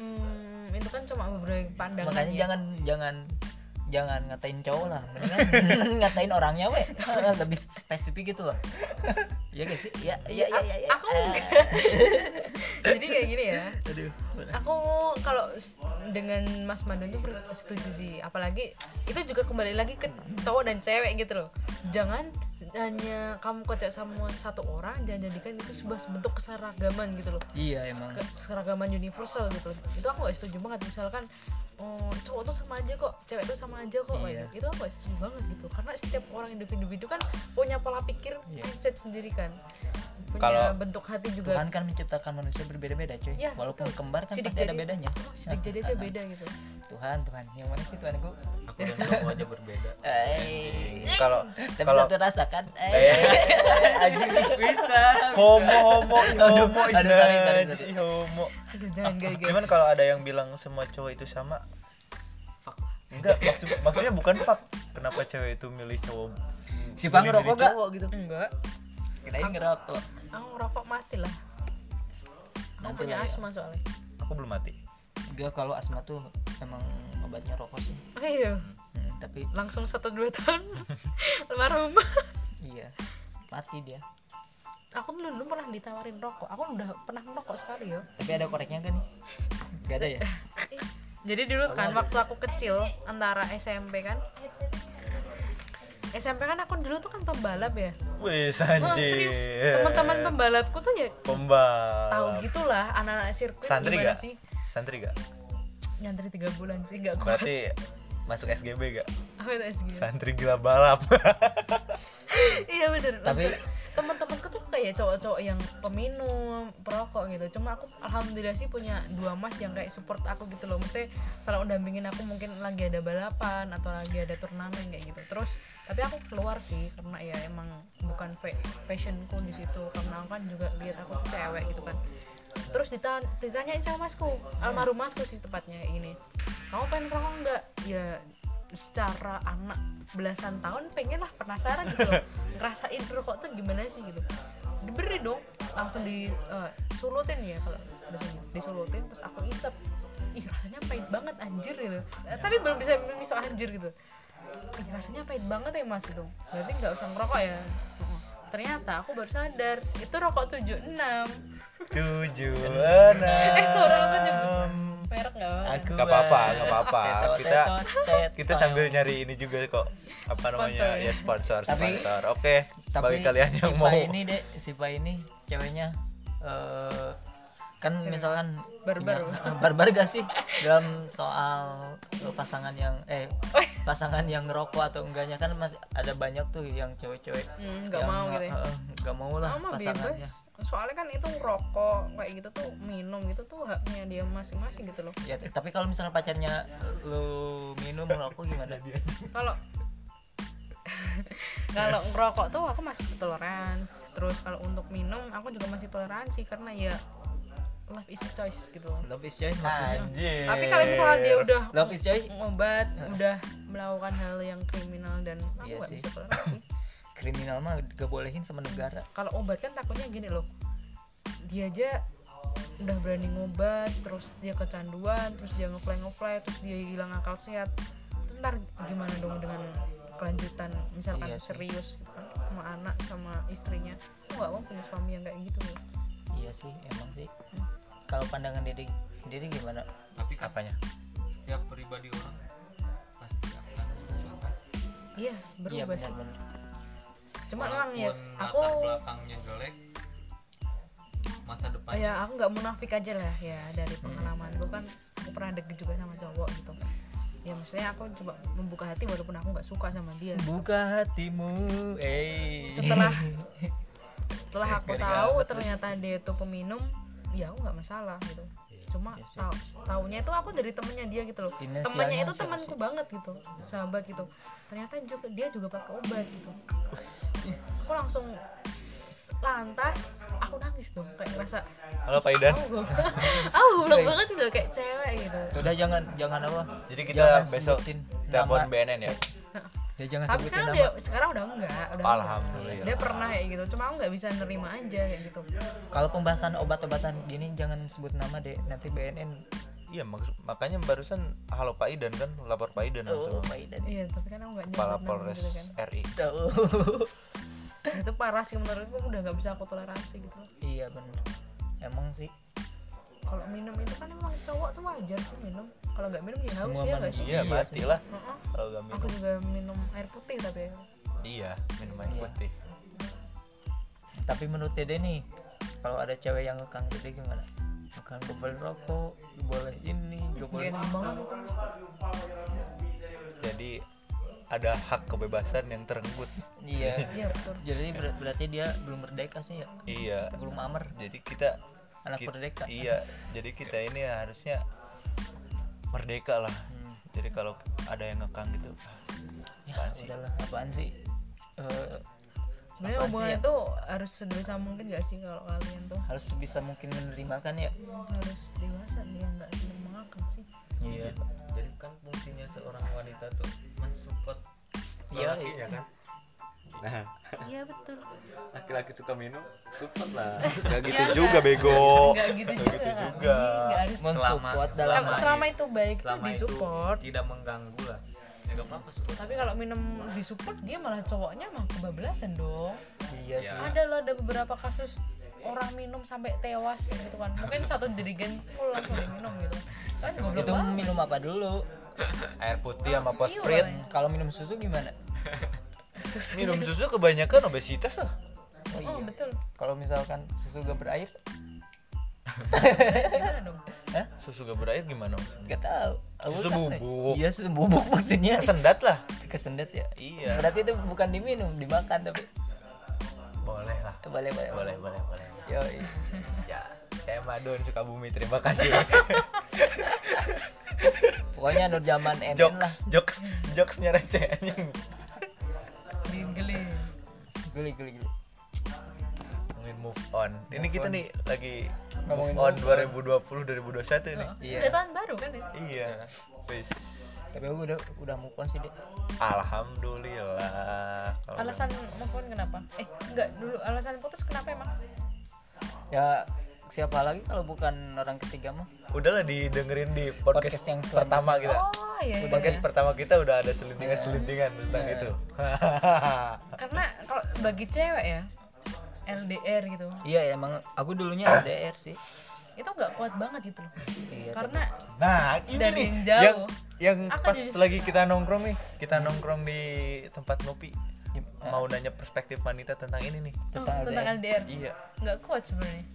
S2: hmm, itu kan cuma beberapa pandangan.
S3: makanya
S2: ya.
S3: jangan jangan jangan ngatain cowok lah mendingan (laughs) ngatain orangnya we Eh, lebih spesifik gitu loh (laughs) Iya gak sih ya ya ya ya, ya.
S2: Iya, Aku enggak. Jadi kayak gini ya.
S3: (laughs) Aduh.
S2: Aku kalau s- dengan Mas Madun tuh ber- setuju sih. Apalagi itu juga kembali lagi ke cowok dan cewek gitu loh. Jangan hanya kamu kocak sama satu orang, jangan jadikan itu sebuah bentuk keseragaman gitu loh.
S3: iya emang
S2: ke- seragaman universal gitu loh. itu aku gak setuju banget misalkan oh, cowok tuh sama aja kok cewek tuh sama aja kok kayak
S3: Iya.
S2: gitu. itu aku gak setuju banget gitu karena setiap orang individu-individu kan punya pola pikir
S3: Iya.
S2: mindset sendiri kan punya
S1: Kalau-
S2: bentuk hati juga
S3: Tuhan kan menciptakan manusia berbeda-beda cuy
S2: Ya,
S3: walaupun
S2: betul.
S3: kembar kan
S2: Sidik
S3: pasti ada
S2: jari-
S3: bedanya Nah,
S2: Oh, sidik jari aja beda gitu
S3: Tuhan Tuhan yang mana sih Tuhan gue
S4: aku dan kamu aja
S3: (laughs)
S4: berbeda
S3: eh
S1: kalau
S3: tapi
S1: kalau
S3: satu rasa kan eh
S1: eh
S3: (laughs)
S1: homo homo ih, homo ih,
S3: Aduh, sorry, sorry,
S1: najis,
S3: sorry.
S1: ih, homo
S2: aduh jangan
S3: (laughs)
S2: guys
S1: cuman
S2: guys.
S1: kalau ada yang bilang semua cowok itu sama enggak maksud maksudnya bukan fak kenapa cewek itu milih cowok
S3: si Pang
S1: milih diri
S3: ngerokok gak
S1: cowok gitu
S2: enggak
S3: kirain ngerokok
S2: aku ngerokok mati lah aku
S3: Nanti
S2: punya
S3: lah ya.
S2: asma soalnya
S1: aku belum mati
S3: enggak kalau asma tuh emang obatnya rokok sih
S2: ayo
S3: Hmm, tapi
S2: langsung satu dua
S3: (laughs)
S2: tahun almarhum
S3: iya mati dia
S2: aku dulu, dulu pernah ditawarin rokok aku udah pernah ngerokok sekali ya
S3: tapi ada koreknya gak nih gak ada ya
S2: jadi dulu kan waktu aku kecil antara SMP kan SMP kan aku dulu tuh kan pembalap ya
S1: Wes
S2: Wah,
S1: anjir.
S2: serius teman-teman pembalapku tuh ya
S1: Pembalap.
S2: tahu gitulah anak-anak sirkuit
S1: Santri
S2: gimana
S1: gak?
S2: sih
S1: Santri gak?
S2: nyantri tiga bulan sih nggak kuat
S1: Berarti masuk SGB gak?
S2: apa itu SG?
S1: Santri gila balap. (laughs)
S2: iya bener
S3: Tapi-
S2: Maksud- temen-temenku tuh kayak cowok-cowok yang peminum perokok gitu cuma aku alhamdulillah sih punya dua mas yang kayak support aku gitu loh maksudnya selalu dampingin aku mungkin lagi ada balapan atau lagi ada turnamen kayak gitu terus tapi aku keluar sih karena ya emang bukan fa- passionku di situ karena aku kan juga lihat aku tuh cewek gitu kan terus dita- ditanyain sama masku almarhum masku sih tepatnya ini kamu pengen rokok nggak ya secara anak belasan tahun pengen lah penasaran gitu loh ngerasain rokok tuh gimana sih gitu diberi dong langsung disulutin ya kalau bahasa Jawa. disulutin terus aku isep ih rasanya pahit banget anjir gitu Eh, tapi belum bisa belum bisa anjir gitu ih rasanya pahit banget ya mas gitu berarti nggak usah ngerokok ya Heeh. ternyata aku baru sadar itu rokok 76
S1: Tujuh
S2: eh suara apa nyebut
S1: enam.
S2: merek nggak apa-apa.
S1: Aku
S4: Gak apa-apa, gak apa-apa.
S3: Tetot,
S1: Kita
S3: tetot, tetot.
S1: kita sambil nyari ini juga kok apa namanya
S2: Sponsor.
S1: ya sponsor
S3: Tapi-
S1: sponsor oke bagi kalian yang
S3: si
S1: mau
S3: Pai ini deh si Pai ini ceweknya eh kan misalkan
S2: Barbar.
S3: punya- barbar gak sih dalam soal eh, pasangan yang
S2: (laughs)
S3: eh
S2: Weh.
S3: pasangan yang ngerokok atau enggaknya kan masih ada banyak tuh yang cewek-cewek
S2: Hmm, nggak mau gitu ya
S3: gak mau lah
S2: Mama
S3: pasangannya
S2: bebas soalnya kan itu ngerokok kayak gitu tuh minum gitu tuh haknya dia masing-masing gitu loh
S3: ya t- tapi kalau misalnya pacarnya lu minum ngerokok gimana
S1: Iya,
S2: kalau (laughs) kalau ngerokok tuh aku masih toleransi terus kalau untuk minum aku juga masih toleransi karena ya life is a choice gitu loh
S3: love is choice
S1: Nah,
S3: maksudnya.
S1: anjir
S2: tapi kalau misalnya dia udah
S3: love is choice (laughs)
S2: ngobat udah melakukan hal yang kriminal dan aku
S3: Iya
S2: nggak
S3: sih.
S2: bisa toleransi
S3: kriminal mah gak bolehin sama negara
S2: kalau obat kan takutnya gini loh dia aja udah berani ngobat terus dia kecanduan terus dia ngefly ngefly terus dia hilang akal sehat terus ntar gimana dong dengan kelanjutan misalkan
S3: Iya sih.
S2: serius gitu kan sama anak sama istrinya aku nggak mau punya suami yang kayak gitu loh
S3: Iya sih, emang sih. Kalau pandangan Dede sendiri gimana?
S4: Tapi kan
S1: apanya
S4: setiap pribadi orang pasti akan berubah.
S2: iya berubah sih
S3: benar-benar.
S2: cuma emang ya
S4: Walaupun
S2: aku
S4: latar belakangnya jelek, masa depan Hmm.
S2: ya aku nggak munafik aja lah ya dari pengalaman gue kan aku pernah deket juga sama cowok gitu ya maksudnya aku coba membuka hati walaupun aku nggak suka sama dia
S3: Buka hatimu, eh. (laughs)
S2: setelah setelah aku
S3: Gara-gara
S2: tahu
S3: apa tuh?
S2: ternyata dia itu peminum ya aku nggak masalah gitu cuma
S3: iya sih.
S2: tahu tahunya itu aku dari temennya dia gitu loh
S3: Inisialnya
S2: temennya itu
S3: siapa
S2: temanku
S3: sih?
S2: banget gitu sahabat gitu ternyata juga dia juga pakai obat gitu aku langsung "Sss," lantas aku nangis dong kayak ngerasa
S1: halo Pak Idan
S2: oh (laughs) oh goblok banget gitu kayak cewek gitu
S3: Eh, Udah jangan jangan apa?
S1: jadi kita
S3: Jangan
S1: besok
S3: sebutin
S1: telepon
S3: nama.
S1: BNN ya
S3: Ya jangan
S2: tapi
S3: sebutin
S2: sekarang
S3: nama.
S2: udah sekarang udah enggak udah enggak.
S1: Alhamdulillah.
S2: dia pernah kayak gitu cuma aku nggak bisa nerima aja kayak gitu
S3: Kalau pembahasan obat-obatan gini jangan sebut nama deh, nanti BNN.
S1: iya maksud- makanya barusan halo Pak Idan kan lapor Pak Idan langsung
S3: Biden.
S2: iya tapi kan aku nggak
S1: kepala
S2: nyebut nama
S1: Polres
S2: gitu kan
S1: RI
S3: Tuh.
S2: itu parah sih menurutku udah nggak bisa aku toleransi gitu loh
S3: (laughs) iya benar. Emang sih
S2: kalau minum itu kan emang cowok tuh wajar sih minum kalau nggak minum ya haus
S3: Semua
S2: ya nggak sih
S1: iya
S3: Iya,
S1: mati
S3: sih.
S1: lah
S2: Heeh.
S1: kalau gak
S2: aku
S1: minum
S2: juga minum air putih tapi ya.
S1: iya minum air
S3: Iya.
S1: putih
S3: tapi menurut Dede nih kalau ada cewek yang ngekang Dede gimana? Bukan gak boleh rokok, gak boleh ini, gak
S2: gak
S3: boleh
S2: enak banget itu
S1: jadi ada hak kebebasan yang terenggut
S3: Iya.
S2: iya betul
S3: Jadi ber- berarti dia belum merdeka sih ya?
S1: iya
S3: Belum amer.
S1: jadi kita
S3: Anak
S1: kit-
S3: merdeka.
S1: iya jadi kita ini harusnya merdeka lah
S3: Hmm.
S1: jadi kalau ada yang ngekang gitu ah,
S3: Ya,
S1: apaan sih
S3: udahlah, apaan sih? Eh,
S2: sebenarnya
S3: Apaan sih
S2: hubungan
S3: ya?
S2: itu harus sebisa mungkin gak sih kalau kalian tuh
S3: harus bisa mungkin menerima kan ya?
S2: harus dewasa dia nggak seneng mengakang sih
S3: Iya.
S4: jadi kan fungsinya seorang wanita tuh mensupport
S3: Iya,
S4: lelaki,
S3: iya.
S4: ya kan nah
S2: iya betul
S4: laki-laki suka minum support lah gak gitu
S2: Iya,
S1: juga
S2: nggak-
S1: bego
S2: nggak gitu juga kan nggak harus
S3: Mensupport dalam
S2: Kalau selama itu baik tuh
S4: iya. selama itu
S2: disupport
S4: tidak mengganggu lah ya gak apa-apa support
S2: tapi kalau minum disupport dia malah cowoknya mah kebablasan dong
S3: Iya
S4: Iya.
S3: sih.
S2: ada loh ada beberapa kasus orang minum sampai tewas gitu kan mungkin satu jerigen full langsung minum gitu kan goblok
S3: Itu
S2: banget
S3: minum apa dulu?
S1: air putih sama (laughs)
S2: Ciu
S1: posprit
S2: oleh.
S3: Kalau minum susu gimana?
S2: susu
S5: minum susu kebanyakan obesitas lah
S3: Oh
S2: oh
S3: iya.
S2: betul
S3: Kalau misalkan susu gak berair,
S2: gimana dong
S5: susu gak berair gimana maksudnya
S3: gak tahu. Aku
S5: Susu
S3: kan-
S5: bubuk.
S3: Iya susu bubuk maksudnya.
S5: kesendat lah
S3: Kesendat ya.
S5: iya
S3: Berarti itu bukan diminum, dimakan tapi
S1: boleh lah
S3: boleh boleh.
S1: boleh boleh boleh
S3: Yo,
S1: ya saya Madun Sukabumi terima kasih (laughs)
S3: pokoknya nur zaman enen lah.
S1: jokes jokes jokesnya receh anjing
S2: digeling
S3: Geli geli geli.
S1: ngomongin move on ini kita nih lagi
S3: Ngomongin
S1: move on 2020
S3: move
S1: 2021 nih
S2: Oh,
S3: Iya.
S2: udah tahun baru kan ya
S1: iya wis
S3: Tapi aku udah udah move on sih deh.
S1: alhamdulillah Kalau
S2: alasan move on kenapa eh enggak dulu alasan putus kenapa emang
S3: Ya siapa lagi kalau bukan orang ketiga mah?
S1: udahlah didengerin di podcast,
S3: Podcast yang selanjutnya.
S1: pertama kita
S2: oh iya iya,
S1: podcast
S2: iya.
S1: pertama kita udah ada selintingan selintingan tentang itu
S2: karena kalau bagi cewek ya LDR gitu
S3: Iya emang aku (coughs) dulunya LDR sih.
S2: itu nggak kuat banget gitu loh
S3: Iya.
S2: karena
S1: (laughs)
S2: oh,
S1: nah ini
S2: Dari
S1: nih
S2: yang jauh.
S1: yang yang
S2: Akan
S1: pas
S2: jadi-
S1: lagi kita nongkrong nih kita nongkrong di tempat ngopi Hmm. mau nanya perspektif wanita tentang ini nih
S2: tentang, tentang LDR
S1: iya
S2: nggak kuat sebenarnya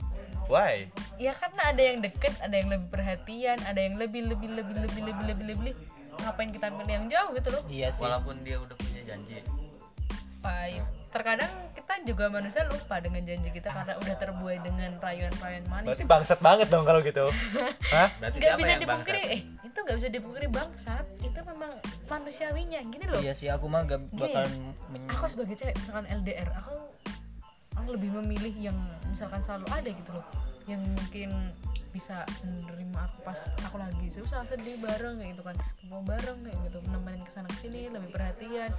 S1: why
S2: ya karena ada yang deket ada yang lebih perhatian ada yang lebih lebih lebih lebih lebih lebih lebih ngapain kita milih yang jauh gitu loh
S3: Iya sih.
S4: walaupun dia udah punya janji
S2: pahit terkadang kita juga manusia lupa dengan janji kita karena udah terbuai dengan rayuan-rayuan manis
S1: berarti bangsat banget dong kalau (laughs) gitu hah
S4: berarti
S2: nggak
S4: siapa
S2: bisa
S4: yang bangsa
S2: dipungkiri eh itu nggak bisa dipungkiri bangsat itu memang manusiawinya gini loh
S3: Iya sih aku mah gak bakal
S2: ya.
S3: men-
S2: aku sebagai cewek misalkan LDR aku aku lebih memilih yang misalkan selalu ada gitu loh yang mungkin bisa menerima aku pas aku lagi susah sedih bareng kayak gitu kan mau bareng kayak gitu nemenin kesana kesini lebih perhatian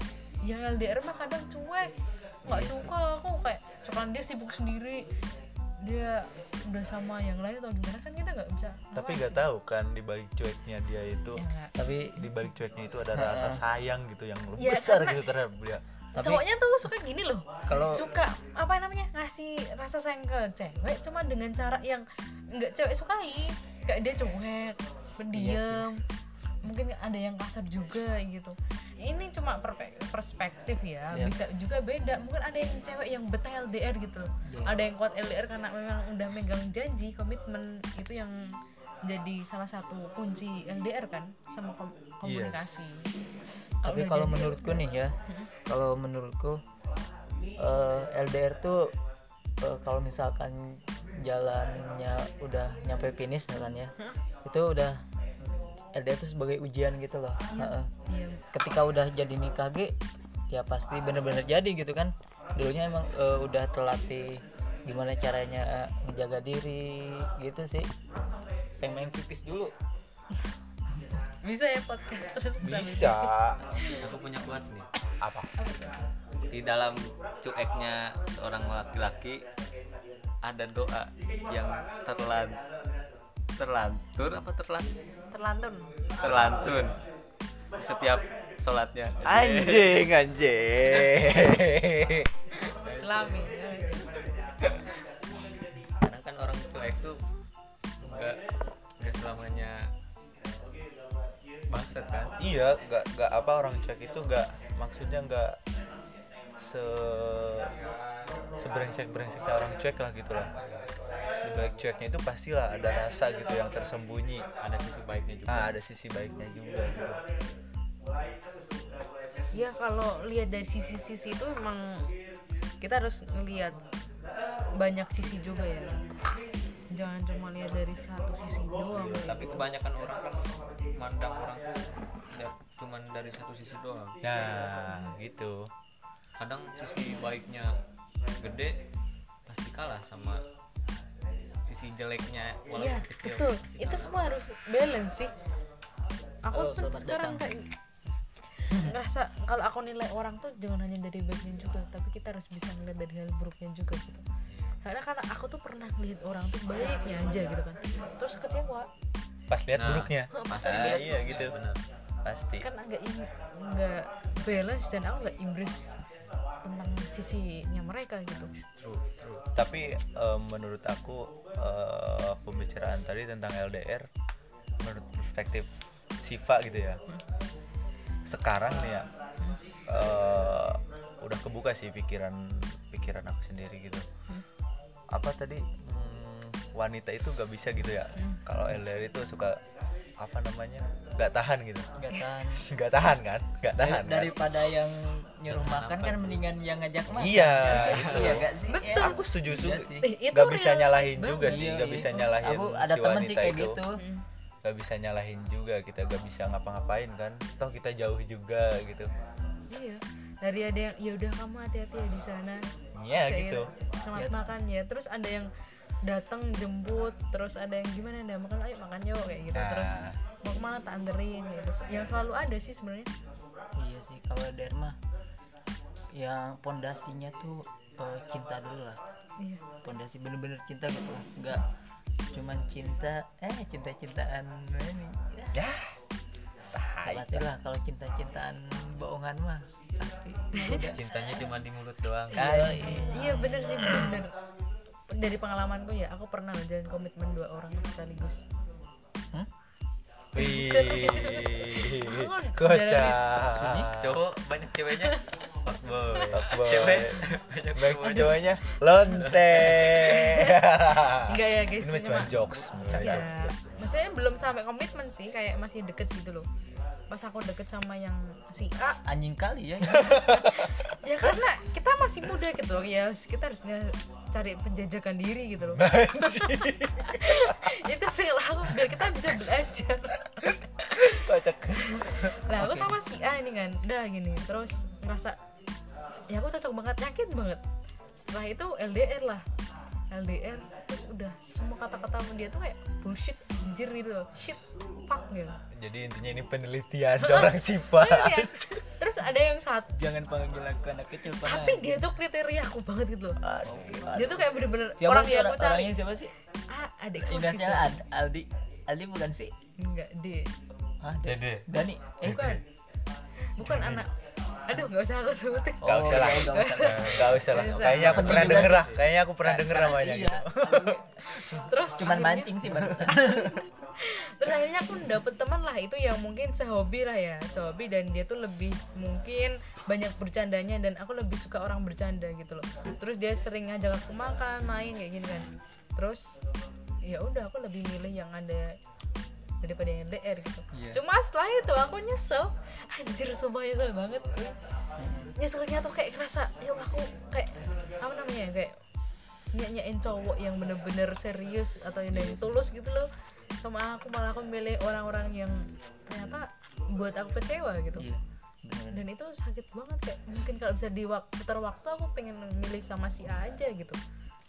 S2: Ya, yang LDR mah kadang cuek
S1: Iya
S2: nggak suka aku kayak misalkan dia sibuk sendiri dia udah sama yang lain atau gimana kan kita nggak bisa
S1: tapi
S2: ngawasin.
S1: nggak tahu kan di balik cueknya dia itu
S2: ya, nggak.
S3: tapi
S1: di balik cueknya itu ada rasa sayang gitu yang
S2: Ya,
S1: besar
S2: karena-
S1: gitu terhadap dia
S3: Tapi-
S2: cowoknya tuh suka gini loh
S3: Kalau-
S2: suka apa namanya ngasih rasa sayang ke cewek cuma dengan cara yang nggak cewek sukai kayak dia
S3: Iya
S2: cuek pendiam mungkin ada yang kasar juga gitu ini cuma perpe- perspektif ya
S3: Iya.
S2: bisa juga beda mungkin ada yang cewek yang betah LDR gitu loh
S3: Iya.
S2: ada yang kuat LDR karena memang udah megang janji komitmen itu yang jadi salah satu kunci LDR kan sama kom- komunikasi
S3: Iya. tapi
S2: udah
S3: kalau
S2: janji-
S3: menurutku nih ya
S2: Mm-hmm.
S3: kalau menurutku eh, LDR tuh eh, kalau misalkan jalannya udah nyampe finish kan ya
S2: Mm-hmm.
S3: itu udah LDR tuh sebagai ujian gitu loh Heeh.
S2: Iya.
S3: ketika udah jadi nikah Ge, ya pasti bener-bener jadi gitu kan dulunya emang eh, udah terlatih gimana caranya eh, menjaga diri gitu sih pengen main pipis dulu
S2: bisa ya podcast terus
S5: bisa
S2: Iya,
S4: aku punya quotes nih apa di dalam cueknya seorang laki-laki ada doa yang terlan terlantur apa terlan
S2: terlantun
S4: terlantun di setiap sholatnya
S5: anjing anjing
S2: islami
S4: karena kan orang cuek tuh enggak enggak selamanya bangsat kan
S1: iya nggak nggak apa orang cuek itu nggak maksudnya nggak se sebrengsek brengseknya orang cuek lah gitu lah di balik cueknya itu pastilah ada rasa gitu yang tersembunyi
S4: ada sisi baiknya juga
S1: ah ada sisi baiknya juga gitu.
S2: ya kalau lihat dari sisi-sisi itu memang kita harus ngelihat banyak sisi juga ya jangan cuma lihat dari satu sisi doang
S4: tapi kebanyakan orang kan mandang orang tuh da- cuman dari satu sisi doang
S1: nah gitu
S4: kadang sisi baiknya gede pasti kalah sama sisi jeleknya
S2: iya
S4: walaupun kecil
S2: betul itu semua harus balance sih aku
S3: Halo,
S2: tuh
S3: selamat
S2: sekarang kayak ngerasa kalau aku nilai orang tuh jangan hanya dari baiknya juga tapi kita harus bisa ngeliat dari hal buruknya juga gitu karena karena aku tuh pernah ngeliat orang tuh baiknya aja gitu kan terus kecewa
S1: pas lihat
S4: Nah.
S1: buruknya
S2: pas
S1: Ah,
S2: ngeliat
S1: iya gitu pasti
S2: kan agak ini nggak balance dan aku nggak embrace tentang sisinya mereka gitu
S4: true true
S1: tapi eh, menurut aku eh, pembicaraan tadi tentang LDR menurut perspektif Siva gitu ya sekarang nih ya eh, udah kebuka sih pikiran pikiran aku sendiri gitu apa tadi hmm, wanita itu gak bisa gitu ya kalau LDR itu suka apa namanya gak tahan gitu (laughs)
S3: Nggak tahan.
S1: gak tahan kan gak tahan kan?
S3: daripada yang nyuruh makan kan mendingan yang ngajak makan
S1: Iya,
S3: kan?
S1: gitu.
S3: (laughs) iya gak sih
S2: Betul.
S3: Iya.
S1: aku setuju
S3: Iya
S1: juga
S3: sih.
S2: Eh, itu
S1: gak bisa
S2: realistis
S1: nyalahin
S2: banget.
S1: juga sih
S3: Iya,
S1: gak
S3: iya.
S1: bisa nyalahin
S3: aku ada
S1: si
S3: teman sih
S1: wanita
S3: kayak
S1: itu.
S3: gitu
S1: gak bisa nyalahin juga kita gak bisa ngapa-ngapain kan toh kita jauh juga gitu
S2: iya dari ada yang ya udah kamu hati-hati ya di sana
S1: ya
S2: Kayak
S1: gitu
S2: selamat makan ya terus ada yang datang jemput terus ada yang gimana ada makan ayo makan yuk kayak gitu terus
S1: Nah.
S2: mau kemana tak anterin ya. terus yang selalu ada sih sebenarnya
S3: iya sih kalau derma yang pondasinya tuh eh, cinta dulu lah
S2: iya
S3: pondasi bener-bener cinta gitu lah nggak cuman cinta eh cinta-cintaan ini
S1: ya
S3: ya, pastilah kalau cinta-cintaan bohongan mah pasti udah
S4: cintanya cuma di mulut doang
S2: iya bener sih bener dari pengalamanku ya aku pernah loh jalan komitmen dua orang sekaligus
S1: Wih,
S2: Aku
S1: kocak.
S4: cowok Oh, banyak ceweknya fuckboy
S1: Fuckboy.
S4: cewek banyak
S1: Baik
S4: cowok
S1: cowoknya lonte.
S2: enggak ya guys
S1: Ini mah Ah, Iya. cuma jokes, bercanda.
S2: ya maksudnya belum sampai komitmen sih kayak masih deket gitu loh pas aku deket sama yang si A
S3: anjing kali ya
S2: ya karena kita masih muda gitu loh ya kita harusnya cari penjajakan diri gitu loh (laughs) itu sih yang aku biar kita bisa belajar
S1: Kocak.
S2: lah aku sama si A ini kan udah gini terus ngerasa ya aku cocok banget yakin banget setelah itu LDR lah LDR terus udah semua kata-kata sama dia tuh kayak bullshit anjir gitu loh shit fuck gitu
S1: Jadi intinya ini penelitian seorang sifat.
S2: Bener ya? terus ada yang satu
S3: (laughs) jangan panggil aku anak kecil Pak.
S2: tapi dia tuh kriteria aku banget gitu loh dia tuh kayak bener-bener
S3: siapa
S2: orang
S3: sih
S2: yang
S3: orang-
S2: aku cari
S3: orangnya siapa sih
S2: ah adik kelas
S3: indahnya
S2: siswa.
S3: Ad- Aldi Aldi bukan sih
S2: enggak D
S3: ah Dan-
S4: Dede.
S3: Dani eh
S2: bukan bukan anak aduh nggak usah aku sebutin
S3: Oh.
S1: Gak usah lah.
S3: iya, nggak usah
S1: (laughs)
S3: lah.
S1: Gak usah lah.
S2: Nggak usah.
S1: Kayaknya aku
S3: Penting
S1: pernah
S3: juga
S1: denger
S3: sih.
S1: lah. Kayaknya aku pernah denger namanya
S3: Iya,
S1: gitu.
S3: Aldi.
S2: terus
S3: (laughs) cuman
S2: akhirnya-
S3: mancing sih (laughs) barusan
S2: terus akhirnya aku dapet teman lah itu yang mungkin sehobi lah ya sehobi dan dia tuh lebih mungkin banyak bercandanya dan aku lebih suka orang bercanda gitu loh terus dia sering ngajak aku makan main kayak gini kan terus ya udah aku lebih milih yang ada daripada yang LDR gitu cuma setelah itu aku nyesel anjir sumpah nyesel banget cuy. nyeselnya tuh kayak kerasa ya Allah, aku kayak apa namanya ya, kayak nyanyain cowok yang bener-bener serius atau yang dari tulus gitu loh sama aku malah aku milih orang-orang yang ternyata buat aku kecewa gitu dan itu sakit banget kayak mungkin kalau bisa di wak- putar waktu aku pengen milih sama si A aja gitu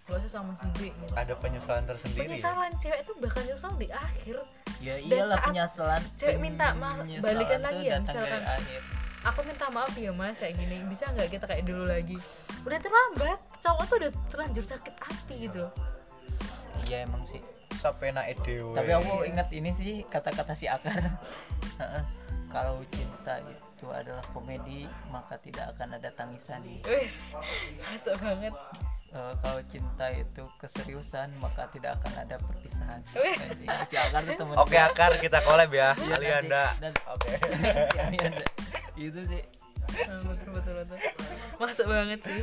S2: gak usah sama si B gitu
S1: Ada penyesalan tersendiri. ya.
S2: penyesalan cewek itu bakal nyesel di akhir
S3: ya
S2: Dan
S3: iyalah
S2: saat
S3: penyesalan
S2: cewek minta maaf,
S3: penyesalan
S2: balikan
S3: tuh
S2: lagi ya,
S3: datang dari
S2: misalkan.
S3: akhir.
S2: aku minta maaf ya mas kayak gini bisa nggak kita kayak dulu lagi udah terlambat cowok tuh udah terlanjur sakit hati gitu loh
S3: iya emang sih
S1: Sapena edewe.
S3: tapi aku ingat ini sih kata-kata si akar (laughs) Heeh. kalau cinta itu adalah komedi maka tidak akan ada tangisan
S2: wes (laughs) masuk banget
S3: Eh, kalau cinta itu keseriusan maka tidak akan ada perpisahan
S2: Wih.
S3: Jadi, si akar tuh temen
S1: Oke
S3: gue.
S1: akar kita collab ya.
S3: Iya, nanti-
S1: Alianda.
S3: nanti-
S1: Oke.
S3: (laughs) si Alianda. itu sih
S2: Nah, betul betul betul masuk banget sih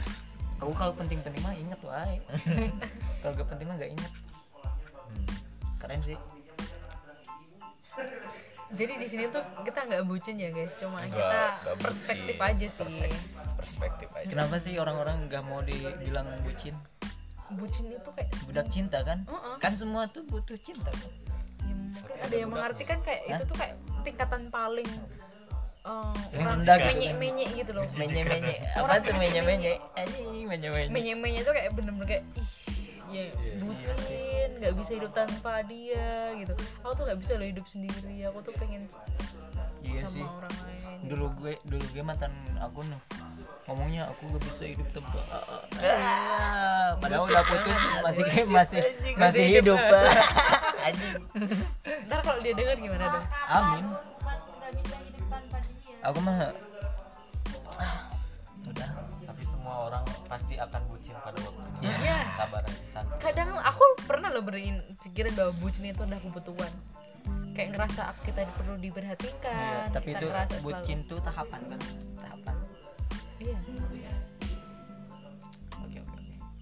S3: aku kalau penting-penting mah inget wae
S1: (laughs)
S3: kalau gak penting mah gak inget
S1: Hmm.
S3: keren sih
S2: jadi di sini tuh kita nggak bucin ya guys cuma
S1: Nggak,
S2: kita
S1: nggak bucin.
S2: perspektif aja sih
S1: Perspektif aja.
S3: kenapa sih orang-orang gak mau dibilang bucin
S2: bucin itu kayak
S3: budak cinta kan
S2: Uh-uh.
S3: kan semua tuh butuh cinta kan?
S2: ya mungkin ada yang mengartikan kayak itu tuh kayak tingkatan paling eh,
S3: Paling
S2: orang
S3: rendah gitu.
S2: menye-menye gitu loh
S3: menye menye apa tuh menye menye anjing menye menye
S2: menye-menye tuh kayak bener-bener kayak ih ya bucin nggak bisa hidup tanpa dia gitu aku tuh nggak bisa loh hidup sendiri aku tuh pengen
S3: iya
S2: sama
S3: sih
S2: orang lain
S3: dulu gue dulu gue mantan aku nih ngomongnya aku gak bisa hidup tanpa ah, ah, ah. padahal udah putus masih masih masih hidup ah. (laughs) anjing
S2: ntar kalau dia dengar gimana dong
S3: amin aku mah ah, udah
S4: tapi semua orang pasti akan bucin pada waktunya
S3: Iya.
S2: ya
S4: sabar aja santai.
S2: kadang aku pernah loh berin pikiran bahwa bucin itu adalah kebutuhan kayak ngerasa aku- kita perlu diperhatikan
S1: Iya,
S3: tapi
S2: kita
S3: itu
S2: ngerasa selalu-
S3: bucin tuh tahapan kan tahapan
S2: iya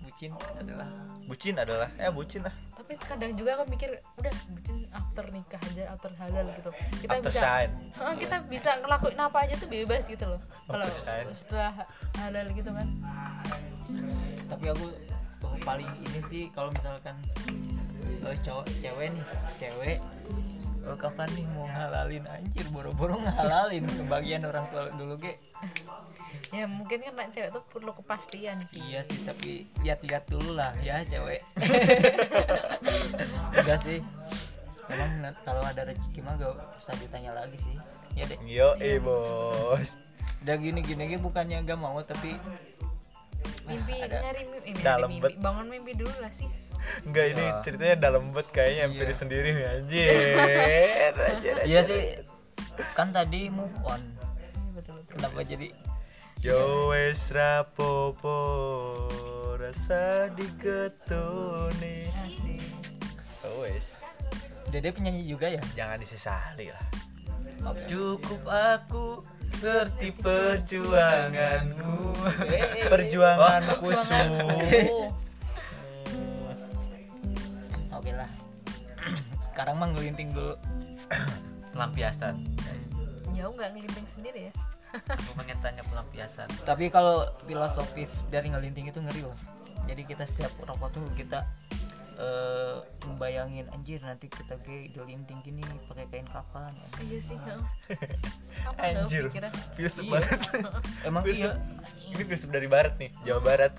S3: bucin adalah
S1: Bucin adalah ya bucin lah.
S2: tapi kadang juga aku mikir udah bucin after nikah aja after halal gitu kita
S1: After
S2: bisa
S1: sign.
S2: Heeh, kita bisa ngelakuin apa aja tuh bebas gitu loh kalau
S1: After sign.
S2: setelah halal gitu kan
S3: tapi aku oh, paling ini sih kalau misalkan eh, cowok cewek nih cewek eh, kapan nih mau halalin anjir boro-boro ngehalalin kebagian orang tua dulu ge
S2: ya mungkin kan anak cewek tuh perlu kepastian sih
S3: iya sih tapi lihat-lihat dulu lah ya cewek (laughs) enggak sih emang na- kalau ada rezeki mah gak usah ditanya lagi sih ya deh
S1: Yo, eh bos.
S3: udah gini gini gini bukannya gak mau tapi
S2: mimpi nyari mimpi, eh, nyari
S1: Nah, Dalam
S2: mimpi.
S1: bet.
S2: bangun mimpi dulu lah sih
S1: Enggak ini
S3: Iya.
S1: ceritanya dalam banget kayaknya hampir sendiri nih anjir.
S3: (laughs)
S1: anjir.
S3: iya sih kan tadi move on
S2: Iya, betul betul
S3: kenapa jadi
S1: Yo wes rapopo rasa digetuni.
S2: Asik.
S1: Oh wes,
S3: dede penyanyi juga ya
S1: jangan disesali lah.
S3: cukup aku ngerti perjuanganku
S1: Perjuanganku su.
S2: Oh,
S3: oke lah (clears throat) sekarang mah ngelinting dulu
S4: pelampiasan guys
S2: (laughs) jauh nggak ngelimping sendiri ya
S4: aku pengen tanya pelampiasan
S3: tapi kalau filosofis dari ngelinting itu ngeri loh jadi kita setiap rokok tuh kita eh membayangin anjir nanti kita ge dilinting gini pakai kain kapan
S2: iya sih
S3: (laughs)
S2: heeh. apa tuh
S1: Anjir,
S2: pikiran
S1: filsuf banget.
S3: Iya. emang
S1: Filsuf.
S3: iya
S1: Ini filsuf dari barat nih, Jawa Barat.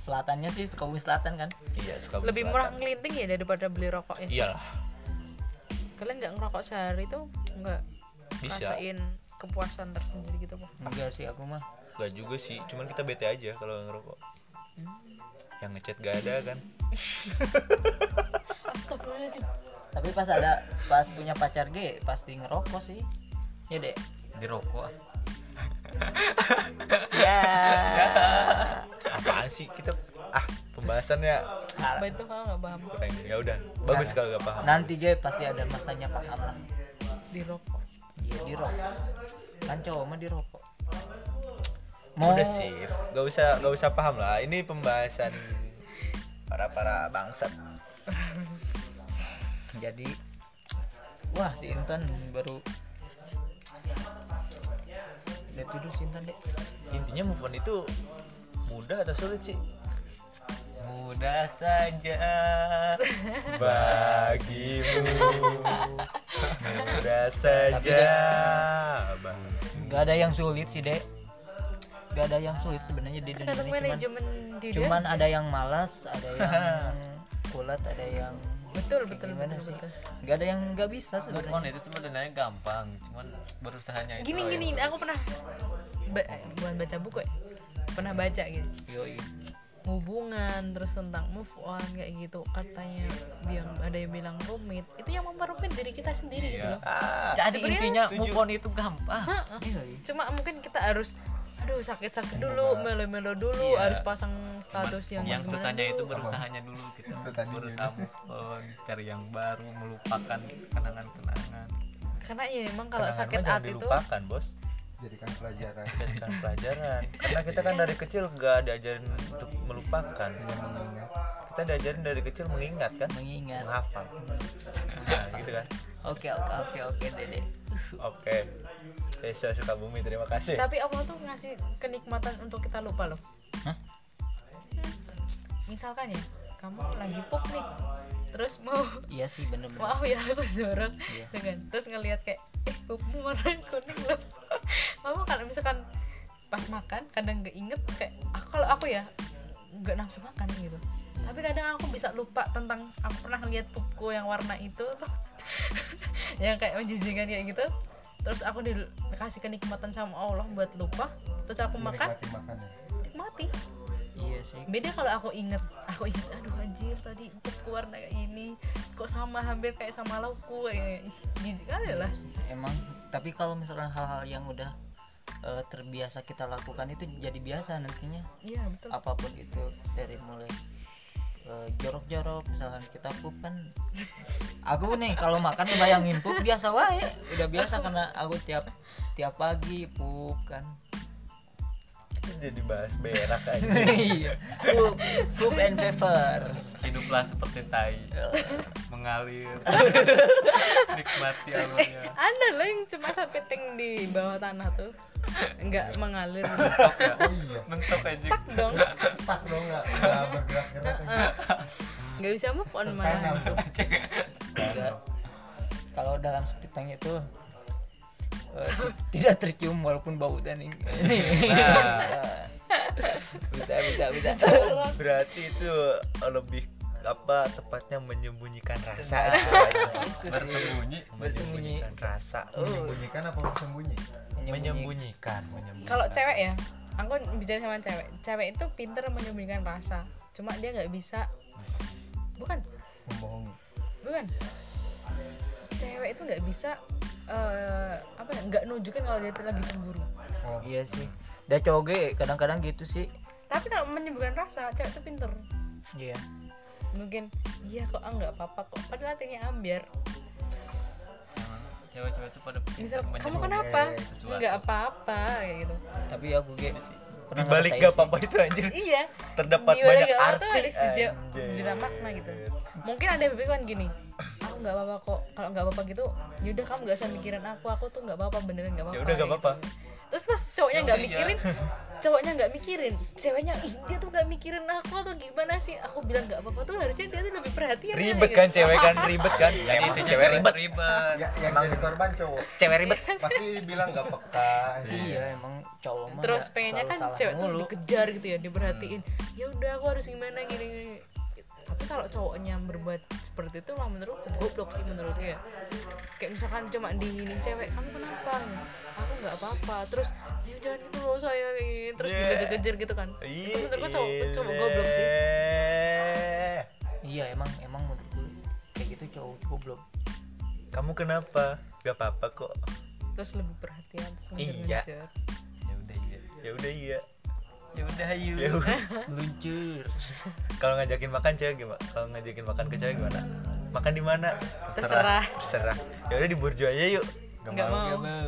S3: selatannya sih Sukabumi Selatan kan
S1: iya, suka
S2: lebih murah ngelinting ya daripada beli rokok
S3: Iya.
S2: ya
S1: Iyalah,
S2: kalian nggak ngerokok sehari tuh nggak
S1: Bisa.
S2: rasain kepuasan tersendiri gitu kok
S3: enggak sih aku mah
S1: enggak juga sih. Cuman kita bete aja kalau ngerokok. Hmm. Yang ngechat gak ada kan?
S2: astagfirullahaladzim
S3: tapi pas ada pas punya pacar ge pasti ngerokok sih ya
S1: (laughs)
S3: dek
S4: di rokok ah.
S3: ya
S1: Apaan sih kita? Ah, pembahasannya
S2: apa itu kalau nggak paham
S1: kurang. Ya udah, bagus kalau gak paham.
S3: nanti ge pasti ada masanya paham lah
S2: di rokok
S3: dia dirokok kan cowok mah dirokok mau
S1: Udah sih, gak usah gak usah paham lah. Ini pembahasan para para bangsat.
S3: jadi wah si Intan baru udah tidur si Intan dek
S1: Intinya move on itu mudah atau sulit sih?
S4: mudah
S1: (laughs)
S4: saja
S1: bagimu mudah saja Bang.
S3: nggak ada yang sulit sih dek nggak ada yang sulit sebenarnya di dunia
S2: tergantung
S3: ini cuman
S2: Kan manajemen diri
S3: cuman
S2: aja.
S3: ada yang malas ada
S4: (laughs)
S3: yang kulat ada yang
S2: betul betul
S3: gimana
S2: betul,
S3: sih
S2: betul.
S3: nggak ada yang nggak bisa
S4: move on ya.
S3: sebenarnya
S4: itu sebenarnya gampang cuman berusahanya itu
S2: gini
S4: loh
S2: gini
S4: yang-
S2: aku pernah ba- eh, bukan baca buku ya pernah baca gitu
S3: Yoi.
S2: hubungan terus tentang move on kayak gitu katanya yang ada yang bilang rumit itu yang memperumit diri kita sendiri gitu loh
S4: jadi
S2: Sebenarnya
S4: Iya. Ah, intinya move on ya. itu gampang
S3: Yoi.
S2: cuma mungkin kita harus aduh sakit-sakit dulu melo-melo dulu harus pasang status yang
S4: Iya. yang
S2: gimana
S4: susahnya itu
S2: dulu.
S4: berusahanya dulu kita berusaha move on cari yang baru melupakan kenangan-kenangan
S2: karena ya emang kalau
S1: Kenangan
S2: sakit
S1: mah jangan
S2: hati tuh
S1: dilupakan Kan, bos
S6: jadikan pelajaran
S1: jadikan pelajaran karena kita kan dari kecil gak diajarin untuk melupakan
S6: Iya,
S1: kita diajarin dari kecil mengingat kan
S3: mengingat
S1: menghafal nah gitu kan
S3: oke oke oke oke dede
S1: oke Reza Sukabumi terima kasih
S2: tapi Allah tuh ngasih kenikmatan untuk kita lupa loh
S3: Hah?
S2: Hmm. misalkan ya kamu lagi pup nih terus mau
S3: iya sih bener-bener
S2: maaf ya aku jorok dengan terus ngelihat kayak eh pupmu warna kuning loh (laughs) kamu kalau misalkan pas makan kadang nggak inget kayak aku kalau aku ya nggak nafsu makan gitu tapi kadang aku bisa lupa tentang aku pernah lihat pupku yang warna itu tuh (laughs) yang kayak menjijikan kayak gitu terus aku dikasih kenikmatan sama Allah buat lupa terus aku makan
S6: menikmati makanan
S2: nikmati
S3: iya sih
S2: beda kalau aku inget aku inget aduh anjir tadi pupku warna kayak ini kok sama hampir kayak sama laukku kayak ih, jijik kali lah
S3: emang tapi kalau misalkan hal-hal yang udah eh, terbiasa kita lakukan itu jadi biasa nantinya
S2: iya betul
S3: apapun itu dari mulai eh, jorok-jorok misalkan kita pup kan aku nih kalau makan bayangin pup biasa wae udah biasa karena aku tiap tiap pagi pup kan
S5: jadi bahas berak
S1: kan?
S5: aja
S3: (laughs) Iya. Poop, poop and paper.
S4: hiduplah seperti tai mengalir nikmati alurnya
S2: Ada loh yang cuma sampai ting di bawah tanah tuh nggak
S4: (laughs)
S2: mengalir
S4: ya? mentok aja
S2: stuck dong
S7: Oh, iya. stuck dong nggak nggak bergerak-gerak aja.
S2: nggak bisa move on malah itu
S3: Enggak. Kalau dalam sepitang itu eh, ti- (laughs) tidak tercium walaupun bau dan ini.
S2: Nah.
S3: (laughs)
S5: bisa bisa bisa berarti itu eh, lebih apa tepatnya menyembunyikan rasa
S2: Nah.
S4: bersembunyi
S3: Bersembunyi
S5: menyembunyikan rasa oh,
S7: menyembunyikan apa bersembunyi
S5: (laughs) menyembunyikan menyembunyikan
S2: kalau cewek ya aku bicara sama cewek cewek itu pinter menyembunyikan rasa cuma dia nggak bisa bukan
S7: membohongi
S2: bukan cewek itu nggak bisa eh, apa ya nggak nunjukin kalau dia tuh lagi cemburu
S3: Iya sih. Dah cowok gue kadang-kadang gitu sih.
S2: tapi kalau menyembunyikan rasa cewek itu pinter
S3: Iya.
S2: mungkin iya kok ah nggak apa-apa kok padahal hatinya ambiar
S4: cewek-cewek itu pada
S2: misal kamu kenapa nggak apa-apa kayak gitu
S3: Tapi aku gue
S5: di balik gak apa-apa itu anjir
S2: (laughs) iya
S5: terdapat
S2: jiwa
S5: banyak
S2: yang gak apa tuh
S5: arti
S2: ada seja- sejuta makna gitu mungkin ada yang berpikiran gini aku nggak apa-apa kok kalau nggak apa-apa gitu yaudah kamu nggak usah mikirin aku aku tuh nggak apa-apa beneran nggak apa-apa
S5: ya udah gak
S2: kayak
S5: apa-apa iya.
S2: gitu. terus pas cowoknya nggak mikirin cowoknya nggak mikirin ceweknya ih dia tuh nggak mikirin aku atau gimana sih aku bilang nggak apa-apa tuh harusnya dia tuh lebih perhatian ya,
S5: ribet
S2: gitu.
S5: kan cewek kan ribet kan
S2: Iya,
S5: emang cewek ribet
S7: ya, yang jadi korban cowok
S5: cewek ribet
S7: pasti bilang nggak peka
S3: Iya, emang cowok mah
S2: terus
S3: nggak
S2: pengennya
S3: selalu
S2: kan
S3: salah
S2: cewek tuh
S3: mulu.
S2: dikejar gitu ya diperhatiin ya udah aku harus gimana gini, gini tapi kalau cowoknya berbuat seperti itu lah menurut goblok sih menurut dia kayak misalkan cuma dihinin cewek kamu kenapa aku nggak apa-apa terus ya jangan gitu loh saya ini terus
S5: Yeah.
S2: dikejar-kejar gitu kan
S1: Iya,
S2: itu menurut gua cowok cowok goblok sih
S3: Iya, emang emang menurut gue kayak gitu cowok goblok.
S5: kamu kenapa gak apa-apa kok
S2: terus lebih perhatian terus
S5: Iya.
S2: ngejar-ngejar
S5: ya udah iya ya udah iya
S4: ya udah ayu
S5: Ya udah.
S3: Luncur.
S5: kalau ngajakin makan cewek gimana kalau ngajakin makan ke cewek gimana makan di mana
S2: terserah
S5: terserah ya udah di burjo aja yuk
S2: nggak mau,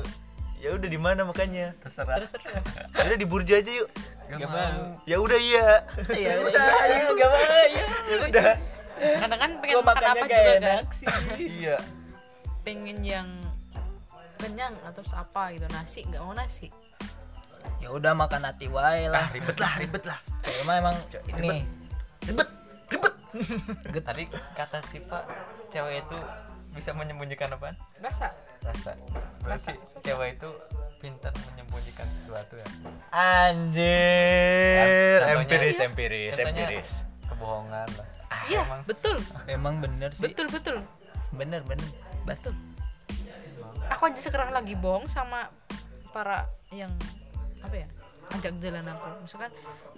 S5: ya udah di mana makannya terserah
S2: terserah
S5: ya udah di burjo aja yuk
S4: gak mau
S5: ya udah iya
S3: Iya, udah, ayo enggak apa-apa. iya.
S5: ya udah
S2: kadang kan pengen
S3: Gua
S2: makan
S3: makannya
S2: apa
S3: gak
S2: juga kan
S3: enak sih.
S5: iya
S2: pengen yang kenyang atau terus apa gitu nasi nggak mau nasi
S3: Ya udah makan hati wae lah.
S5: Ah, ribet lah ribet lah
S3: Cewek mah emang ini
S5: ribet ribet
S3: (laughs) get
S4: tadi kata si pak cewek itu bisa menyembunyikan apa
S2: rasa
S4: rasa berarti
S2: Rasa.
S4: cewek itu pintar menyembunyikan sesuatu ya
S5: anjir
S4: Contohnya-
S5: empiris empiris
S4: contohnya
S5: empiris
S4: kebohongan lah
S2: iya betul
S3: (laughs) emang bener sih.
S2: betul betul
S3: Bener bener. Bas
S2: betul aku aja sekarang lagi bohong sama para yang apa ya ajak jalan aku misalkan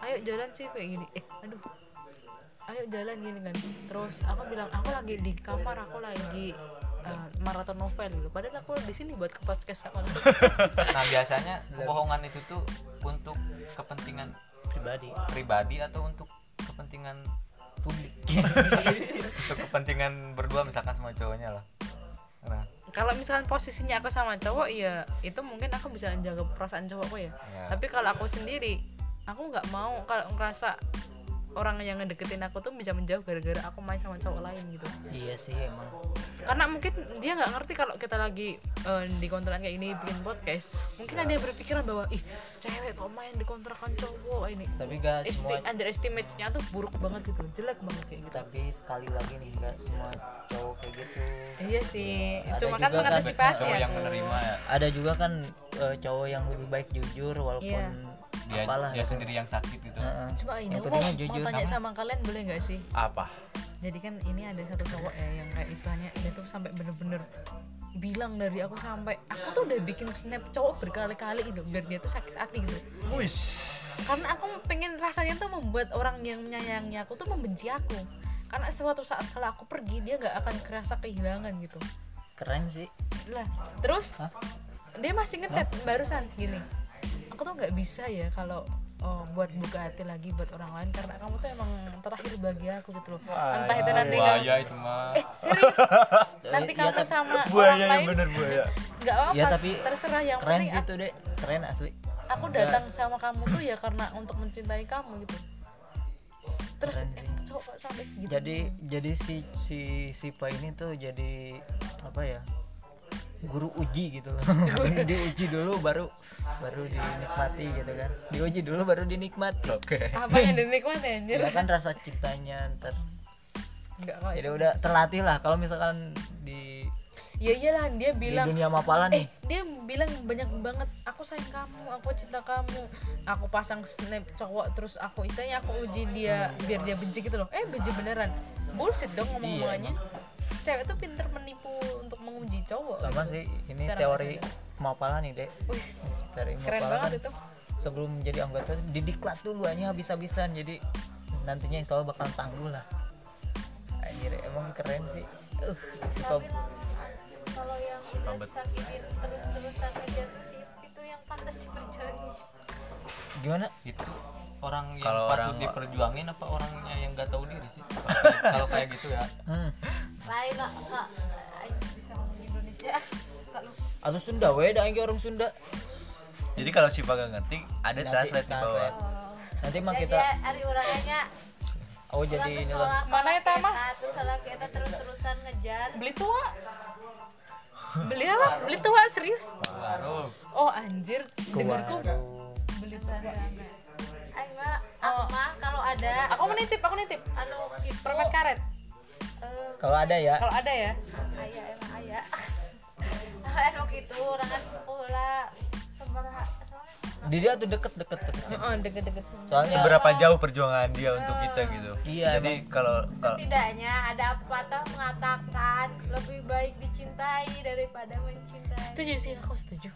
S2: ayo jalan sih kayak gini eh aduh ayo jalan gini kan terus aku bilang aku lagi di kamar aku lagi eh, maraton novel gitu padahal aku di sini buat ke podcast aku
S4: nah biasanya kebohongan itu tuh untuk kepentingan
S3: pribadi
S4: pribadi atau untuk kepentingan
S3: publik. (laughs)
S4: untuk kepentingan berdua misalkan sama cowoknya lah nah
S2: kalau misalkan posisinya aku sama cowok ya itu mungkin aku bisa jaga perasaan cowokku ya
S4: ya
S2: tapi kalau aku sendiri aku nggak mau kalau ngerasa orang yang ngedeketin aku tuh bisa menjauh gara-gara aku main sama cowok lain gitu
S3: iya sih emang.
S2: karena mungkin dia nggak ngerti kalau kita lagi eh, di kontrakan kayak ini bikin podcast mungkin ada yang berpikiran bahwa ih cewek kok main di kontrakan cowok ini
S3: Tapi gak
S2: Esti
S3: Nah, semua
S2: underestimate-nya tuh buruk banget gitu jelek banget kayak gitu
S3: tapi sekali lagi nih gak semua cowok kayak gitu.
S2: iya sih
S3: Ada
S2: cuma kan
S3: juga kan
S2: mengantisipasi
S4: Nah, cowok
S2: aku
S4: yang menerima ya
S3: Ada juga kan eh, cowok yang lebih baik jujur walaupun
S2: Iya.
S4: dia,
S3: apalah.
S5: iya
S4: dia sendiri yang sakit gitu
S3: Heeh.
S2: cuma ini
S3: Yang
S2: aku mau,
S3: pentingnya
S2: mau
S3: jujur.
S2: tanya sama kalian boleh nggak sih
S5: apa
S2: jadi kan ini ada satu cowok ya yang kayak istilahnya dia tuh sampai bener-bener bilang dari aku sampai aku tuh udah bikin snap cowok berkali-kali gitu biar dia tuh sakit hati gitu
S5: wis
S2: karena aku pengen rasanya tuh membuat orang yang menyayangi aku tuh membenci aku karena suatu saat kalau aku pergi dia nggak akan kerasa kehilangan gitu
S3: Keren sih.
S2: lah terus
S3: Hah?
S2: dia masih ngechat barusan gini aku tuh nggak bisa ya kalau oh, buat buka hati lagi buat orang lain karena kamu tuh emang terakhir bagi aku gitu loh entah itu nanti kamu
S4: buaya itu mah
S2: eh
S3: (laughs)
S2: serius nanti
S3: Iya,
S2: kamu
S3: tapi-
S2: sama
S5: buaya
S2: orang
S5: yang
S2: lain
S5: bener buaya
S2: nggak apa-apa
S3: Iya, tapi
S2: terserah yang
S3: Keren Iya.
S2: penting
S3: sih itu, Dek. Keren
S2: aku,
S3: asli.
S2: aku datang sama kamu tuh ya karena untuk mencintai kamu gitu terus eh, cowok kok sampai segitu
S3: jadi jadi si si Sipa ini tuh jadi apa ya guru uji gitu loh diuji dulu baru baru dinikmati gitu kan diuji dulu baru dinikmati oke
S2: apa
S3: (laughs)
S2: yang dinikmati anjir
S3: ya kan rasa cintanya ntar
S2: enggak kok
S3: jadi udah terlatih lah kalau misalkan di
S2: ya iyalah dia bilang
S3: di dunia mapala
S2: eh
S3: nih
S2: dia bilang banyak banget aku sayang kamu aku cinta kamu aku pasang snap cowok terus aku istilahnya aku uji dia biar dia benci gitu loh eh benci beneran bullshit dong
S3: Iya,
S2: ngomong-ngomongannya cewek tuh pinter menipu untuk menguji cowok
S3: sama
S2: gitu.
S3: sih ini
S2: Secara
S3: teori
S2: nggak
S3: mapala nih dek
S2: Wis,
S3: teori
S2: keren
S3: mapala kan
S2: banget itu
S3: sebelum menjadi anggota didiklat dulu hanya habis-habisan jadi nantinya insya Allah bakal tangguh lah anjir emang keren sih uh, si Pab-
S8: kalau yang udah sakitin terus-terusan ngejatuh sih itu yang pantas diperjuangin
S3: gimana
S4: itu orang yang
S1: Kalau
S4: patut
S1: orang-
S4: diperjuangin apa orangnya yang nggak tahu diri sih
S3: (laughs)
S4: Kalau kayak- kalau kayak gitu ya
S3: hmm.
S8: lain lah kak Ayo, bisa ngomong Indonesia (laughs) Kak Lu.
S3: atau Sunda weh dah orang Sunda
S1: Jadi kalau si Paga ngerti, ada
S3: Nanti
S1: translate di bawah.
S3: translate. nanti mah
S8: jadi
S3: kita
S8: ya, hari urangannya
S3: oh jadi
S8: orang ke
S3: ini
S8: sekolah
S3: lah
S2: Mana ya, Tama?
S8: terus salah kita terus-terusan ngejar eh,
S2: beli tua beli apa beli tua serius oh anjir dengarku beli tua
S8: ayo mah aku
S2: Oh.
S8: mah kalau ada
S2: aku menitip aku nitip
S8: anu gitu
S2: permen kan? karet
S8: eh,
S3: kalau ada ya
S2: kalau ada ya
S8: ayah emang ayah (laughs) kalau anu gitu urangan pula seberapa
S3: di dia tuh deket-deket terus ya.
S2: Heeh, Oh, deket-deket
S3: soalnya
S1: Seberapa jauh perjuangan dia untuk kita gitu.
S3: Iya,
S1: Jadi kalau kalau
S8: setidaknya ada patah mengatakan lebih baik dicintai daripada mencintai
S2: setuju sih aku setuju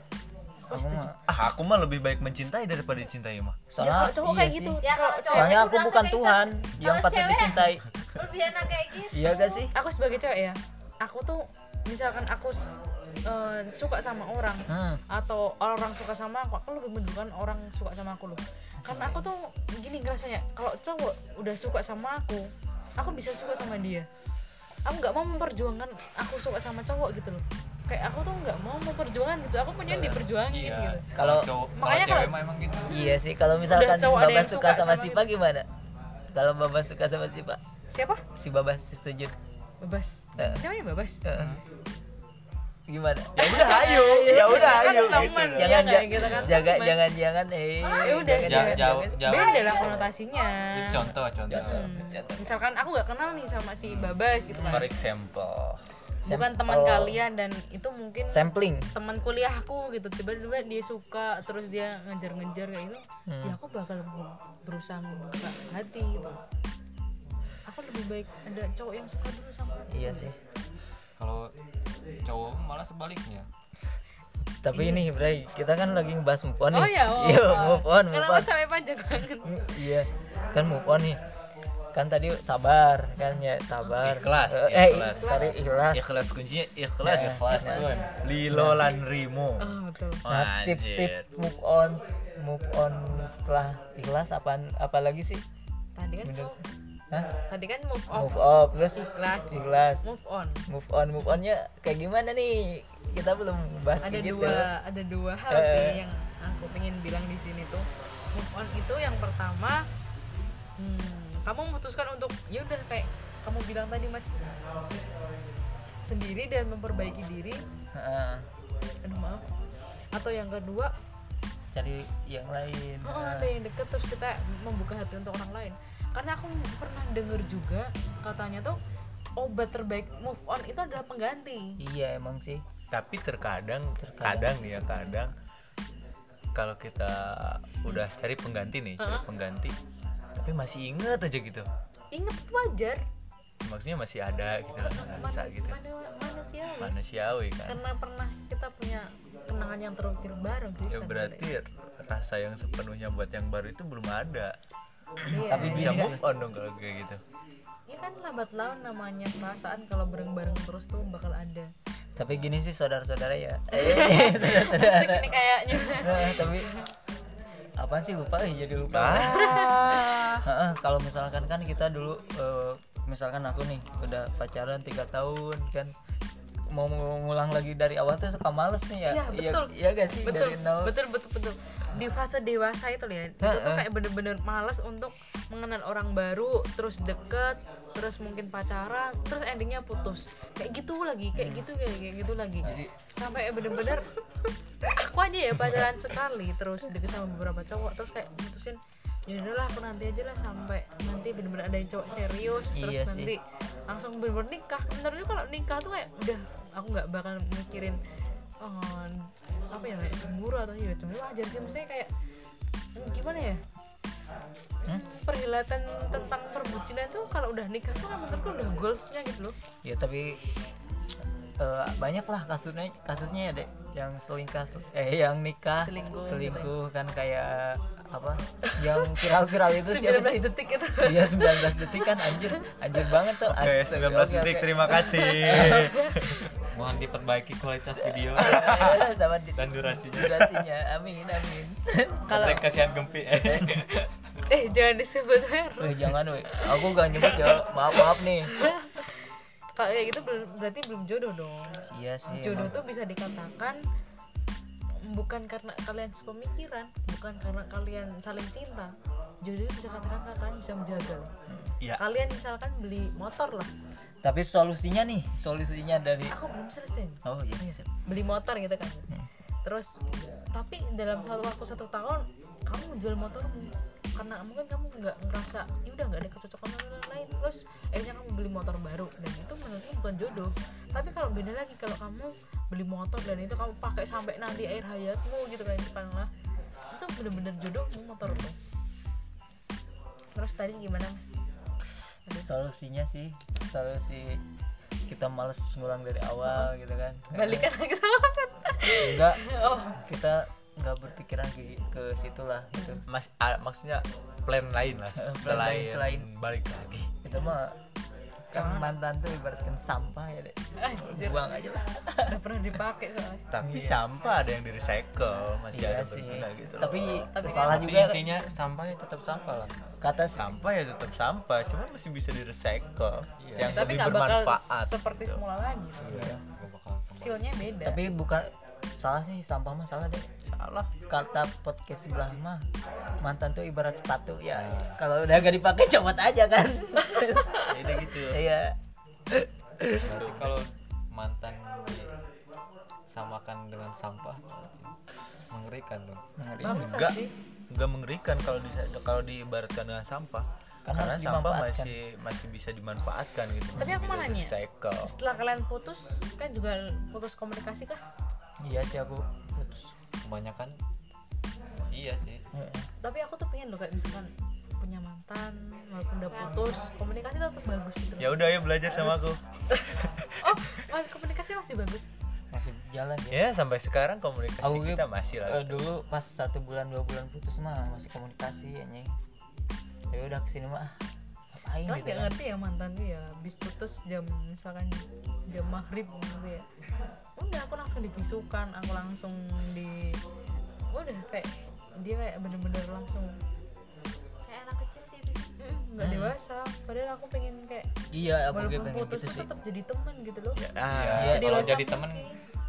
S2: aku
S3: kamu
S2: setuju
S3: mah
S1: ah aku mah lebih baik mencintai daripada dicintai mah.
S2: ya kalau
S3: soalnya
S2: cowok
S3: iya
S2: kayak
S3: sih.
S2: gitu
S8: Ya,
S2: kalau
S8: kalau
S2: cowok
S8: cowok-
S3: soalnya aku
S8: Rasanya
S3: bukan
S8: kayak- gitu.
S3: Tuhan yang
S8: Kalau
S3: patut
S8: cewek-
S3: dicintai
S8: lebih enak kayak gitu
S3: iya gak sih
S2: aku sebagai cewek ya aku tuh misalkan aku s- eh, suka sama orang
S3: hmm.
S2: atau orang suka sama aku aku lebih mendukan orang suka sama aku loh karena aku tuh gini ngerasanya kalau cowok udah suka sama aku aku bisa suka sama dia aku nggak mau memperjuangkan aku suka sama cowok gitu loh kayak aku tuh nggak mau memperjuangkan gitu aku
S3: Iya.
S2: punya
S4: Iya.
S2: diperjuangin gitu
S3: Kalau-
S4: cowok kalau
S2: Makanya
S4: cewek
S2: kalau-
S4: mah emang gitu
S3: iya sih kalau misalkan si
S2: cowok ada
S3: Babas
S2: yang
S3: suka
S2: suka
S3: sama,
S2: sama gitu.
S3: Sipa gimana kalau Babas suka sama Sipa
S2: siapa
S3: si Babas si sujud
S2: babas
S3: Eh.
S2: namanya babas
S3: Heeh. gimana
S1: Ya udah
S3: (laughs)
S1: ayo, ya udah ayo
S2: Kan
S1: gitu.
S2: teman.
S3: jangan
S2: Iya,
S3: ja-
S2: kayak gitu kan.
S3: jaga
S2: Teman.
S3: jangan jangan eh
S2: ya udah,
S3: jangan,
S4: jauh Iya, jauh jauh
S2: beda lah konotasinya
S4: contoh contoh
S3: Ya.
S2: Hmm. misalkan aku nggak kenal nih sama si babas gitu
S1: For
S2: kan
S1: example,
S2: bukan teman kalian dan itu mungkin
S3: sampling
S2: teman kuliahku gitu tiba-tiba dia suka terus dia ngejar-ngejar kayak gitu ya
S3: Hmm.
S2: aku bakal berusaha membuka hati gitu aku lebih baik ada cowok yang suka dulu sama aku
S3: iya sih
S4: kalau cowok malah sebaliknya
S3: tapi ini Bray kita kan lagi ngebahas move on nih
S2: Iya. oh ya oh,
S3: Yo,
S2: oh.
S3: move on move
S2: kenapa
S3: on
S2: sampai panjang banget
S3: Hmm, iya kan move on nih kan tadi sabar kan ya sabar
S1: Ikhlas,
S3: eh
S1: ikhlas.
S3: sorry ikhlas
S1: ikhlas kuncinya ikhlas. Iya.
S3: Ikhlas,
S1: Lilo lan Rimo.
S2: oh, betul
S3: nah
S1: Anjir.
S3: tips-tips move on move on setelah ikhlas apaan apalagi sih
S2: tadi kan
S3: Bener.
S2: move-
S3: Hah?
S2: tadi kan move off
S3: move off terus
S2: ikhlas
S3: ikhlas
S2: move on
S3: move on move onnya kayak gimana nih kita belum bahas ya.
S2: ada
S3: begitu
S2: dua ada dua hal
S3: Eh.
S2: sih yang aku pengen bilang di sini tuh move on itu yang pertama hmm, kamu memutuskan untuk ya udah kayak kamu bilang tadi mas sendiri dan memperbaiki diri
S3: Heeh,
S2: aduh maaf atau yang kedua
S3: cari yang lain Nah,
S2: oh, ada yang deket terus kita membuka hati untuk orang lain karena aku pernah denger juga katanya tuh obat terbaik move on itu adalah pengganti
S3: iya emang sih
S1: Tapi terkadang, kadang nih ya kadang kalau kita udah cari pengganti nih, cari pengganti, tapi masih inget aja gitu.
S2: inget wajar
S1: Maksudnya masih ada gitu, rasa gitu.
S2: Manu- manusiawi
S1: Manusiawi kan.
S2: karena pernah kita punya kenangan yang terukir bareng sih
S1: Ya
S2: kan,
S1: berarti rasa yang sepenuhnya buat yang baru itu belum ada.
S2: Iya.
S3: tapi
S1: Bisa
S3: gini, kan.
S1: move on dong kalau kayak gitu.
S2: Iya kan lambat laun namanya perasaan kalau bareng-bareng terus tuh bakal
S3: (laughs)
S2: ada
S3: tapi gini sih saudara-saudara ya
S2: (laughs)
S3: eh saudara-saudara
S2: ini kayaknya
S3: Nah, tapi apaan sih lupa eh, jadi lupa (laughs) Heeh, kalau misalkan kan kita dulu eh, misalkan aku nih udah pacaran tiga tahun kan mau ngulang lagi dari awal tuh suka males nih ya
S2: Iya, betul.
S3: iya gak sih
S2: betul
S3: dari nol
S2: betul betul betul di fase dewasa itu loh ya itu tuh kayak bener-bener males untuk mengenal orang baru terus deket terus mungkin pacaran terus endingnya putus kayak gitu lagi kayak gitu kayak, kayak gitu lagi sampai bener-bener aku aja ya pacaran sekali terus deket sama beberapa cowok terus kayak mutusin ya udahlah aku nanti aja lah sampai nanti bener-bener ada yang cowok serius terus
S3: Iya sih.
S2: nanti langsung bener-bener nikah menurutku kalau nikah tuh kayak udah aku nggak bakal mikirin oh, apa ya kayak cemburu atau ya cemburu wajar sih maksudnya kayak hmm, gimana ya
S3: Hmm?
S2: perhelatan tentang perbucinan tuh kalau udah nikah tuh kan menurutku udah goalsnya gitu loh
S3: ya tapi eh, banyak lah kasusnya kasusnya ya dek yang selingkah sel- eh yang nikah
S2: Selingkuh gitu
S3: selingkuh kan kayak apa yang viral-viral
S2: (laughs)
S3: itu siapa
S2: 19
S3: sih
S2: detik itu
S3: Iya 19 detik kan anjir anjir banget tuh
S5: Oke, 19 detik terima kasih. Mohon diperbaiki kualitas video
S3: kasih (laughs) sama di-
S5: dan durasinya.
S3: durasinya amin amin (laughs)
S2: kalau
S5: Hashtag kasihan gempi.
S2: eh jangan disebut (laughs) merek.
S3: Weh, jangan weh aku gak nyebut ya maaf maaf nih
S2: kalau kayak gitu ber- berarti belum jodoh dong
S3: iya sih
S2: jodoh
S3: emang.
S2: tuh bisa dikatakan bukan karena kalian sepemikiran bukan karena kalian saling cinta jodoh itu bisa katakan karena kalian bisa menjaga loh.
S5: Iya.
S2: kalian misalkan beli motor lah
S3: tapi solusinya nih solusinya dari
S2: aku belum selesai
S3: oh iya
S2: Iya,
S3: sip.
S2: beli motor gitu kan terus tapi dalam satu waktu satu tahun kamu jual motormu karena mungkin kamu nggak ngerasa ya udah nggak ada kecocokan sama yang lain terus akhirnya kamu beli motor baru dan itu menurutku bukan jodoh tapi kalau beda lagi kalau kamu beli motor dan itu kamu pakai sampai nanti air hayatmu gitu kan katakanlah itu bener-bener jodohmu motor itu terus tadi gimana mas
S3: solusinya sih solusi kita males ngulang dari awal gitu kan
S2: balikan lagi sama kan
S3: enggak
S2: oh
S3: kita nggak berpikiran ke, ke situ lah gitu
S5: Mas, ah, maksudnya plan lain lah
S3: (laughs) Plan
S5: selain,
S3: lain, selain.
S5: balik lagi.
S3: itu mah kan mantan tuh ibaratkan sampah ya dek
S2: (laughs) anjir
S3: buang aja lah
S2: udah pernah dipakai soalnya
S5: Tapi sampah ada yang di recycle masih
S3: iya
S5: ada
S3: sih
S5: berguna gitu. loh.
S3: tapi,
S2: Tapi
S3: salah
S5: Tapi
S3: juga kan.
S5: intinya sampahnya tetap sampah lah.
S3: kata si-
S5: Sampah ya tetap sampah, cuma masih bisa di recycle
S3: Iya.
S5: yang
S2: tapi
S5: lebih
S2: nggak bakal
S5: bermanfaat. (laughs) gitu. Iya,
S2: seperti semula lagi feelnya beda
S3: tapi bukan salah sih sampah mah salah deh salah kata podcast sebelah mah mantan tuh ibarat sepatu ya kalau udah gak dipakai copot aja kan
S5: Ya udah gitu.
S3: iya
S4: Berarti kalau mantan disamakan dengan sampah mengerikan dong.
S2: bagus
S5: Enggak.
S2: sih
S5: nggak mengerikan kalau di kalau diibaratkan dengan sampah
S3: Karena
S5: karena,
S3: harus
S5: sampah
S3: dimanfaatkan.
S5: masih masih bisa dimanfaatkan gitu
S2: Tapi aku mau nanya.
S5: cycle
S2: setelah kalian putus kan juga putus komunikasi kah
S3: iya sih aku putus
S4: Kebanyakan iya sih.
S2: tapi aku tuh pengen loh kayak misalkan punya mantan walaupun udah putus komunikasi tetap bagus gitu
S5: ya udah ya belajar sama aku
S2: oh masih komunikasi masih bagus
S3: masih jalan ya
S5: ya sampai sekarang komunikasi
S3: Aku
S5: kita masih
S3: Eh,
S5: lah Nah,
S3: dulu pas satu bulan dua bulan putus mah masih komunikasi ya nyeng ya udah kesini mah
S2: kalian
S3: ngapain gitu
S2: nggak
S3: kan
S2: ngerti ya mantan tuh ya bis putus jam misalkan jam maghrib gitu ya udah aku langsung dibisukan aku langsung di udah kayak dia kayak bener-bener langsung
S8: kayak anak kecil sih di situ.
S2: "Mm, nggak dewasa padahal aku pengen kayak
S3: iya aku juga
S2: walaupun
S3: pengen
S2: putus
S3: gitu
S2: tuh
S3: sih
S2: tetap jadi teman gitu loh
S5: Ya, ah,
S3: Iya,
S2: Jadi
S4: kalau
S2: lo
S4: jadi
S2: sama
S4: temen
S2: Ki.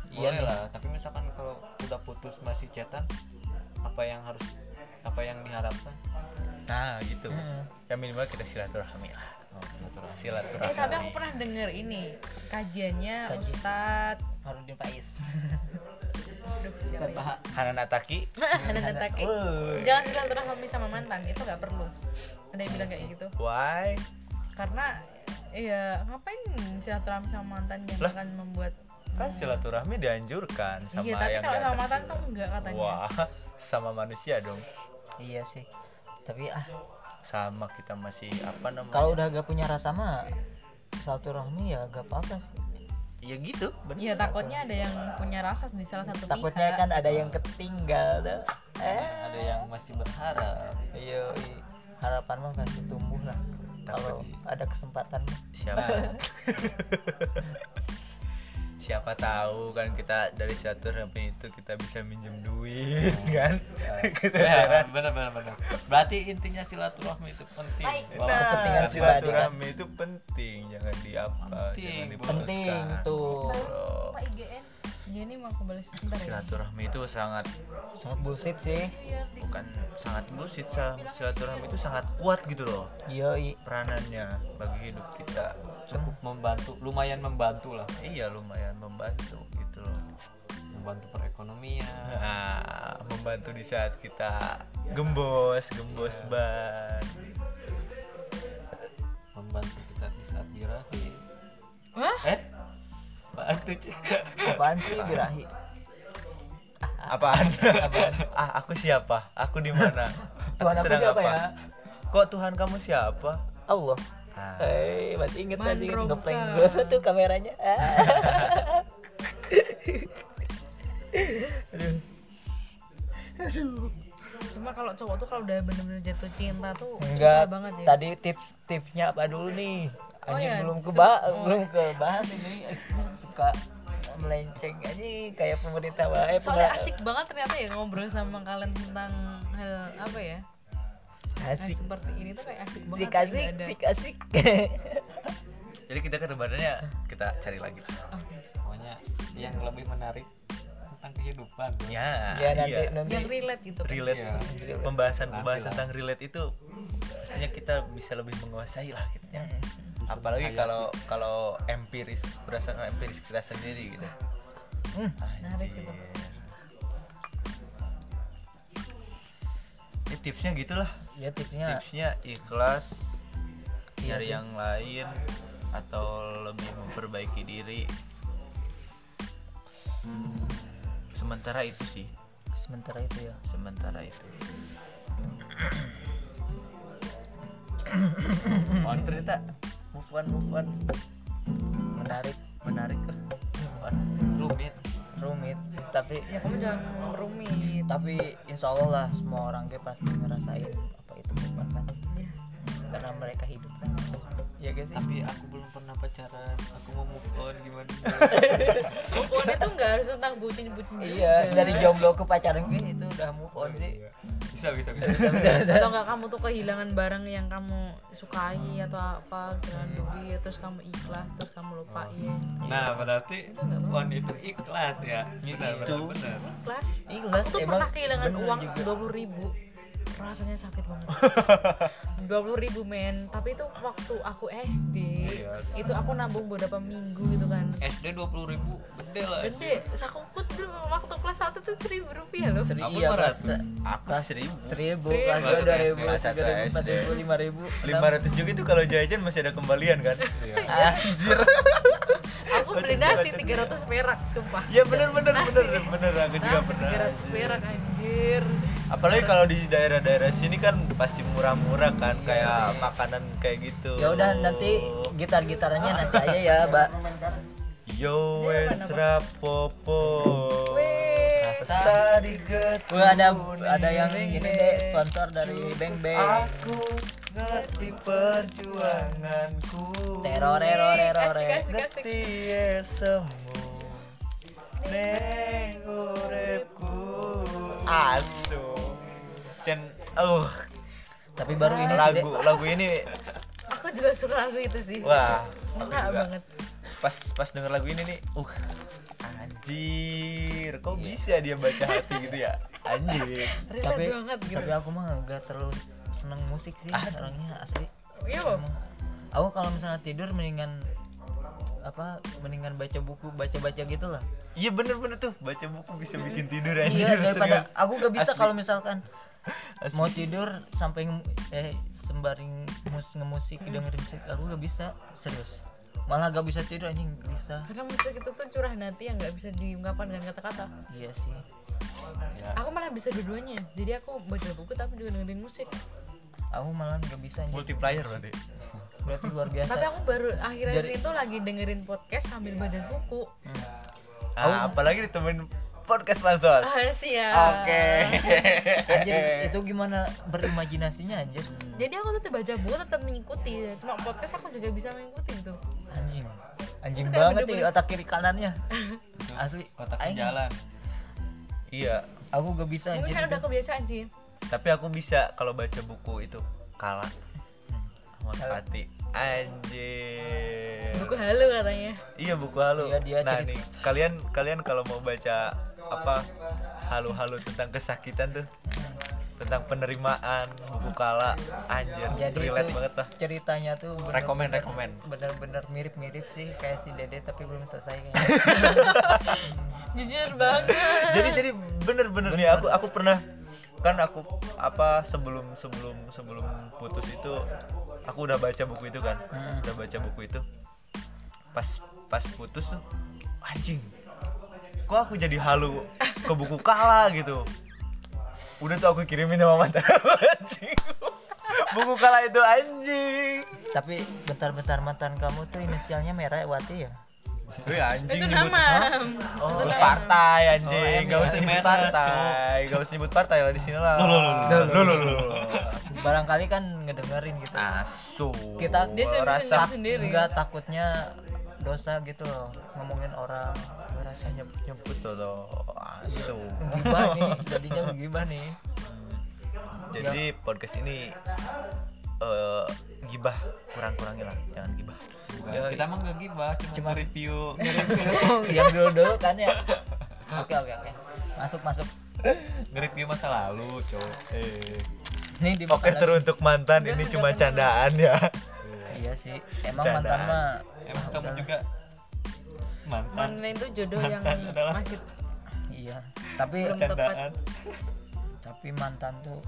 S3: Iya nih.
S4: boleh lah, tapi misalkan kalau udah putus masih cetan apa yang harus apa yang diharapkan?
S5: nah gitu ya minimal kita silaturahmi lah
S2: eh tapi aku
S5: silaturahmi
S2: pernah denger ini kajiannya Ustadz
S3: Harudin Faiz
S2: Aduh, siapa ya?
S3: Ustaz
S2: (laughs)
S3: Baha
S5: Hanan Ataki
S2: Hanan Ataki jangan silaturahmi sama mantan itu nggak perlu ada yang bilang kayak gitu
S5: why
S2: karena ya ngapain silaturahmi sama mantan yang
S5: Lah.
S2: akan membuat
S5: kan silaturahmi dianjurkan sama
S2: iya tapi
S5: yang
S2: kalau
S5: di
S2: sama
S5: atas
S2: mantan
S5: itu.
S2: tuh enggak katanya
S5: wah sama manusia dong
S3: (laughs) iya sih tapi ah
S5: sama kita masih apa namanya
S3: kalau udah gak punya rasa mah silaturahmi ya gak apa-apa sih
S5: ya gitu bener
S2: Iya takutnya ada yang punya rasa di salah satu
S3: takutnya
S2: pihak
S3: kan ada yang ketinggal tuh eh
S4: Ada yang masih berharap.
S3: iya harapan mah pasti tumbuh lah kalau ada kesempatan mah
S5: siapa siapa tahu kan kita dari silaturahmi itu kita bisa minjem duit kan
S4: Ya, bener bener bener. Berarti intinya silaturahmi itu penting. Bahwa
S3: kepentingan
S5: nah,
S3: pribadi kan.
S5: silaturahmi itu penting jangan di apa
S4: Penting,
S5: jangan
S4: Bu.
S5: diputuskan
S3: penting tuh
S8: Baru Pak IGN
S2: ya ini mau aku balas sebentar ya
S1: silaturahmi itu sangat
S3: sangat bullshit sih
S1: bukan sangat bullshit sa- silaturahmi itu sangat kuat gitu loh
S3: iya
S1: peranannya bagi hidup kita
S4: cukup membantu lumayan membantu lah
S1: iya lumayan membantu gitu loh
S4: membantu perekonomian
S1: Ah, membantu di saat kita gembos gembos
S3: Iya.
S1: ban
S4: membantu kita di saat birahi
S2: Wah?
S4: eh bantu sih
S3: apaan sih birahi
S1: apaan (laughs) ah aku siapa aku di mana
S3: Tuhan aku
S1: sedang
S3: siapa
S1: apa?
S3: ya
S1: kok Tuhan kamu siapa
S3: Allah
S1: Ah.
S3: Hei, masih inget masih inget
S2: Mandrongka.
S3: ngeflank gue tuh
S2: (laughs)
S3: kameranya Ah.
S2: cuma kalau cowok tuh kalau udah bener-bener jatuh cinta tuh
S3: enggak
S2: susah banget ya
S3: tadi tips tipsnya apa dulu nih
S2: Oh
S3: anjing
S2: ya,
S3: belum ke
S2: sebelum- oh.
S3: belum ke bahas ini suka melenceng aja kayak pemerintah wae
S2: soalnya
S3: pengen-
S2: asik banget ternyata ya ngobrol sama kalian tentang hal apa ya Nah,
S3: asik
S2: seperti ini tuh kayak asik banget
S3: asik
S2: kayak
S3: asik
S2: nggak ada-
S3: asik asik
S1: jadi kita kedepannya kita cari lagi lah
S2: Oke,
S4: pokoknya yang lebih menarik tentang kehidupan
S1: ya,
S3: ya nanti
S1: iya.
S3: nanti
S2: yang relate gitu kan.
S1: relate
S4: Iya.
S1: pembahasan pembahasan tentang relate itu pastinya kita bisa lebih menguasai lah gitu ya. apalagi
S3: gitu.
S1: kalau kalau empiris berdasarkan empiris kita sendiri gitu
S2: Menarik gitu.
S3: Iya.
S1: ya tipsnya gitulah
S3: ya tipsnya
S1: tipsnya ikhlas
S3: Iya
S1: nyari
S3: sih.
S1: yang lain atau lebih memperbaiki diri Hmm, sementara itu sih
S3: sementara itu ya
S1: sementara itu
S5: on cerita
S1: move on move on
S3: menarik
S1: menarik lah move on
S4: rumit
S3: rumit tapi
S2: ya kamu jangan ngomong rumit Iya.
S3: tapi insya Allah lah semua orang kayak pasti ngerasain apa itu beban kan
S2: ya.
S3: karena mereka hidup kan ya guys sih
S4: tapi aku belum pernah pacaran aku mau move on gimana
S2: move on itu nggak harus tentang bucin-bucin
S3: iya
S2: juga.
S3: dari jomblo ke pacaran gue itu udah move on sih
S1: Iya.
S4: bisa bisa bisa
S2: atau nggak kamu tuh kehilangan barang yang kamu sukai atau apa kehilangan duit terus kamu ikhlas terus kamu lupain
S4: nah berarti on itu ikhlas ya benar benar benar
S2: ikhlas
S3: Ikhlas,
S2: aku tuh
S3: emang
S2: pernah kehilangan
S3: bener
S2: uang
S3: juga.
S2: dua ribu rasanya sakit banget dua ribu men tapi itu waktu aku SD itu aku nabung beberapa minggu gitu kan
S4: SD dua puluh ribu gede lah
S2: gede sakuput dulu waktu kelas satu tuh seribu rupiah loh
S3: Seri,
S1: Aku
S3: iya kelas
S1: 500. aku seribu
S3: seribu
S2: Seribu.
S3: kelas dua dua ribu
S1: Kelas
S3: tiga
S1: satu
S3: ribu empat
S1: SD.
S3: ribu lima ribu
S1: lima ratus juga itu kalau jajan masih ada kembalian kan
S3: Iya. anjir
S2: aku beli nasi tiga ratus perak sumpah
S1: ya bener bener
S2: Nasi.
S1: bener bener aku juga
S2: nasi
S1: pernah
S2: tiga ratus perak anjir
S1: apalagi kalau di daerah-daerah sini kan pasti murah-murah kan kayak makanan kayak gitu
S3: ya udah nanti gitar gitarannya nanti aja ya mbak
S1: yo wes rapopo
S2: Weh.
S1: rasa diget
S3: Wah, ada ada yang ini deh sponsor dari Bang Bang
S1: aku ngerti perjuanganku
S3: teror teror teror
S2: Asik, asik, asik.
S1: ngerti ya semu neng uripku asu cen uh
S3: tapi baru ini sih deh
S1: lagu lagu ini
S2: aku juga suka lagu itu sih
S1: wah
S2: Enak banget
S1: pas pas denger lagu ini nih uh anjir kok
S3: Iya.
S1: bisa dia baca hati gitu ya anjir
S2: relate
S3: tapi
S2: banget gitu Ah.
S3: tapi aku mah nggak terlalu seneng musik sih orangnya asli
S2: iya
S3: Emang. aku kalau misalnya tidur mendingan apa mendingan baca buku gitu baca baca gitulah
S1: iya bener-bener tuh baca buku bisa bikin tidur anjir
S3: iya daripada
S1: serius.
S3: aku gak bisa
S1: Asli.
S3: kalau misalkan mau tidur sampai ngem- eh sembari mus ngemusik dengerin musik aku gak bisa serius malah gak bisa tidur anjing bisa
S2: karena musik itu tuh curah nanti yang nggak bisa diungkapkan dengan kata-kata
S3: iya sih
S2: aku malah bisa dua-duanya jadi aku baca buku tapi juga dengerin musik
S3: aku malah gak bisa anjing.
S1: multiplayer berarti
S3: berarti luar
S2: (laughs)
S3: biasa
S2: tapi aku baru akhir-akhir itu lagi dengerin podcast sambil baca buku
S1: ah, apalagi ditemenin podcast pansos
S2: ah siap
S1: oke
S3: anjir
S1: (laughs)
S3: itu gimana berimajinasinya anjir
S2: jadi aku tetap baca buku tetap mengikuti cuma podcast aku juga bisa mengikuti gitu
S3: anjing anjing
S2: Itu kayak
S3: banget nih
S2: bener-bener-
S3: otak kiri kanannya asli
S4: otaknya
S3: Aing,
S4: jalan
S1: iya
S3: aku gak bisa
S2: mungkin
S3: anjir
S2: kan udah kebiasaan sih
S1: tapi aku bisa kalau baca buku itu kalah Ahmad Fatih anjir
S2: buku halu katanya
S1: Iya buku halu.
S3: Iya, dia
S1: nah
S3: cerita-
S1: nih kalian kalian kalau mau baca apa halu-halu tentang kesakitan tuh tentang penerimaan buku kala anjir
S3: jadi
S1: relate
S3: itu
S1: banget lah
S3: ceritanya tuh bener-
S1: rekomend rekomend
S3: bener-bener mirip-mirip sih kayak si Dede tapi belum selesai kayaknya
S2: jujur banget
S1: (laughs) jadi jadi bener-bener ya aku aku pernah kan aku apa sebelum sebelum sebelum putus itu aku udah baca buku itu kan udah baca buku itu pas pas putus tuh anjing kok aku jadi halu ke buku kala gitu udah tuh aku kirimin sama mantan aku, (laughs) anjing buku kala itu anjing
S3: tapi bentar-bentar mantan kamu tuh inisialnya merah Wati ya
S9: Wih anjing
S2: itu
S9: nyebut
S2: nama
S1: oh, partai anjing nggak usah Oh, ya.
S3: Ini
S1: nyebut
S3: partai.
S1: partai nggak usah nyebut partai lah di sini lah
S3: lo lo barangkali kan ngedengerin gitu
S1: asu
S3: kita
S2: Dia sendiri-
S3: rasa
S2: sendiri.
S3: nggak takutnya dosa gitu loh ngomongin orang
S1: Gua rasa nyebut nyebut tuh tuh asu
S3: gibah nih jadinya gibah nih
S1: jadi podcast ini eh gibah kurang kurangi lah jangan gibah Eh,
S4: kita emang gak gibah cuma, review
S3: yang dulu dulu kan ya oke oke oke masuk masuk
S4: nge-review masa lalu cowok eh
S3: nih di
S1: poker teruntuk mantan ini cuma candaan ya
S3: iya sih emang
S1: Bercandaan.
S3: mantan mah
S4: emang kamu juga mantan
S2: mana itu jodoh yang masih
S3: iya tapi
S2: belum tepat
S3: tapi mantan tuh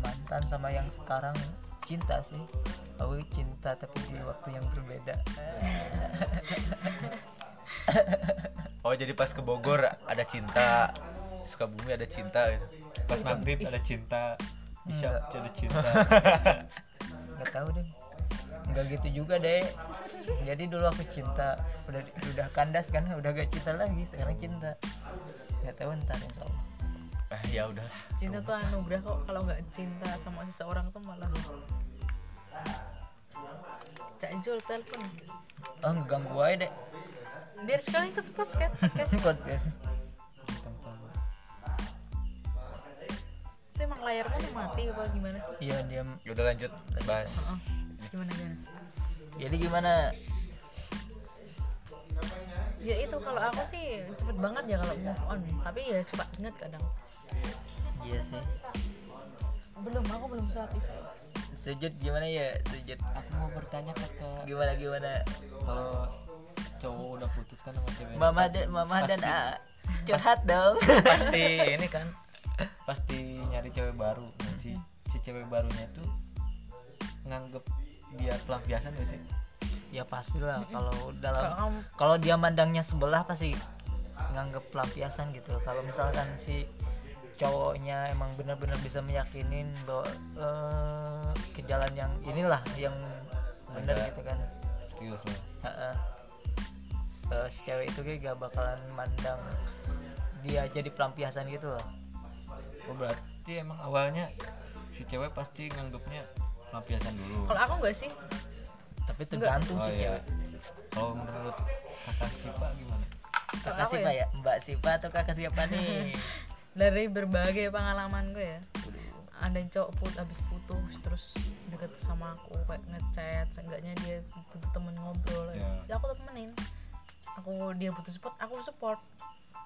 S3: mantan sama yang sekarang cinta sih aku cinta tapi di waktu yang berbeda
S1: oh jadi pas ke Bogor ada cinta Sukabumi ada cinta gitu
S4: pas maghrib ada cinta isya ada cinta
S3: nggak tahu deh nggak gitu juga deh jadi dulu aku cinta udah udah kandas kan udah gak cinta lagi sekarang cinta nggak tahu ntar insya Allah
S1: ah ya udah
S2: cinta tuh anugerah kok kalau nggak cinta sama seseorang tuh malah Cak Jul telepon
S3: ah ngeganggu aja deh
S2: biar sekali ikut podcast podcast
S3: podcast
S2: itu emang layarnya udah mati apa gimana sih
S3: iya dia
S1: ya udah lanjut bahas
S2: oh, gimana gimana
S3: jadi gimana
S2: ya itu kalau aku sih cepet banget ya kalau move on tapi ya suka inget kadang
S3: iya sih
S2: belum aku belum sholat isya
S3: sujud gimana ya sujud
S4: aku mau bertanya ke ke-
S3: gimana gimana
S4: kalau cowok udah putus kan sama cewek
S3: mama dan mama dan A curhat dong
S4: pasti ini kan pasti nyari cewek baru Nah, si si cewek barunya tuh nganggep dia pelampiasan gak sih
S3: (laughs) ya pastilah kalau dalam
S2: Kalau kamu-
S3: kalau dia mandangnya sebelah pasti nganggep pelampiasan gitu kalau misalkan si cowoknya emang benar-benar bisa meyakinin bahwa eh, ke jalan yang inilah yang benar gitu kan
S4: serius lah
S3: Heeh. Eh, si cewek itu kayak gak bakalan mandang dia jadi pelampiasan gitu loh
S4: oh berarti emang awalnya si cewek pasti nganggepnya pelampiasan dulu
S2: kalau aku nggak sih
S3: tapi tergantung
S4: oh
S3: sih cewek
S4: iya kalau menurut kakak Sipa gimana
S2: kalau
S3: kakak
S2: aku
S3: siapa
S2: ya
S3: ya mbak siapa atau kakak siapa (laughs) nih
S2: dari berbagai pengalaman gue ya ada cowok put habis putus terus deket sama aku kayak ngechat seenggaknya dia butuh temen ngobrol ya.
S4: Ya.
S2: Ya aku temenin aku dia butuh support aku support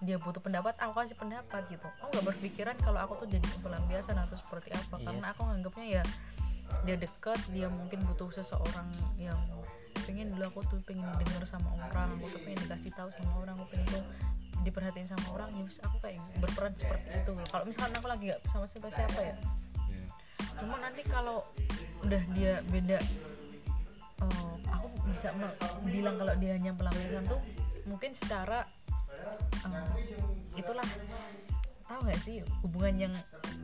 S2: dia butuh pendapat aku kasih pendapat gitu aku nggak berpikiran kalau aku tuh jadi pelampiasan atau seperti apa
S3: Iya
S2: karena
S3: sih.
S2: aku nganggapnya ya dia deket dia mungkin butuh seseorang yang pengen dulu aku tuh pengen didengar sama orang aku tuh pengen dikasih tahu sama orang aku pengen tuh diperhatiin sama orang ya wis, aku kayak berperan seperti itu kalau misalkan aku lagi nggak sama siapa siapa ya
S3: Iya.
S2: cuma nanti kalau udah dia beda eh, aku bisa me- bilang kalau dia hanya pelampiasan tuh mungkin secara eh, itulah tahu nggak sih hubungan yang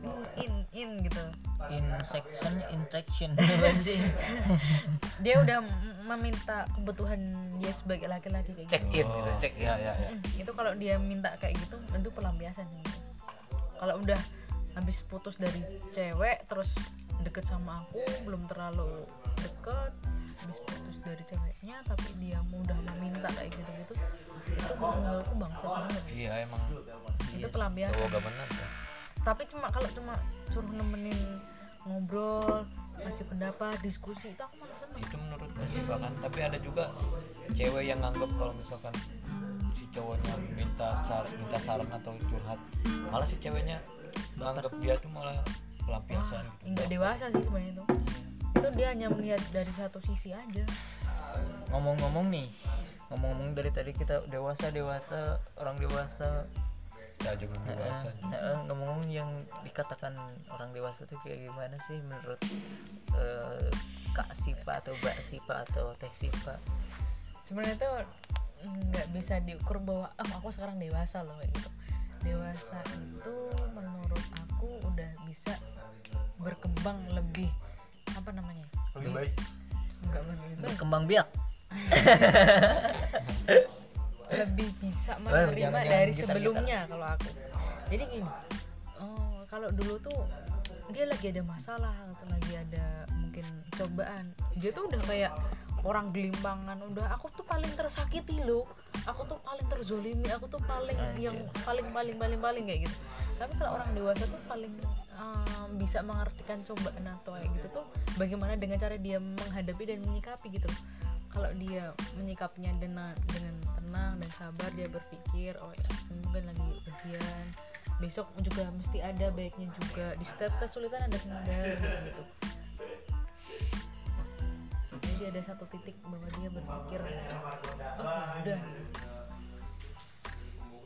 S2: in in, in gitu
S3: in section (laughs) interaction Gimana sih
S2: dia udah m- meminta kebutuhan dia sebagai laki-laki kayak
S1: check
S2: gitu.
S4: Iya, Oh,
S1: in gitu check in
S2: Mm, itu kalau dia minta kayak gitu itu pelampiasan gitu. kalau udah habis putus dari cewek terus deket sama aku belum terlalu deket habis putus dari ceweknya tapi dia mudah meminta kayak gitu gitu itu menurutku bangsa banget
S4: iya emang
S2: itu
S4: Iya.
S2: pelampiasan
S1: oh gak benar ya.
S2: tapi cuma kalau cuma suruh nemenin ngobrol kasih pendapat diskusi itu aku malah seneng
S4: itu menurut gue
S3: sih bahkan tapi ada juga cewek yang nganggap kalau misalkan si cowoknya minta sar- minta saran atau curhat malah si ceweknya nganggap dia tuh malah pelampiasan gitu.
S2: nggak dewasa sih sebenarnya itu itu dia hanya melihat dari satu sisi aja
S3: ngomong-ngomong nih ngomong-ngomong dari tadi kita dewasa dewasa orang dewasa
S5: kita juga dewasa
S3: Nah, eh, ngomong-ngomong yang dikatakan orang dewasa tuh kayak gimana sih menurut eh, Kak Sipa atau Mbak Sipa atau Teh Sipa?
S2: sebenarnya tuh nggak bisa diukur bahwa ah aku sekarang dewasa loh kayak gitu dewasa itu menurut aku udah bisa berkembang lebih apa namanya lebih baik nggak lebih baik
S3: Berkembang biak. (laughs)
S2: lebih bisa
S3: jangan-
S2: menerima
S3: jangan
S2: dari
S3: gitar-gitar.
S2: sebelumnya kalau aku jadi gini oh, kalau dulu tuh dia lagi ada masalah atau lagi ada mungkin cobaan dia tuh udah kayak orang gelimpangan udah aku tuh paling tersakiti loh aku tuh paling terzolimi aku tuh paling yang paling paling paling paling kayak gitu tapi kalau orang dewasa tuh paling em, bisa mengartikan cobaan atau kayak gitu tuh bagaimana dengan cara dia menghadapi dan menyikapi gitu loh kalau dia menyikapinya dengan dengan tenang dan sabar dia berpikir oh ya mungkin lagi ujian besok juga mesti ada baiknya juga di setiap kesulitan ada kemudahan gitu jadi dia ada satu titik bahwa dia berpikir oh udah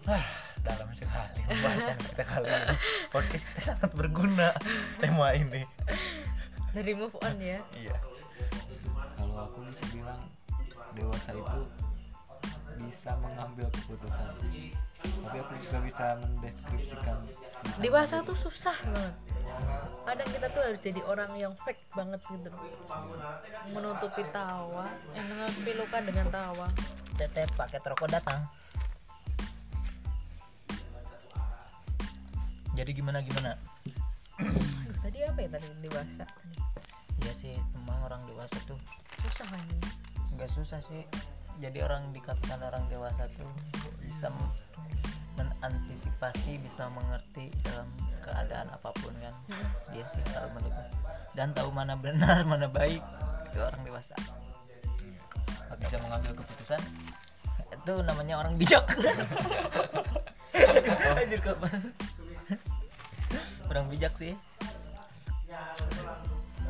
S5: Wah, dalam sekali pembahasan kita kali ini. Podcast kita sangat berguna tema ini.
S2: dari move on ya
S5: Iya.
S4: kalau aku bisa bilang dewasa itu bisa mengambil keputusan tapi aku juga bisa mendeskripsikan bisa
S2: dewasa tuh susah banget kadang kita tuh harus jadi orang yang fake banget gitu menutupi tawa yang menutupi luka dengan tawa
S3: Teteh paket rokok datang. Jadi gimana gimana?
S2: Aduh, tadi apa ya tadi dewasa tadi
S3: Ya sih emang orang dewasa tuh
S2: susah kan ini
S3: nggak susah sih. Jadi orang dikatakan orang dewasa tuh bisa m- mengantisipasi, bisa mengerti dalam keadaan apapun kan.
S2: Hmm.
S3: Iya sih kalau menurutku. Dan tahu mana benar, (laughs) mana baik itu orang dewasa.
S2: Hmm.
S5: Bisa mengambil keputusan.
S3: Itu namanya orang
S2: (laughs)
S3: bijak. Anjir kapan? orang bijak sih.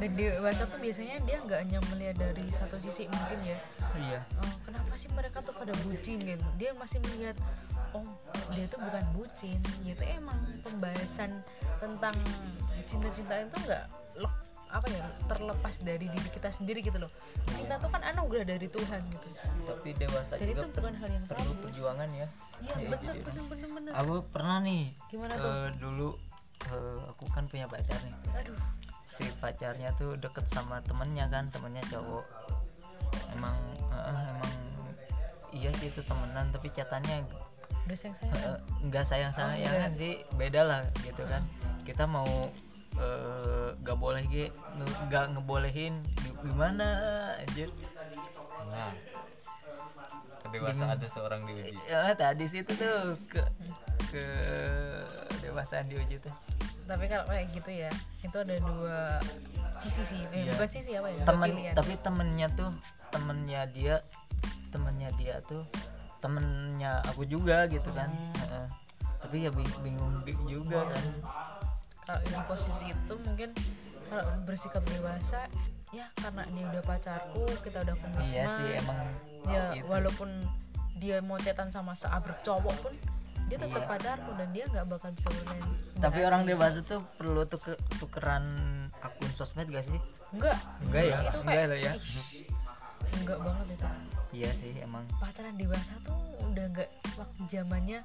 S2: dan dewasa tuh biasanya dia nggak hanya melihat dari satu sisi mungkin ya
S3: Iya.
S2: Eh, kenapa sih mereka tuh pada bucin gitu dia masih melihat oh dia tuh bukan bucin gitu emang pembahasan tentang cinta-cintaan itu nggak lep- apa ya terlepas dari diri kita sendiri gitu loh cinta tuh kan anugerah dari Tuhan gitu
S3: tapi dewasa
S2: jadi
S3: juga
S2: itu bukan hal yang
S3: perlu
S2: tabu
S3: perjuangan ya
S2: iya bener bener bener bener
S3: aku pernah nih
S2: Gimana tuh?
S3: eh, dulu eh, aku kan punya pacar nih
S2: aduh
S3: si pacarnya tuh deket sama temennya kan temennya cowok emang eh, emang iya sih itu temenan tapi catatannya eh,
S2: udah sayang saya
S3: nggak sayang sayangan sih beda lah gitu kan kita mau eh, nggak boleh ge nggak ngebolehin gimana anjir
S4: nah kedewasaan itu seorang diuji
S3: ya tadi situ tuh ke ke dewasaan diuji tuh
S2: tapi kalau kayak gitu ya itu ada dua sisi sih eh,
S3: Iya.
S2: bukan sisi apa ya dua
S3: temen
S2: pilihan.
S3: tapi temennya tuh temennya dia temennya dia tuh temennya aku juga gitu kan Heeh. tapi ya bing- bingung bi- juga kan
S2: kalau di posisi itu mungkin kalau bersikap dewasa ya karena dia udah pacarku kita udah komitmen
S3: iya sih emang
S2: ya
S3: gitu.
S2: walaupun dia mau cetan sama seabrek cowok pun dia tetap pacarku dan dia nggak bakal bisa bermain
S3: Iya. tapi orang dewasa tuh perlu tuh tukeran akun sosmed gak sih
S2: enggak
S3: Enggak ya,
S2: itu
S3: enggak
S2: kayak
S3: lah ya.
S2: "Ih, enggak banget itu
S3: iya sih emang
S2: pacaran dewasa tuh udah nggak waktu zamannya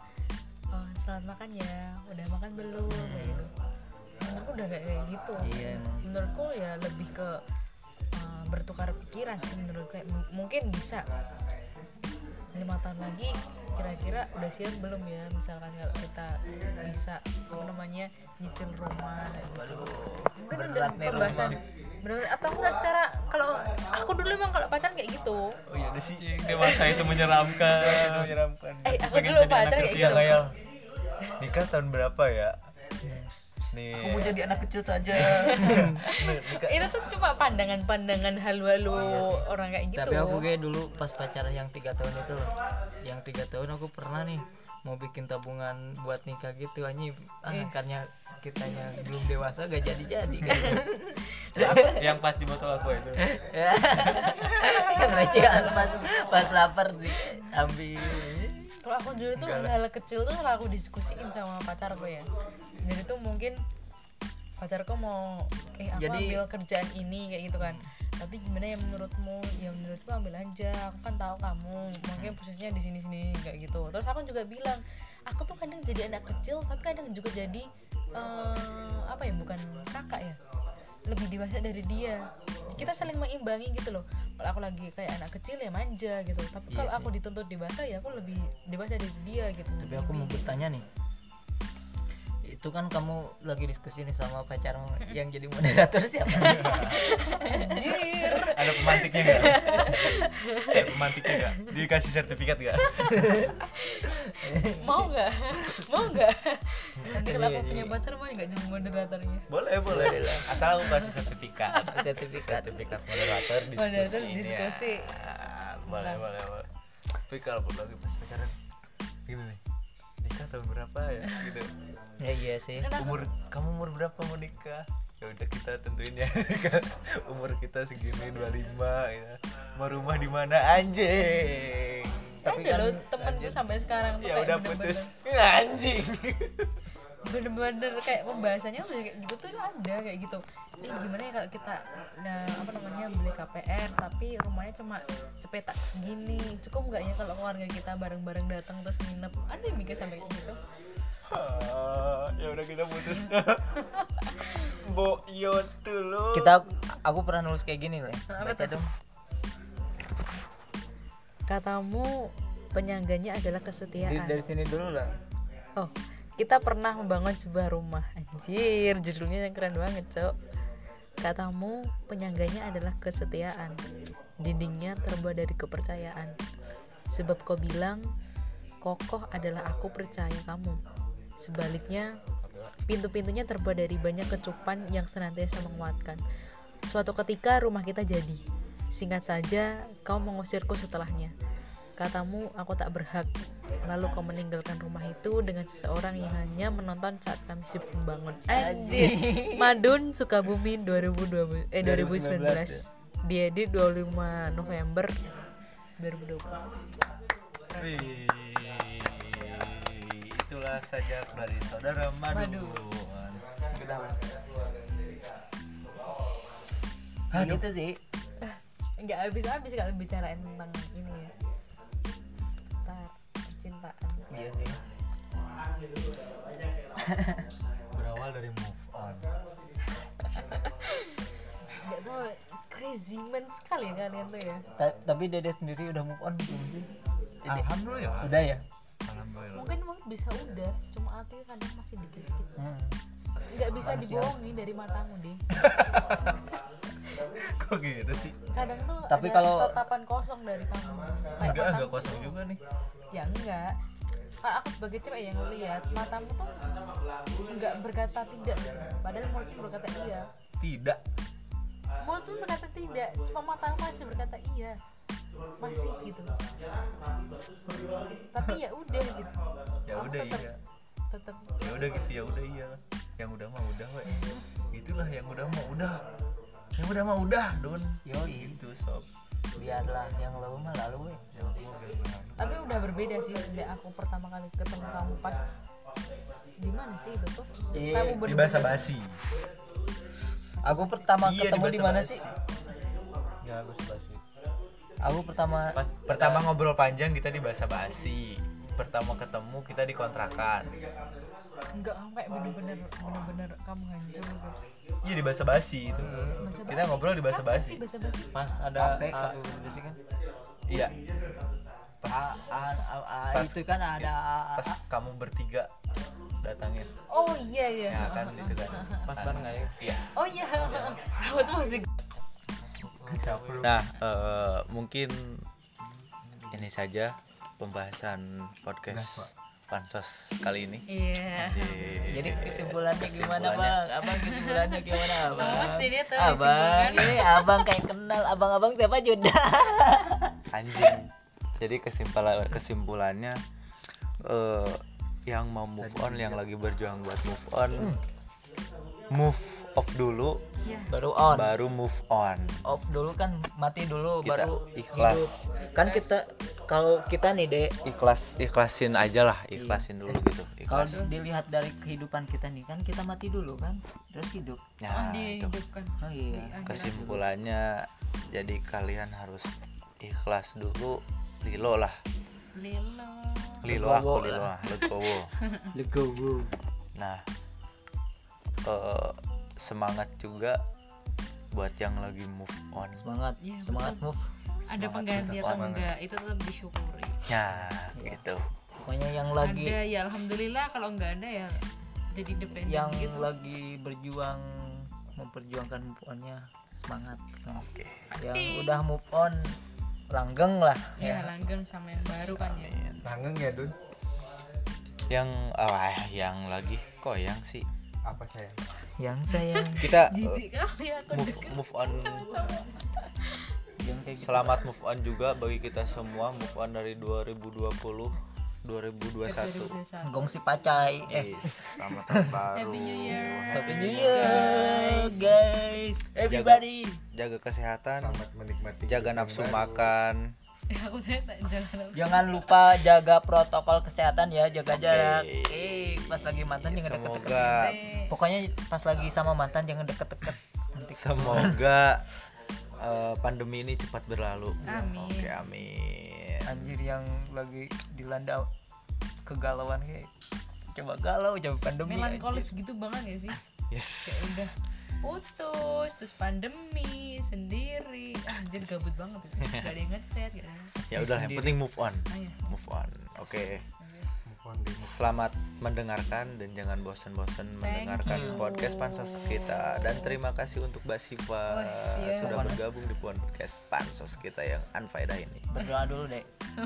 S2: "Oh, selamat makan ya udah makan belum kayak gitu menurutku udah nggak kayak gitu
S3: Hmm. Iya, emang.
S2: menurutku ya lebih ke uh, bertukar pikiran sih menurut kayak m- mungkin bisa lima tahun lagi kira-kira udah siap belum ya misalkan kalau kita bisa apa namanya nyicil rumah kayak gitu mungkin udah
S3: berat nih
S2: pembahasan benar atau enggak secara kalau aku dulu emang kalau pacaran kayak gitu
S5: Oh iya ada sih. Dewasa itu
S3: (laughs)
S5: menyeramkan. Dewasa itu menyeramkan.
S1: Nah,
S2: eh aku dulu pacaran kayak gitu
S5: Nikah tahun berapa ya?
S1: nih
S3: Hmm. Aku mau jadi anak kecil saja. (laughs)
S2: itu tuh cuma pandangan-pandangan halu-halu orang kayak gitu
S3: Oh, iya Tapi aku kayak dulu pas pacaran yang tiga tahun itu loh. Yang tiga tahun aku pernah nih mau bikin tabungan buat nikah gitu anjing ah, karena kitanya belum dewasa gak kan? jadi jadi
S4: yang pas di botol aku
S3: (laughs)
S4: itu
S3: yang recehan pas pas lapar diambil
S2: kalau aku dulu tuh hal kecil tuh kalau aku diskusiin sama pacarku ya jadi tuh mungkin pacarku mau eh aku
S3: Jadi-
S2: ambil kerjaan ini kayak gitu kan tapi gimana ya menurutmu ya menurutku ambil aja aku kan tahu kamu mungkin posisinya di sini sini kayak gitu terus aku juga bilang aku tuh kadang jadi anak kecil tapi kadang juga jadi eh, apa ya bukan kakak ya lebih dewasa dari dia kita saling mengimbangi gitu loh kalau aku lagi kayak anak kecil ya manja gitu tapi
S3: Iya
S2: kalau aku dituntut dewasa ya aku lebih dewasa dari dia gitu
S3: tapi aku mau bertanya nih itu kan kamu lagi diskusi nih sama pacarmu yang jadi moderator siapa
S2: (laughs) anjir
S5: ada pemantiknya nggak ada pemantiknya nggak dikasih sertifikat nggak
S2: mau nggak (laughs) mau nggak nanti kalau
S5: Iya,
S2: aku punya pacar mau nggak jadi moderatornya
S5: boleh boleh asal aku kasih sertifikat
S3: sertifikat
S5: sertifikat moderator
S2: moderator
S5: diskusi ini
S2: diskusi
S5: ya. boleh boleh boleh tapi kalau lagi pas pacaran gini nih nikah tahun berapa ya gitu
S3: ya iya sih
S2: Kenapa?
S5: umur kamu umur berapa mau nikah ya udah kita tentuin ya (laughs) umur kita segini 25 ya mau rumah di mana anjing kan
S2: tapi ada loh Kan temenku sampai sekarang tuh
S5: ya
S2: kayak
S5: udah putus
S2: bener-bener-
S5: anjing
S2: bener-bener kayak pembahasannya udah kayak gitu tuh ada kayak gitu eh gimana ya kalau kita nah, apa namanya beli KPR tapi rumahnya cuma sepetak segini cukup nggak ya kalau keluarga kita bareng-bareng datang terus nginep ada yang mikir sampai kayak gitu
S5: Ah, ya udah kita
S3: (laughs)
S5: putus bo yo tuh lo
S3: kita aku pernah nulis kayak gini loh ya. baca dong
S2: katamu penyangganya adalah
S3: Di-
S2: kesetiaan
S3: dari sini dulu lah
S2: Oh, kita pernah membangun sebuah rumah. Anjir, judulnya yang keren banget, Cok. Katamu, penyangganya adalah kesetiaan. Dindingnya terbuat dari kepercayaan. Sebab kau bilang, kokoh adalah aku percaya kamu. Sebaliknya, pintu-pintunya terbuat dari banyak kecupan yang senantiasa menguatkan. Suatu ketika rumah kita jadi. Singkat saja, kau mengusirku setelahnya. Katamu, aku tak berhak. Lalu kau meninggalkan rumah itu dengan seseorang yang hanya menonton saat kami sibuk membangun. Anjir. (laughs) Madun Sukabumi 2020 eh 2019. Diedit 25 November 2020.
S5: Wih, itulah saja dari saudara madu,
S3: Nah, gitu sih
S2: Enggak habis-habis kalau bicarain tentang ini ya. Seputar percintaan.
S3: iya sih
S5: berawal dari move on
S2: Enggak tahu crazy man sekali ya kalian tuh ya.
S3: Ta- tapi dede sendiri udah move on belum sih Dede.
S5: alhamdulillah
S3: udah ya
S5: alhamdulillah
S2: Mungkin mungkin bisa udah, cuma hati kadang masih dikit-dikit.
S3: Hmm.
S2: Enggak bisa
S5: ya.
S2: dibohongi dari matamu, deh.
S5: (laughs) kok gitu sih
S2: kadang tuh
S3: Tapi
S2: ada
S3: kalau-
S2: tatapan kosong dari kamu Kayak
S5: enggak
S2: matamu
S5: enggak kosong juga nih
S2: tuh- ya enggak Kalau aku sebagai cewek yang lihat matamu tuh enggak berkata tidak gitu. padahal mulutmu berkata iya
S5: tidak
S2: mulutmu berkata tidak cuma matamu masih berkata iya masih gitu tapi ya udah gitu
S5: ya
S2: Aku
S5: udah
S2: tetep-
S5: iya
S2: tetap
S5: ya udah gitu ya udah iya yang udah mah udah we itulah yang udah mah udah yang udah mah udah don
S3: yoi
S5: itu sob
S3: biarlah yang lalu mah lalu weh
S2: tapi udah berbeda sih sejak aku pertama kali ketemu kamu pas di mana sih itu tuh
S3: Iya,
S2: kamu
S5: di
S2: bener-bener-
S5: bahasa basi
S3: aku pertama
S5: Iya,
S3: ketemu di Iya, mana sih
S5: dibasa-basi. ya bahasa basi
S3: aku pertama
S5: pas pertama ngobrol panjang kita di bahasa basi pertama ketemu kita di kontrakan
S2: enggak kamu kayak bener-bener bener-bener kamu hancur gitu
S5: iya di bahasa basi itu kita ngobrol di bahasa
S2: Kapan sih
S5: basi
S2: bahasa basi
S3: pas ada
S4: Sampai
S3: satu sih kan
S5: iya
S3: A, A, A, A,
S5: Pas-
S3: itu kan ada A, A,
S5: pas
S3: A.
S5: kamu bertiga datangin
S2: oh iya iya
S5: ya kan itu kan
S4: pas bareng nggak ya
S5: iya
S2: oh iya (laughs) rambut masih
S1: Nah, eh, mungkin ini saja pembahasan podcast pansos kali ini.
S2: Iya.
S3: Jadi kesimpulannya gimana
S1: Kesimpulannya.
S3: bang? Abang kesimpulannya gimana abang?
S2: pasti dia tahu
S3: abang,
S2: kesimpulan.
S3: eh abang kayak kenal abang-abang siapa Juda?
S1: anjing jadi kesimpulan kesimpulannya eh, yang mau move on yang lagi berjuang buat move on
S5: Hmm.
S1: move off dulu
S2: Iya.
S3: Baru on,
S1: baru move on
S3: off dulu kan mati dulu
S1: Kita
S3: baru
S1: ikhlas.
S3: hidup. Kan kita kalau kita nih deh
S1: ikhlas ikhlasin aja lah ikhlasin dulu gitu
S3: kalau
S1: ikhlas
S3: dilihat dari kehidupan kita nih kan kita mati dulu kan terus hidup.
S5: Ah,
S1: nah itu
S2: dihidupkan.
S3: Oh iya.
S1: kesimpulannya jadi kalian harus ikhlas dulu lilo lah
S2: Lilo.
S1: lilo aku lilo lah legowo
S3: Lego bu.
S1: Nah, eh, semangat juga buat yang lagi move on.
S3: Semangat,
S2: Iya,
S3: semangat move.
S2: Ada pengganti atau enggak itu tetap disyukuri.
S1: Ya, gitu.
S3: Pokoknya yang lagi
S2: Ada ya alhamdulillah kalau enggak ada ya jadi dependen
S3: yang
S2: gitu.
S3: lagi berjuang memperjuangkan move onnya semangat Nah,
S1: Oke.
S3: yang udah move on langgeng lah
S2: Ya, langgeng sama yang baru kan ya.
S7: Langgeng ya Dun
S1: Yang ah, yang lagi koyang sih.
S7: Apa saya?
S3: yang sayang
S1: Kita eh,
S2: Jijik kali aku
S1: move move on.
S3: yang kayak gitu
S1: Selamat move on juga bagi kita semua move on dari 2020 2021.
S2: desa.
S3: gongsi pacai eh
S1: Yes, selamat tahun baru.
S2: (laughs) Happy New Year. (laughs)
S3: happy new year guys everybody
S1: Jaga kesehatan,
S7: Selamat menikmati
S1: jaga
S7: hidup
S1: nafsu
S7: yang baru.
S1: makan.
S2: Ya, aku tadi tak jangan
S3: jangan lupa jaga protokol kesehatan ya jaga jarak
S1: Oke. Iya,
S3: eh pas lagi mantan jangan deket-deket
S1: Semoga
S3: pokoknya pas lagi sama mantan jangan deket-deket nanti
S1: (laughs) Semoga eh, pandemi ini cepat berlalu.
S2: Amin.
S1: Oke, amin.
S3: anjir yang lagi dilanda kegalauan kayak coba galau coba pandemi
S2: melankolis gitu banget ya sih. Kayak
S1: Yes.
S2: udah putus, terus pandemi, sendiri. Ah, jadi gabut banget
S3: (laughs)
S2: itu. Gak ada yang ngechat gitu.
S1: Ya udah, yang penting move on.
S2: Ayo.
S1: Move on. Oke.
S7: Move on, Dun.
S1: Selamat mendengarkan dan jangan bosan-bosan mendengarkan podcast Pansos kita. Dan terima kasih untuk Mbak Siva
S2: siap.
S3: iya,
S1: sudah bergabung di podcast Pansos kita yang unfaedah ini.
S3: berdoa dulu deh
S2: (laughs)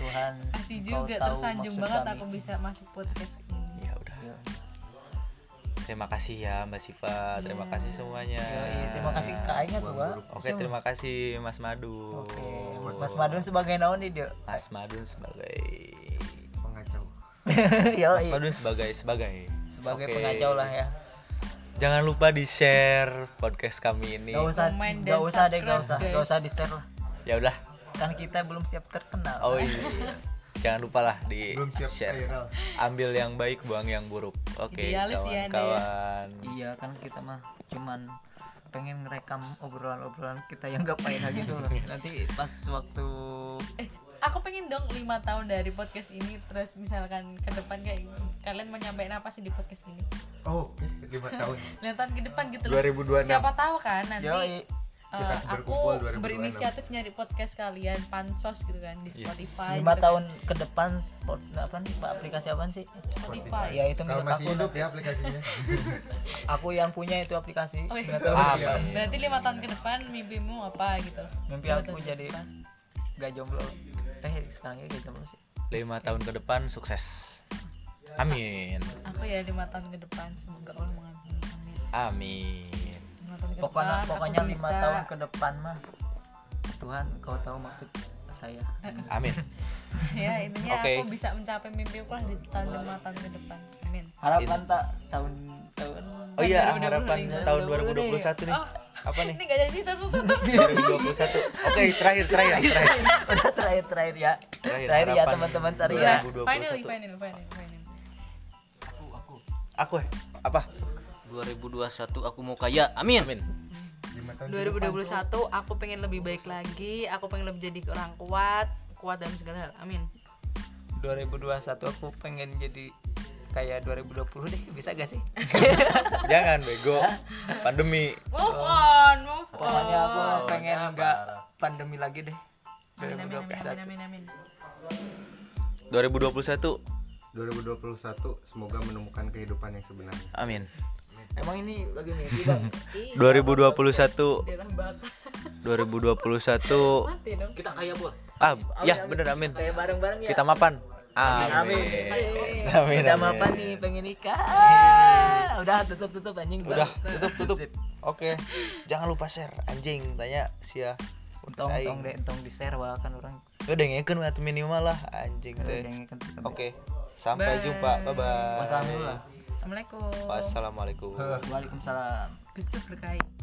S3: Tuhan
S2: Asih
S3: kau
S2: juga
S3: tahu
S2: tersanjung
S3: maksud
S2: banget
S3: kami.
S2: aku bisa masuk podcast ini.
S1: Ya udah.
S3: Iya.
S1: Terima kasih ya Mbak Siva. Terima kasih semuanya.
S3: Yoi, Iya. terima kasih kak Aing tuh Wak.
S1: Iya, Oke, terima kasih Mas Madu.
S3: Oke, Mas Madun sebagai naon nih dia
S1: Mas Madun sebagai
S7: Pengacau
S1: Mas
S3: (laughs) Yoi,
S1: Madun sebagai sebagai
S3: sebagai
S1: Oke.
S3: pengacau lah ya
S1: Jangan lupa di share podcast kami ini.
S3: Gak usah,
S2: Komen dan
S3: gak usah deh,
S2: subscribe,
S3: gak usah, gak
S2: guys.
S3: usah di share lah
S1: Ya udah.
S3: Kan kita belum siap terkenal
S1: Oh
S2: (laughs)
S1: iya. Jangan lupa lah di
S7: Belum siap
S1: share.
S7: viral
S1: Ambil yang baik, buang yang buruk. Oke,
S2: Idealis ya, Anda ya.
S1: kawan-kawan.
S3: Iya kan kita mah cuman pengen ngerekam obrolan-obrolan kita yang gak pahit lagi (laughs) tuh loh Nanti pas waktu
S2: Eh, aku pengen dong lima tahun dari podcast ini terus misalkan ke depan kayak kalian menyampaikan apa sih di podcast ini?
S7: Oh, 5 tahun
S2: (laughs) Lima tahun ke depan gitu loh.
S7: 2026.
S2: Siapa tahu kan nanti
S3: Yoi,
S2: eh,
S7: Kita
S2: aku
S7: berkumpul 2026.
S2: berinisiatif nyari podcast kalian pansos gitu kan di Spotify. gitu
S3: 5
S2: kan.
S3: tahun ke depan sport, apa nih, aplikasi apa sih?
S2: Spotify.
S3: Ya itu
S7: Kalau
S3: menurut
S7: masih
S3: aku,
S7: hidup ya aplikasinya
S3: aku yang punya itu aplikasi
S2: Oke.
S3: Nggak tahu
S1: Ah,
S7: Iya.
S1: baik.
S2: Berarti lima tahun ke depan mimpimu apa gitu?
S3: mimpi
S2: Lima
S3: aku
S2: tahun ke
S3: jadi
S2: depan.
S3: gak jomblo eh sekarang ini gak jomblo sih
S1: Lima tahun ke depan sukses. Amin.
S2: Aku ya lima tahun ke depan semoga Allah mengampuni. Amin.
S1: Amin.
S2: Lima tahun ke depan,
S3: pokoknya
S2: Iya, aku
S3: pokoknya lima
S2: bisa.
S3: tahun ke depan mah Tuhan kau tahu maksud saya
S2: Eh.
S1: Amin.
S2: (laughs) ya intinya
S1: Oke.
S2: aku bisa mencapai mimpiku lah di tahun lima tahun ke depan. Amin.
S3: harapan tak tahun tahun
S1: Oh iya,
S2: 2025.
S1: harapan tahun 2021 nih.
S2: Oh.
S1: Apa nih? Iya.
S2: Ini gak jadi tutup tutup.
S1: 2021. Oke, terakhir terakhir terakhir.
S3: udah terakhir terakhir ya
S1: Terakhir,
S3: terakhir, ya
S1: harapan.
S3: teman-teman
S1: Iya.
S3: serius
S2: Yes,
S1: 2021.
S2: finally, finally, finally, finally.
S1: Aku eh, apa?
S4: 2021 aku mau kaya amin
S1: Amin.
S2: 2021 aku pengen lebih baik lagi, aku pengen lebih jadi orang kuat, kuat dalam segala hal. Amin.
S3: 2021 aku pengen jadi kayak 2020 deh bisa gak sih
S1: Jangan bego. Pandemi.
S2: Move on, move on.
S3: Oh, pokoknya aku pengen nggak ya, pandemi lagi deh
S2: Amin, amin, amin, amin,
S3: 2021
S2: amin, amin.
S1: 2021.
S7: 2021 semoga menemukan kehidupan yang sebenarnya
S1: Amin.
S3: emang ini lagi
S1: (laughs)
S3: mimpi bang
S1: 2021
S2: Daerah (laughs) Batak.
S1: 2021
S2: Mati dong.
S4: kita kaya bol
S1: ah ya bener amin
S3: kayak bareng-bareng ya
S1: kita mapan
S3: Amin.
S2: Amin.
S1: Amin,
S3: Udah
S1: amin.
S3: apa nih pengen nikah? Udah tutup tutup anjing.
S1: Udah, tutup tutup. Oke. Jangan lupa share anjing tanya sia
S3: Entong
S1: podcast
S3: entong
S1: aing.
S3: deh entong di share bahkan orang.
S1: Udah dengekeun atau minimal lah anjing
S3: Ya
S1: teh. Oke. Sampai
S2: Bye.
S1: jumpa. Bye bye.
S3: Wassalam dulu lah.
S2: Assalamualaikum.
S1: Wassalamualaikum.
S3: Waalaikumsalam.
S2: Gusti berkait.